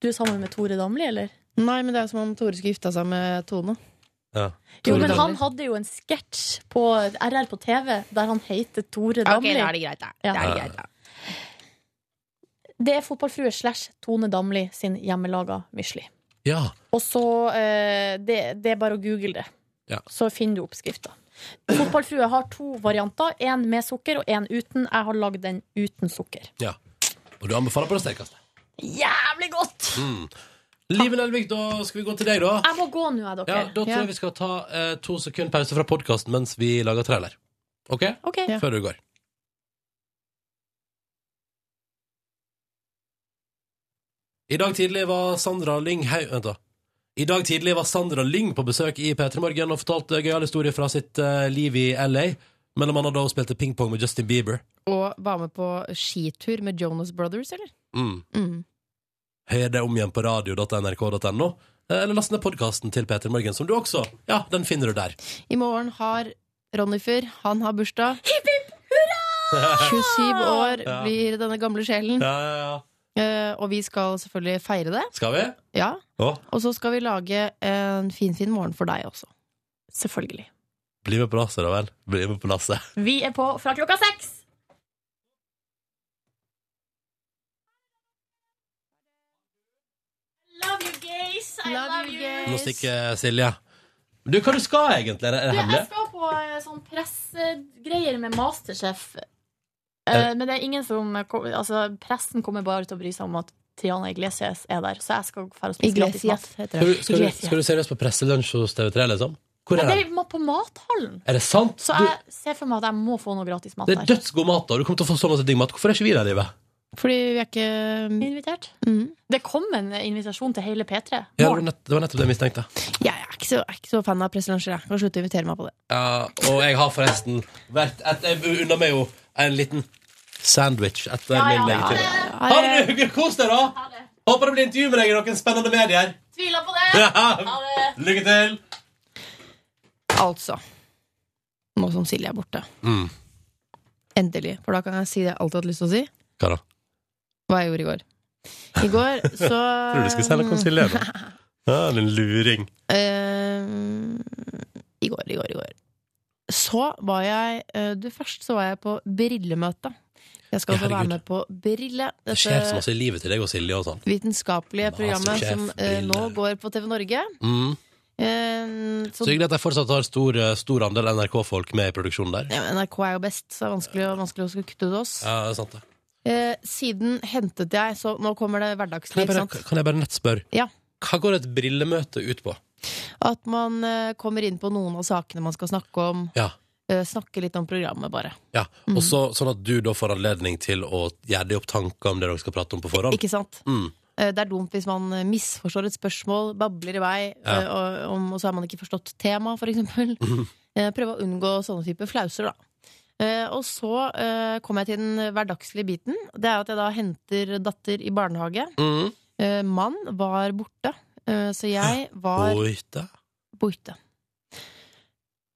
S3: Du er sammen med Tore Damli, eller?
S4: Nei, men det er som om Tore skulle gifta seg med Tone.
S2: Ja.
S3: Jo,
S4: Tore
S3: men
S4: Damli.
S3: han hadde jo en sketsj på RR på TV der han heter Tore
S4: Ja, ok,
S3: Damli.
S4: da er det greit, da. Da er det greit,
S3: Det er fotballfrue slash Tone Damli sin hjemmelaga Mysli.
S2: Ja.
S3: Og så eh, det, det er bare å google det.
S2: Ja.
S3: Så finner du oppskrifta. Fotballfrue har to varianter. Én med sukker og én uten. Jeg har lagd den uten sukker.
S2: ja. Og du anbefaler på det sterkeste.
S3: Jævlig godt!
S2: Mm. Liven Elvik, da skal vi gå til deg, da.
S3: Jeg må gå nå, jeg, dere.
S2: Ja, da tror jeg vi skal ta eh, to sekunder pause fra podkasten mens vi lager trailer. OK?
S3: Ok. Ja.
S2: Før du går. I dag tidlig var Sandra Lynghaug Vent, da. I dag tidlig var Sandra Lyng på besøk i P3 Morgen og fortalte gøyale historier fra sitt eh, liv i LA. Mellom annet da hun spilte pingpong med Justin Bieber.
S4: Og var med på skitur med Jonas Brothers, eller?
S2: Mm. Hør det om igjen på radio.nrk.no. eh, Eller last ned podkasten til P3 Morgen, som du også Ja, den finner du der.
S4: I morgen har Ronny Fyr, han har bursdag. 27 år
S2: Ja.
S4: blir denne gamle sjelen.
S2: Ja, ja, ja.
S4: Eh, og vi skal selvfølgelig feire det.
S2: Skal vi?
S4: Ja.
S2: Å,
S4: Og så skal vi lage en finfin fin morgen for deg også. Selvfølgelig.
S2: bli med på lasset, da vel. Bli med på lasset.
S3: Vi er på fra klokka seks. Love you, gays. I love, you.
S2: Nå stikker Silje. Du, hva du skal egentlig? Er det, er det
S3: Du,
S2: hemmelig?
S3: jeg skal på eh, sånn pressegreier med Masterchef. Eh,
S2: Er-
S3: Men det er ingen som kom, altså, Pressen kommer bare til å bry seg om at Triana Iglesias er der. Så jeg skal dra og spise gratis mat.
S2: Skal du, skal, du, skal du seriøst på presselunsj hos TV3, liksom? Hvor er
S3: Nei,
S2: det?
S3: det er på mathallen.
S2: Er det sant?
S3: Så
S2: Du,
S3: jeg ser for meg at jeg må få noe gratis mat
S2: det er
S3: der.
S2: dødsgod mat, da. Du kommer til å få så masse digg mat. Hvorfor er ikke vi der, Ive?
S4: Fordi vi er ikke
S3: Invitert. Det kom en invitasjon til hele P3.
S2: Ja, det var nett- det var nettopp det jeg mistenkte.
S4: Jeg er ikke så, er ikke så fan av presselunsjer. Jeg kan slutte å invitere meg på det.
S2: Ja, og jeg har forresten vært et, Jeg unner meg jo en liten sandwich etter
S3: Ja, ja,
S2: min
S3: ja,
S2: legetid.
S3: ja, ja.
S2: Ha det du, hyggelig. Kos deg, da! Håper det blir intervju med deg i noen spennende medier.
S3: Tviler på
S2: Ha Lykke til!
S4: Altså, nå som Silje er borte,
S2: Mm.
S4: endelig, for da kan jeg si det jeg alltid har hatt lyst til å si,
S2: Hva da?
S4: hva jeg gjorde i går. I går så
S2: Tror du skal si noe om Silje nå? Ja, en luring.
S4: Ehm, I går, i går, i går. Så var jeg eh, Du, først så var jeg på brillemøte. Jeg skal
S2: Ja,
S4: også være
S2: herregud.
S4: med på Brille.
S2: Det skjer så masse i livet til deg og Silje og sånn.
S4: vitenskapelige programmet
S2: Masterchef,
S4: som eh, nå
S2: Brille.
S4: går på TV Norge.
S2: Mm.
S4: Ehm,
S2: Så
S4: så,
S2: hyggelig at jeg fortsatt har stor, eh, stor andel NRK-folk med i produksjonen der.
S4: ja, men NRK er jo best, så det er vanskelig, å- vanskelig å skulle kutte ut oss.
S2: Ja, det er sant det.
S4: Eh, siden hentet jeg Så nå kommer
S2: Kan
S4: det
S2: jeg
S4: hverdagsliv,
S2: bare,
S4: sant?
S2: kan jeg bare nett spørre?
S4: Ja.
S2: Hva går et brillemøte ut på?
S4: At man eh, kommer inn på noen av sakene man skal snakke om.
S2: Ja.
S4: Eh, snakke litt om programmet, bare.
S2: Ja,
S4: Mhm.
S2: og så Sånn at du da får anledning til å gjøre deg opp tanker om det dere skal prate om på forhånd.
S4: Ikke sant?
S2: Mm.
S4: Eh, Det er dumt hvis man eh, misforstår et spørsmål, babler i vei,
S2: Ja. Mhm.
S4: eh, og, om- og så har man ikke forstått temaet, for eksempel. Eh, Prøve å unngå sånne type flauser, da. Eh, Og så eh, kom jeg til den hverdagslige biten. Det er at jeg da henter datter i barnehage.
S2: Mhm.
S4: Eh, Mann var borte, eh, så jeg var
S2: Borte.
S4: borte.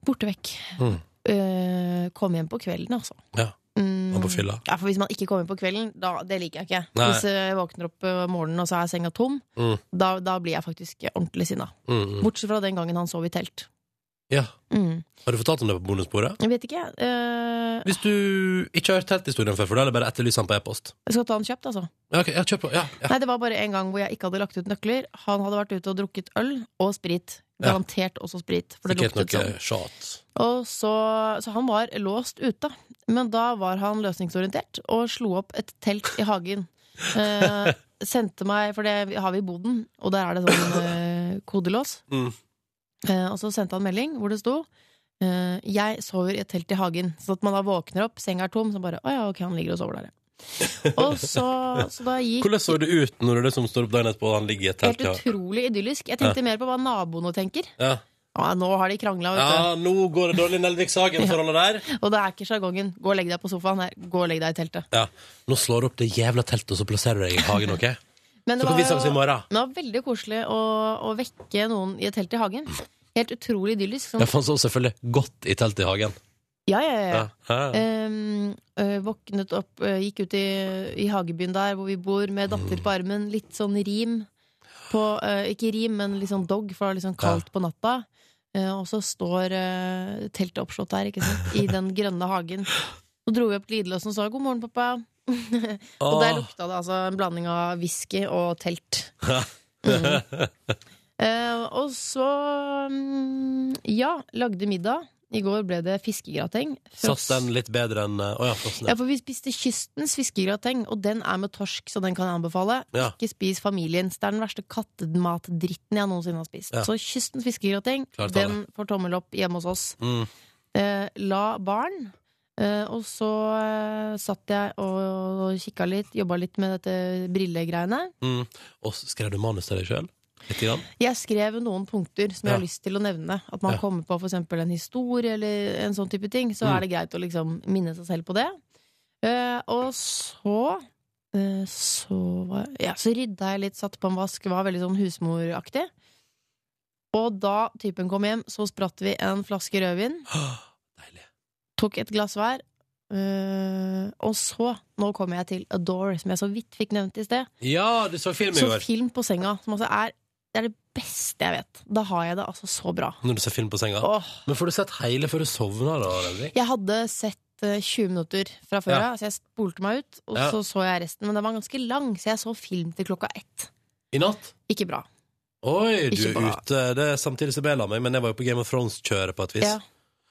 S4: Borte vekk.
S2: Mm.
S4: Eh, Kom hjem på kvelden, altså.
S2: Ja.
S4: Mm.
S2: Og på fylla.
S4: Ja, for hvis man ikke kommer på kvelden, da, det liker jeg ikke.
S2: Nei.
S4: Hvis eh, jeg våkner opp eh, om morgenen og så er senga tom,
S2: Mm.
S4: da, da blir jeg faktisk ordentlig sinna.
S2: Mm, mm.
S4: Bortsett fra den gangen han sov i telt.
S2: Ja.
S4: Mm.
S2: Har du fortalt om det på bonusbordet?
S4: Jeg vet ikke. eh,
S2: Hvis du ikke har hørt telthistorien før, for da er det bare å etterlyse den på e-post.
S4: jeg skal ta den kjapt, altså.
S2: Ja, ok, ja, kjør på. Ja, ja.
S4: Nei, det var bare en gang hvor jeg ikke hadde lagt ut nøkler. Han hadde vært ute og drukket øl og sprit.
S2: Ja. eh,
S4: Garantert også sprit, for det
S2: Sikkert
S4: luktet
S2: noe
S4: sånn.
S2: sjat.
S4: Og så, så han var låst ute, men da var han løsningsorientert og slo opp et telt i hagen. Eh, sendte meg, for det har vi i boden, og der er det sånn eh, kodelås.
S2: Mm.
S4: Eh, og så sendte han melding hvor det sto eh, 'Jeg sover i et telt i hagen'. Så at man da våkner opp, senga er tom, så bare 'Å ja, ok, han ligger og sover der', ja. Og så, så da gikk
S2: Hvordan så det ut når det som står opp dagen etterpå, og han ligger i et telt?
S4: Helt utrolig idyllisk. Jeg tenkte
S2: Ja.
S4: mer på hva naboene tenker.
S2: Ja.
S4: Ja, nå har de krangla, vet du.
S2: ja, nå går det dårlig i Nelvik-Sagen-forholdet der.
S4: Og det er ikke sjargongen. Gå og legg deg på sofaen. Her. Gå og legg deg i teltet.
S2: Ja. Nå slår du opp det jævla teltet, og så plasserer du deg i hagen, OK?
S4: Men det
S2: så kan
S4: var
S2: vi snakkes
S4: jo-
S2: i morgen.
S4: Det var veldig koselig å, å vekke noen i et telt i hagen. Helt utrolig idyllisk. Sånn.
S2: Jeg fant så selvfølgelig godt i teltet i hagen.
S4: Ja, ja, ja. ja.
S2: Ja, ja.
S4: Ehm, ø, våknet opp, ø, gikk ut i, i hagebyen der hvor vi bor, med datter på armen. Litt sånn rim. På, ø, ikke rim, men litt sånn dog, for det var litt sånn kaldt på natta. Eh, og så står ø, teltet oppslått der, ikke sant, i den grønne hagen. Så dro vi opp glidelåsen og sa 'god morgen, pappa'. og der
S2: Åh.
S4: lukta det altså en blanding av whisky og telt. Eh, og så mm, ja, lagde middag. I går ble det fiskegrateng.
S2: Satt den litt bedre enn eh, Å ja, frossen.
S4: Ja, for vi spiste kystens fiskegrateng, og den er med torsk, så den kan jeg anbefale.
S2: Ja.
S4: Ikke spis familiens. Det er den verste kattematdritten jeg noensinne har spist.
S2: Ja.
S4: Så kystens fiskegrateng,
S2: Klar tale.
S4: den får tommel opp hjemme hos oss.
S2: Mm.
S4: Eh, la barn. Eh, og så eh, satt jeg og kikka litt, jobba litt med dette brillegreiene.
S2: Mm. Og så skrev du manus til deg sjøl? Litt grann.
S4: Jeg skrev noen punkter som jeg
S2: Ja.
S4: har lyst til å nevne. At man
S2: Ja.
S4: kommer på for eksempel en historie eller en sånn type ting. Så
S2: Mm.
S4: er det greit å liksom minne seg selv på det. Eh, og så eh, så, var, ja, så rydda jeg litt, satt på en vask, var veldig sånn husmoraktig. Og da typen kom hjem, så spratt vi en flaske rødvin. Tok et glass hver. eh, og så, nå kommer jeg til Adore, som jeg så vidt fikk nevnt i sted.
S2: Ja, du så film i
S4: Så
S2: går.
S4: film på senga, som altså er det, er det beste jeg vet. Da har jeg det altså så bra.
S2: Når du ser film på senga. Men får du sett hele før du sovner, da? Henrik?
S4: Jeg hadde sett eh, 20 minutter fra før av,
S2: Ja.
S4: så jeg spolte meg ut, og
S2: Ja.
S4: så så jeg resten. Men den var ganske lang, så jeg så film til klokka ett.
S2: I natt?
S4: Ikke bra.
S2: Oi, du
S4: Ikke
S2: er
S4: bra.
S2: ute. Det er samtidig som jeg la meg, men jeg var jo på Game of Thrones-kjøret på et vis.
S4: Ja.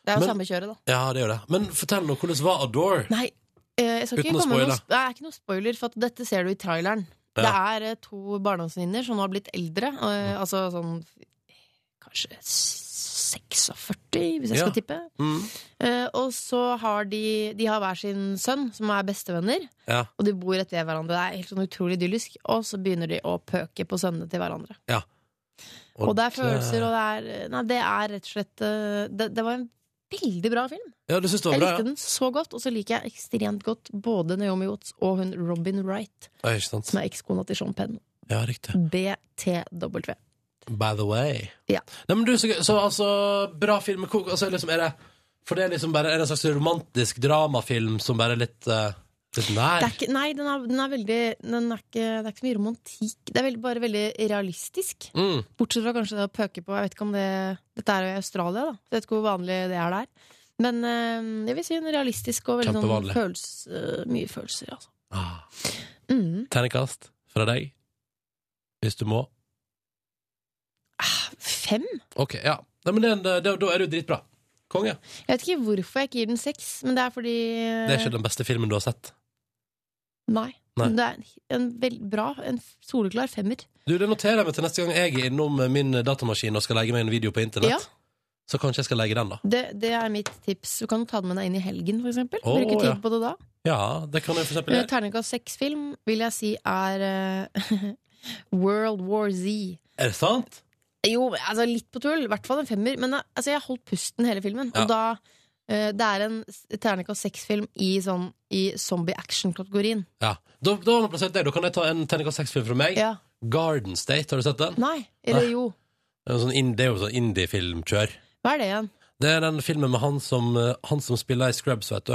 S4: Det er jo
S2: Men-
S4: samme kjøret, da.
S2: Ja, det gjør det. Men fortell nå, hvordan var Adore?
S4: Nei, eh, jeg skal
S2: Uten
S4: ikke
S2: å
S4: komme med
S2: spoile.
S4: noe, sp- det er ikke noe spoiler, for at dette ser du i traileren.
S2: Ja.
S4: Det er eh, to barndomsvenninner som nå har blitt eldre, eh, altså sånn kanskje 46, hvis jeg
S16: Ja.
S4: skal tippe.
S2: Mm.
S4: Eh, og så har de De har hver sin sønn, som er bestevenner.
S2: Ja.
S4: Og de bor rett ved hverandre. Det er helt sånn utrolig idyllisk. Og så begynner de å pøke på sønnene til hverandre.
S2: Ja.
S4: Og, det er følelser, og det er Nei, det er rett og slett eh, Det, det var en veldig bra film.
S2: Ja, du syns det var
S4: jeg
S2: bra?
S4: likte
S2: Ja.
S4: den så godt, og så liker jeg ekstremt godt både Naomi Watts og hun Robin Wright,
S2: Ja, ikke sant?
S4: som er ekskona til Sean Penn.
S2: Ja, riktig.
S4: BTW.
S2: By the way.
S4: Ja.
S2: Nei, men du, så, gøy. så altså, bra film. Hvor- Altså, liksom, er det, for det er liksom bare er det en slags romantisk dramafilm som bare er litt, eh, litt
S4: Det
S2: nær?
S4: er ikke, nei, den er, den er veldig den er ikke, Det er ikke så mye romantikk. Det er veldig, bare veldig realistisk.
S2: Mm.
S4: Bortsett fra kanskje det å pøke på Jeg vet ikke om det Dette er jo i Australia, da. Så jeg vet ikke hvor vanlig det er der. Men eh, jeg vil si en realistisk og veldig sånn
S2: Kjempevanlig.
S4: følelse, eh, mye følelser, altså.
S2: Ah.
S4: Mm.
S2: Terningkast fra deg, hvis du må.
S4: Fem?
S2: Ok, ja. Nei, men det, det, da er det jo dritbra. Konge.
S4: Jeg vet ikke hvorfor jeg ikke gir den seks, men det er fordi eh,
S2: Det er ikke den beste filmen du har sett.
S4: Nei.
S2: Nei.
S4: Det er en, en veldig bra, en soleklar femmer.
S2: Du, Det noterer jeg meg til neste gang jeg er innom min datamaskin og skal legge meg en video på internett.
S4: Ja.
S2: Så kanskje jeg skal legge den, da.
S4: Det, det er mitt tips. Du kan jo ta den med deg inn i helgen, for eksempel.
S2: Å,
S4: Bruke tid
S2: ja.
S4: på det da.
S2: Ja, det kan jeg for eksempel
S4: Eh,
S2: gjøre.
S4: Terningkast seks-film vil jeg si er eh, World War Z.
S2: Er det sant?
S4: Jo, altså litt på tull. I hvert fall en femmer. Men eh, altså, jeg holdt pusten hele filmen.
S2: Ja.
S4: Og da eh, Det er en s- terningkast seks-film i, sånn, i zombie action-kategorien.
S2: Ja. Da, da har vi plassert deg. Da kan jeg ta en terningkast seks-film fra meg.
S4: Ja.
S2: Garden State, har du sett den?
S4: Nei,
S2: Ah.
S4: eller jo.
S2: Det er jo sånn ind- det er jo sånn indie-filmkjør.
S4: Hva er det igjen?
S2: Det er den filmen med han som, eh, han som spiller i Scrubs, vet du.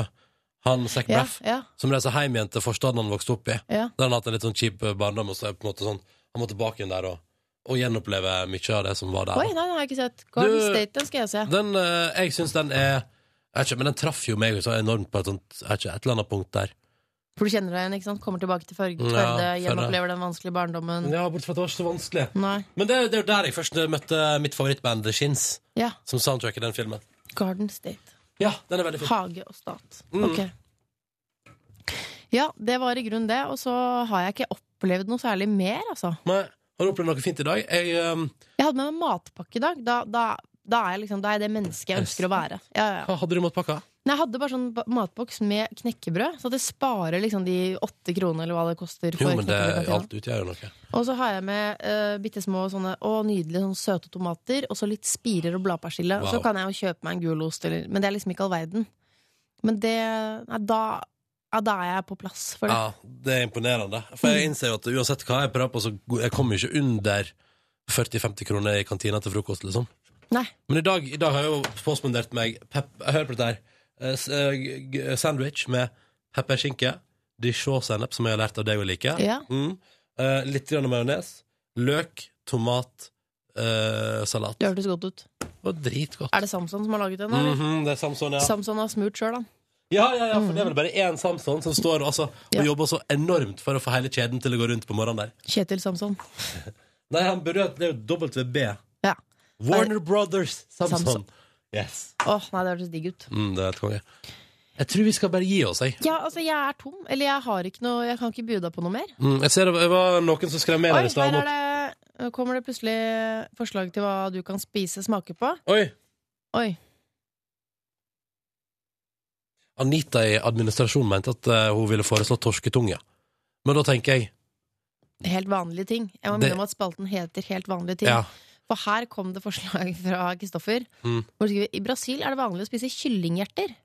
S2: Han Zac
S4: Ja,
S2: Braff.
S4: ja.
S2: Som reiser hjem igjen til forstaden han vokste opp i.
S4: Ja.
S2: Der han har hatt en litt sånn kjip eh, barndom, og så er på en måte sånn Han må tilbake igjen der og, og gjenoppleve mye av det som var der.
S4: Oi,
S2: da.
S4: nei, den har jeg ikke sett. Garden
S2: Du-
S4: State, den skal jeg se.
S2: Den, eh, jeg syns den er jeg vet ikke, Men den traff jo meg så enormt på et, sånt, jeg vet ikke, et eller annet punkt der.
S4: For du kjenner deg igjen, ikke sant? Kommer tilbake til Førde,
S2: Ja,
S4: Førde
S2: Førde.
S4: gjenopplever den vanskelige barndommen.
S2: Ja, bortsett fra at det var ikke så vanskelig.
S4: Nei.
S2: Men det, det er jo der jeg først eh, møtte mitt favorittband The Shins,
S4: Ja.
S2: som soundtracket i den filmen.
S4: Garden State.
S2: Ja, den er veldig fin.
S4: Hage og stat.
S2: Mm.
S4: Ok. Ja, det var i grunnen det. Og så har jeg ikke opplevd noe særlig mer, altså.
S2: Nei, har du opplevd noe fint i dag? Jeg, ehm,
S4: Jeg hadde med meg matpakke i dag. Da, da, da, er, jeg liksom, da er jeg det mennesket jeg ønsker å være. Ja, ja.
S2: hva hadde du måttet pakke?
S4: Nei, jeg hadde bare sånn ba- matboks med knekkebrød, så at jeg sparer liksom de åtte kronene eller hva det koster.
S2: Jo,
S4: for
S2: men det,
S4: knekkebrød i kantina.
S2: alt utgjør jo noe.
S4: Og så har jeg med uh, bitte små sånne å, nydelige sånne søte tomater, og så litt spirer og bladpersille. Og så
S2: Wow.
S4: kan jeg jo kjøpe meg en gulost, eller, men det er liksom ikke all verden. Men det Nei, da, ja, da er jeg på plass for det.
S2: Ja, det er imponerende. For
S4: Mm.
S2: jeg innser jo at uansett hva jeg prøver på, så go- jeg kommer jo ikke under 40-50 kroner i kantina til frokost, liksom.
S4: Nei.
S2: Men i dag, i dag har jeg jo påspandert meg pep, Hør på dette her. Eh, s- eh, g- g- Sandwich med pepperskinke, dijon-sennep, som jeg har lært av deg å like,
S4: Ja.
S2: mm. eh, litt grann majones, løk, tomat, eh, salat.
S4: Det hørtes godt ut.
S2: Det var dritgodt.
S4: Er det Samson som har laget den? eller?
S2: Mhm, det er Samson, ja.
S4: Samson har smurt sjøl, han.
S2: Ja, ja, ja, for det er vel bare én Samson som står altså, og
S4: Ja.
S2: jobber så enormt for å få hele kjeden til å gå rundt på morgenen der.
S4: Kjetil Samson.
S2: Nei, han burde jo Det er jo WB.
S4: Ja.
S2: Warner Brothers Samson.
S4: Samson.
S2: Yes.
S4: Åh, nei, det hørtes digg ut.
S2: Mm, det er helt konge. Jeg tror vi skal bare gi oss, jeg.
S4: Ja, altså, jeg er tom. Eller jeg har ikke noe Jeg kan ikke by deg på noe mer.
S2: Mm, jeg ser det var noen som skrev med
S4: Oi,
S2: der i stad.
S4: her
S2: om
S4: er det, kommer det plutselig forslag til hva du kan spise smake på.
S2: at- Oi!
S4: Oi.
S2: Anita i administrasjonen mente at eh, hun ville foreslå torsketunge. Men da tenker jeg
S4: helt vanlige ting. Jeg må
S2: Det-
S4: minne om at spalten heter Helt vanlige ting.
S2: Ja.
S4: For her kom det forslag fra Kristoffer.
S2: Mm.
S4: Hvor han skriver, I Brasil er det vanlig å spise kyllinghjerter.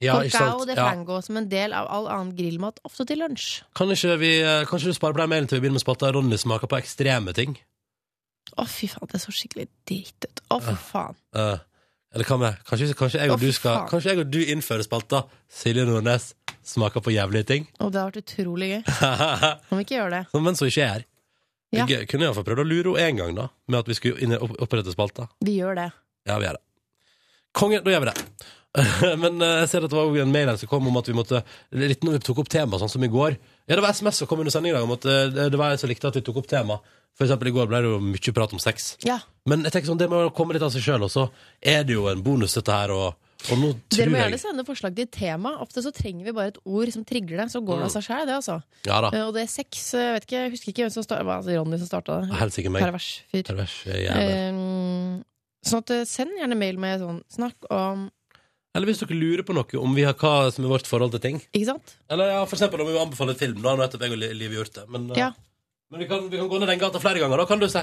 S2: Ja, ikke
S4: Cocao
S2: sant?
S4: de
S2: Ja.
S4: frango som en del av all annen grillmat, ofte til lunsj.
S2: Kan ikke vi, kanskje du sparer på den mailen til vi begynner med spatta Ronny smaker på ekstreme ting?
S4: Å, fy faen, det så skikkelig dritt ut. Å, for faen.
S2: Eh, eller hva med kanskje, kanskje, jeg og
S4: Å,
S2: du
S4: fy
S2: skal,
S4: faen.
S2: kanskje jeg og du innfører spalta Silje Nordnes smaker på jævlige ting?
S4: Å, det har vært utrolig gøy.
S2: Kan
S4: vi ikke gjøre det?
S2: Men så ikke jeg her.
S4: Ja.
S2: Jeg kunne iallfall prøvd å lure henne en gang, da, med at vi skulle inn- opp- opprette spalta.
S4: Vi gjør det.
S2: Ja, vi gjør det. Konge, da gjør vi det. Men eh, jeg ser at det var også en mail her som kom om at vi måtte Litt når vi tok opp tema, sånn som i går. Ja, det var SMS som kom under sending i dag om at eh, det var en som likte at vi tok opp tema. For eksempel i går ble det jo mye prat om sex.
S4: Ja.
S2: Men jeg tenker sånn, det må jo komme litt av seg sjøl, og så er det jo en bonus, dette her, og, og nå
S4: Dere
S2: tror
S4: må gjerne
S2: jeg
S4: sende forslag til tema. Ofte så trenger vi bare et ord som trigger det, så går det av seg sjæl, det, altså.
S2: Ja da.
S4: Eh, Og det er sex, eh, jeg vet ikke, jeg husker ikke hvem som starta altså Ronny som starta det.
S2: Helt sikkert meg.
S4: Pervers fyr.
S2: Pervers jævel.
S4: Eh, Sånn at eh, send gjerne mail med sånn snakk om
S2: Eller hvis dere lurer på noe om vi har hva som er vårt forhold til ting.
S4: Ikke sant?
S2: Eller ja, for eksempel om vi anbefaler et film. Nå har nettopp jeg og Li- Liv gjort det. Men, eh,
S4: Ja.
S2: men vi, kan, vi kan gå ned den gata flere ganger, da, kan du si.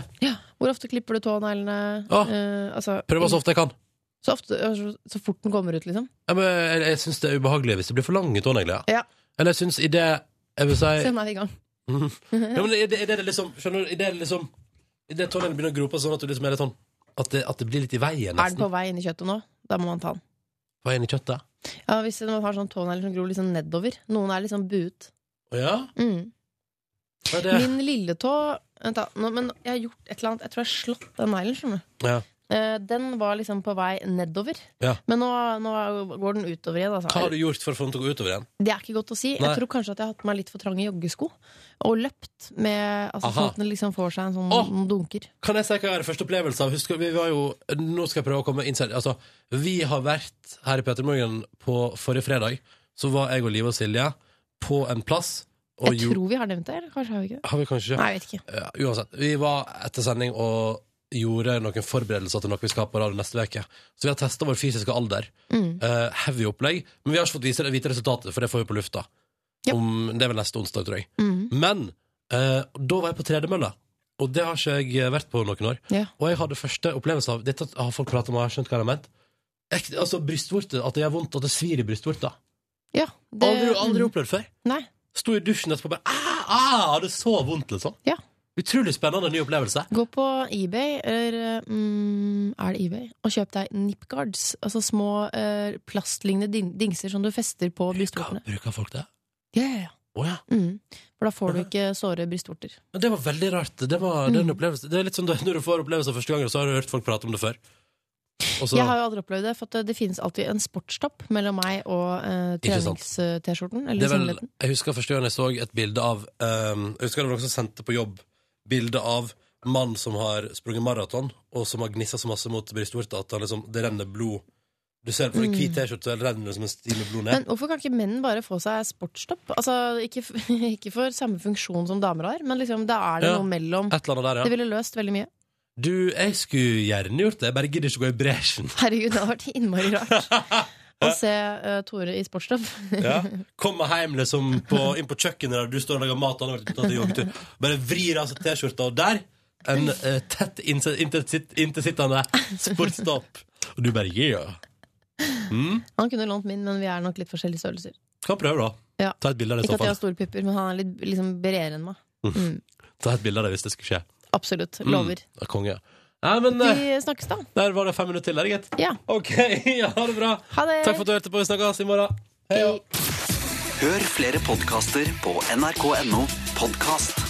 S4: Hvor ofte klipper du tåneglene?
S2: Åh,
S4: Eh, altså,
S2: Prøv så ofte jeg kan.
S4: Så, ofte, eh, så, så fort den kommer ut, liksom.
S2: Ja, men jeg jeg syns det er ubehagelig hvis det blir for lange tånegler.
S4: Ja.
S2: Eller jeg syns i det Jeg vil si
S4: Så nå er vi i gang.
S2: Mhm. ja, men i det, i det, det liksom Skjønner du? I det, liksom, i det tåneglene begynner å gro på sånn at du liksom er litt sånn at det, at det blir litt i veien,
S4: Er den
S2: nesten.
S4: på vei inn i kjøttet nå? Da må man ta den.
S2: På veien i kjøttet.
S4: Ja, Hvis man har sånn tånegler som gror liksom nedover. Noen er liksom buet.
S2: Å ja?
S4: Mm.
S2: Hva er det?
S4: Min lilletå Vent, da. Nå, men jeg har gjort et eller annet. Jeg tror jeg har slått den neglen. skjønner du.
S2: Ja.
S4: Eh, Den var liksom på vei nedover.
S2: ja.
S4: Men nå, nå går den utover igjen. Altså.
S2: Hva har du gjort for å få den til å gå utover igjen?
S4: Det er ikke godt å si.
S2: Nei.
S4: Jeg tror kanskje at jeg har hatt på meg litt for trange joggesko. Og løpt med altså,
S2: Aha.
S4: Sånn at den liksom får seg en sånn noen dunker.
S2: Kan jeg si hva er første opplevelse av? Husker, vi var jo, nå skal jeg prøve å komme inn selv. Altså, vi har vært her i Petermorgen på forrige fredag. Så var jeg og Liv og Silje på en plass. Og
S4: Jeg tror vi har nevnt det, eller kanskje har vi ikke det?
S2: Har vi kanskje ikke?
S4: Nei, jeg vet ikke.
S2: Ja, uansett. Vi var etter sending og gjorde noen forberedelser til noe vi skal ha på radio neste uke. Så vi har testa vår fysiske alder.
S4: Mm.
S2: Eh, heavy opplegg. Men vi har ikke fått vise, vite resultatet, for det får vi på lufta. Om, det er vel neste onsdag, tror jeg.
S4: Mhm.
S2: Men eh, da var jeg på tredemølla, og det har ikke jeg eh, vært på noen år.
S4: Ja.
S2: Og jeg hadde første opplevelse av Dette har folk pratet om, og jeg har skjønt hva de har ment. Ek- Altså, brystvorte. At det gjør vondt, at det svir i brystvorta.
S4: Ja, det, mm.
S2: Aldri, aldri opplevd før.
S4: Nei.
S2: Sto i dusjen etterpå bare ah, ah, Det er så vondt, liksom. Utrolig spennende ny opplevelse.
S4: Gå på eBay, eller mm, er det eBay, og kjøp deg nipguards. Altså små eh, plastlignende din dingser som du fester på brystvortene.
S2: Bruker folk det?
S4: Ja, ja, ja.
S2: Å, ja.
S4: Mm. For da får du ikke såre brystvorter.
S2: Men Det var veldig rart. Det, var, det, er en
S4: Mm.
S2: opplevelse. det er litt sånn det- når du får opplevelser første gangen, så har du hørt folk prate om det før. Og så,
S4: Jeg har jo aldri opplevd det, for at eh, det finnes alltid en sportstopp mellom meg og eh,
S2: Ikke sant.
S4: trenings-T-skjorten.
S2: det
S4: Eller
S2: er vel,
S4: singleten.
S2: jeg husker første gang jeg så et bilde av ehm, Jeg husker det var noen som sendte på jobb bilde av mann som har sprunget maraton, og som har gnissa så masse mot brystvorta at han liksom, det renner blod. Du ser på en
S4: Mm.
S2: hvit T-skjorte, det renner som en stil med blod ned.
S4: Men hvorfor kan ikke menn bare få seg sportstopp? Altså, ikke, f- ikke for samme funksjon som damer har, men liksom, da er det
S2: Ja,
S4: noe mellom.
S2: et eller annet der, ja.
S4: Det ville løst veldig mye.
S2: Du, jeg skulle gjerne gjort det, jeg bare gidder ikke gå i bresjen.
S4: Herregud, det har vært innmari rart å se eh, Tore i sportstopp.
S2: Ja. Komme hjem liksom på, inn på kjøkkenet der du står og lager mat, og han har vært ute og joggetur. Bare vrir av seg T-skjorta, og der en eh, tett innse- intersitt- intersittende sportstopp. Og du bare yeah. Mm.
S4: Han kunne lånt min, men vi er nok litt forskjellige størrelser.
S2: Kan prøve, da.
S4: Ja.
S2: Ta et bilde av det i
S4: Ikke
S2: så
S4: at jeg har
S2: fall.
S4: store pupper, men han er litt liksom, bredere enn meg. Mm.
S2: Ta et bilde av det hvis det skulle skje.
S4: Absolutt.
S2: Mm.
S4: Lover.
S2: Ja, Konge. Ja, men eh,
S4: Vi snakkes da.
S2: der var det fem minutter til, der, gitt.
S4: Ja.
S2: OK, ja, ha det bra.
S4: Ha det.
S2: Takk for at du hørte på. Vi snakkes i morgen. Hei.
S16: Hør flere podkaster på nrk.no podkast.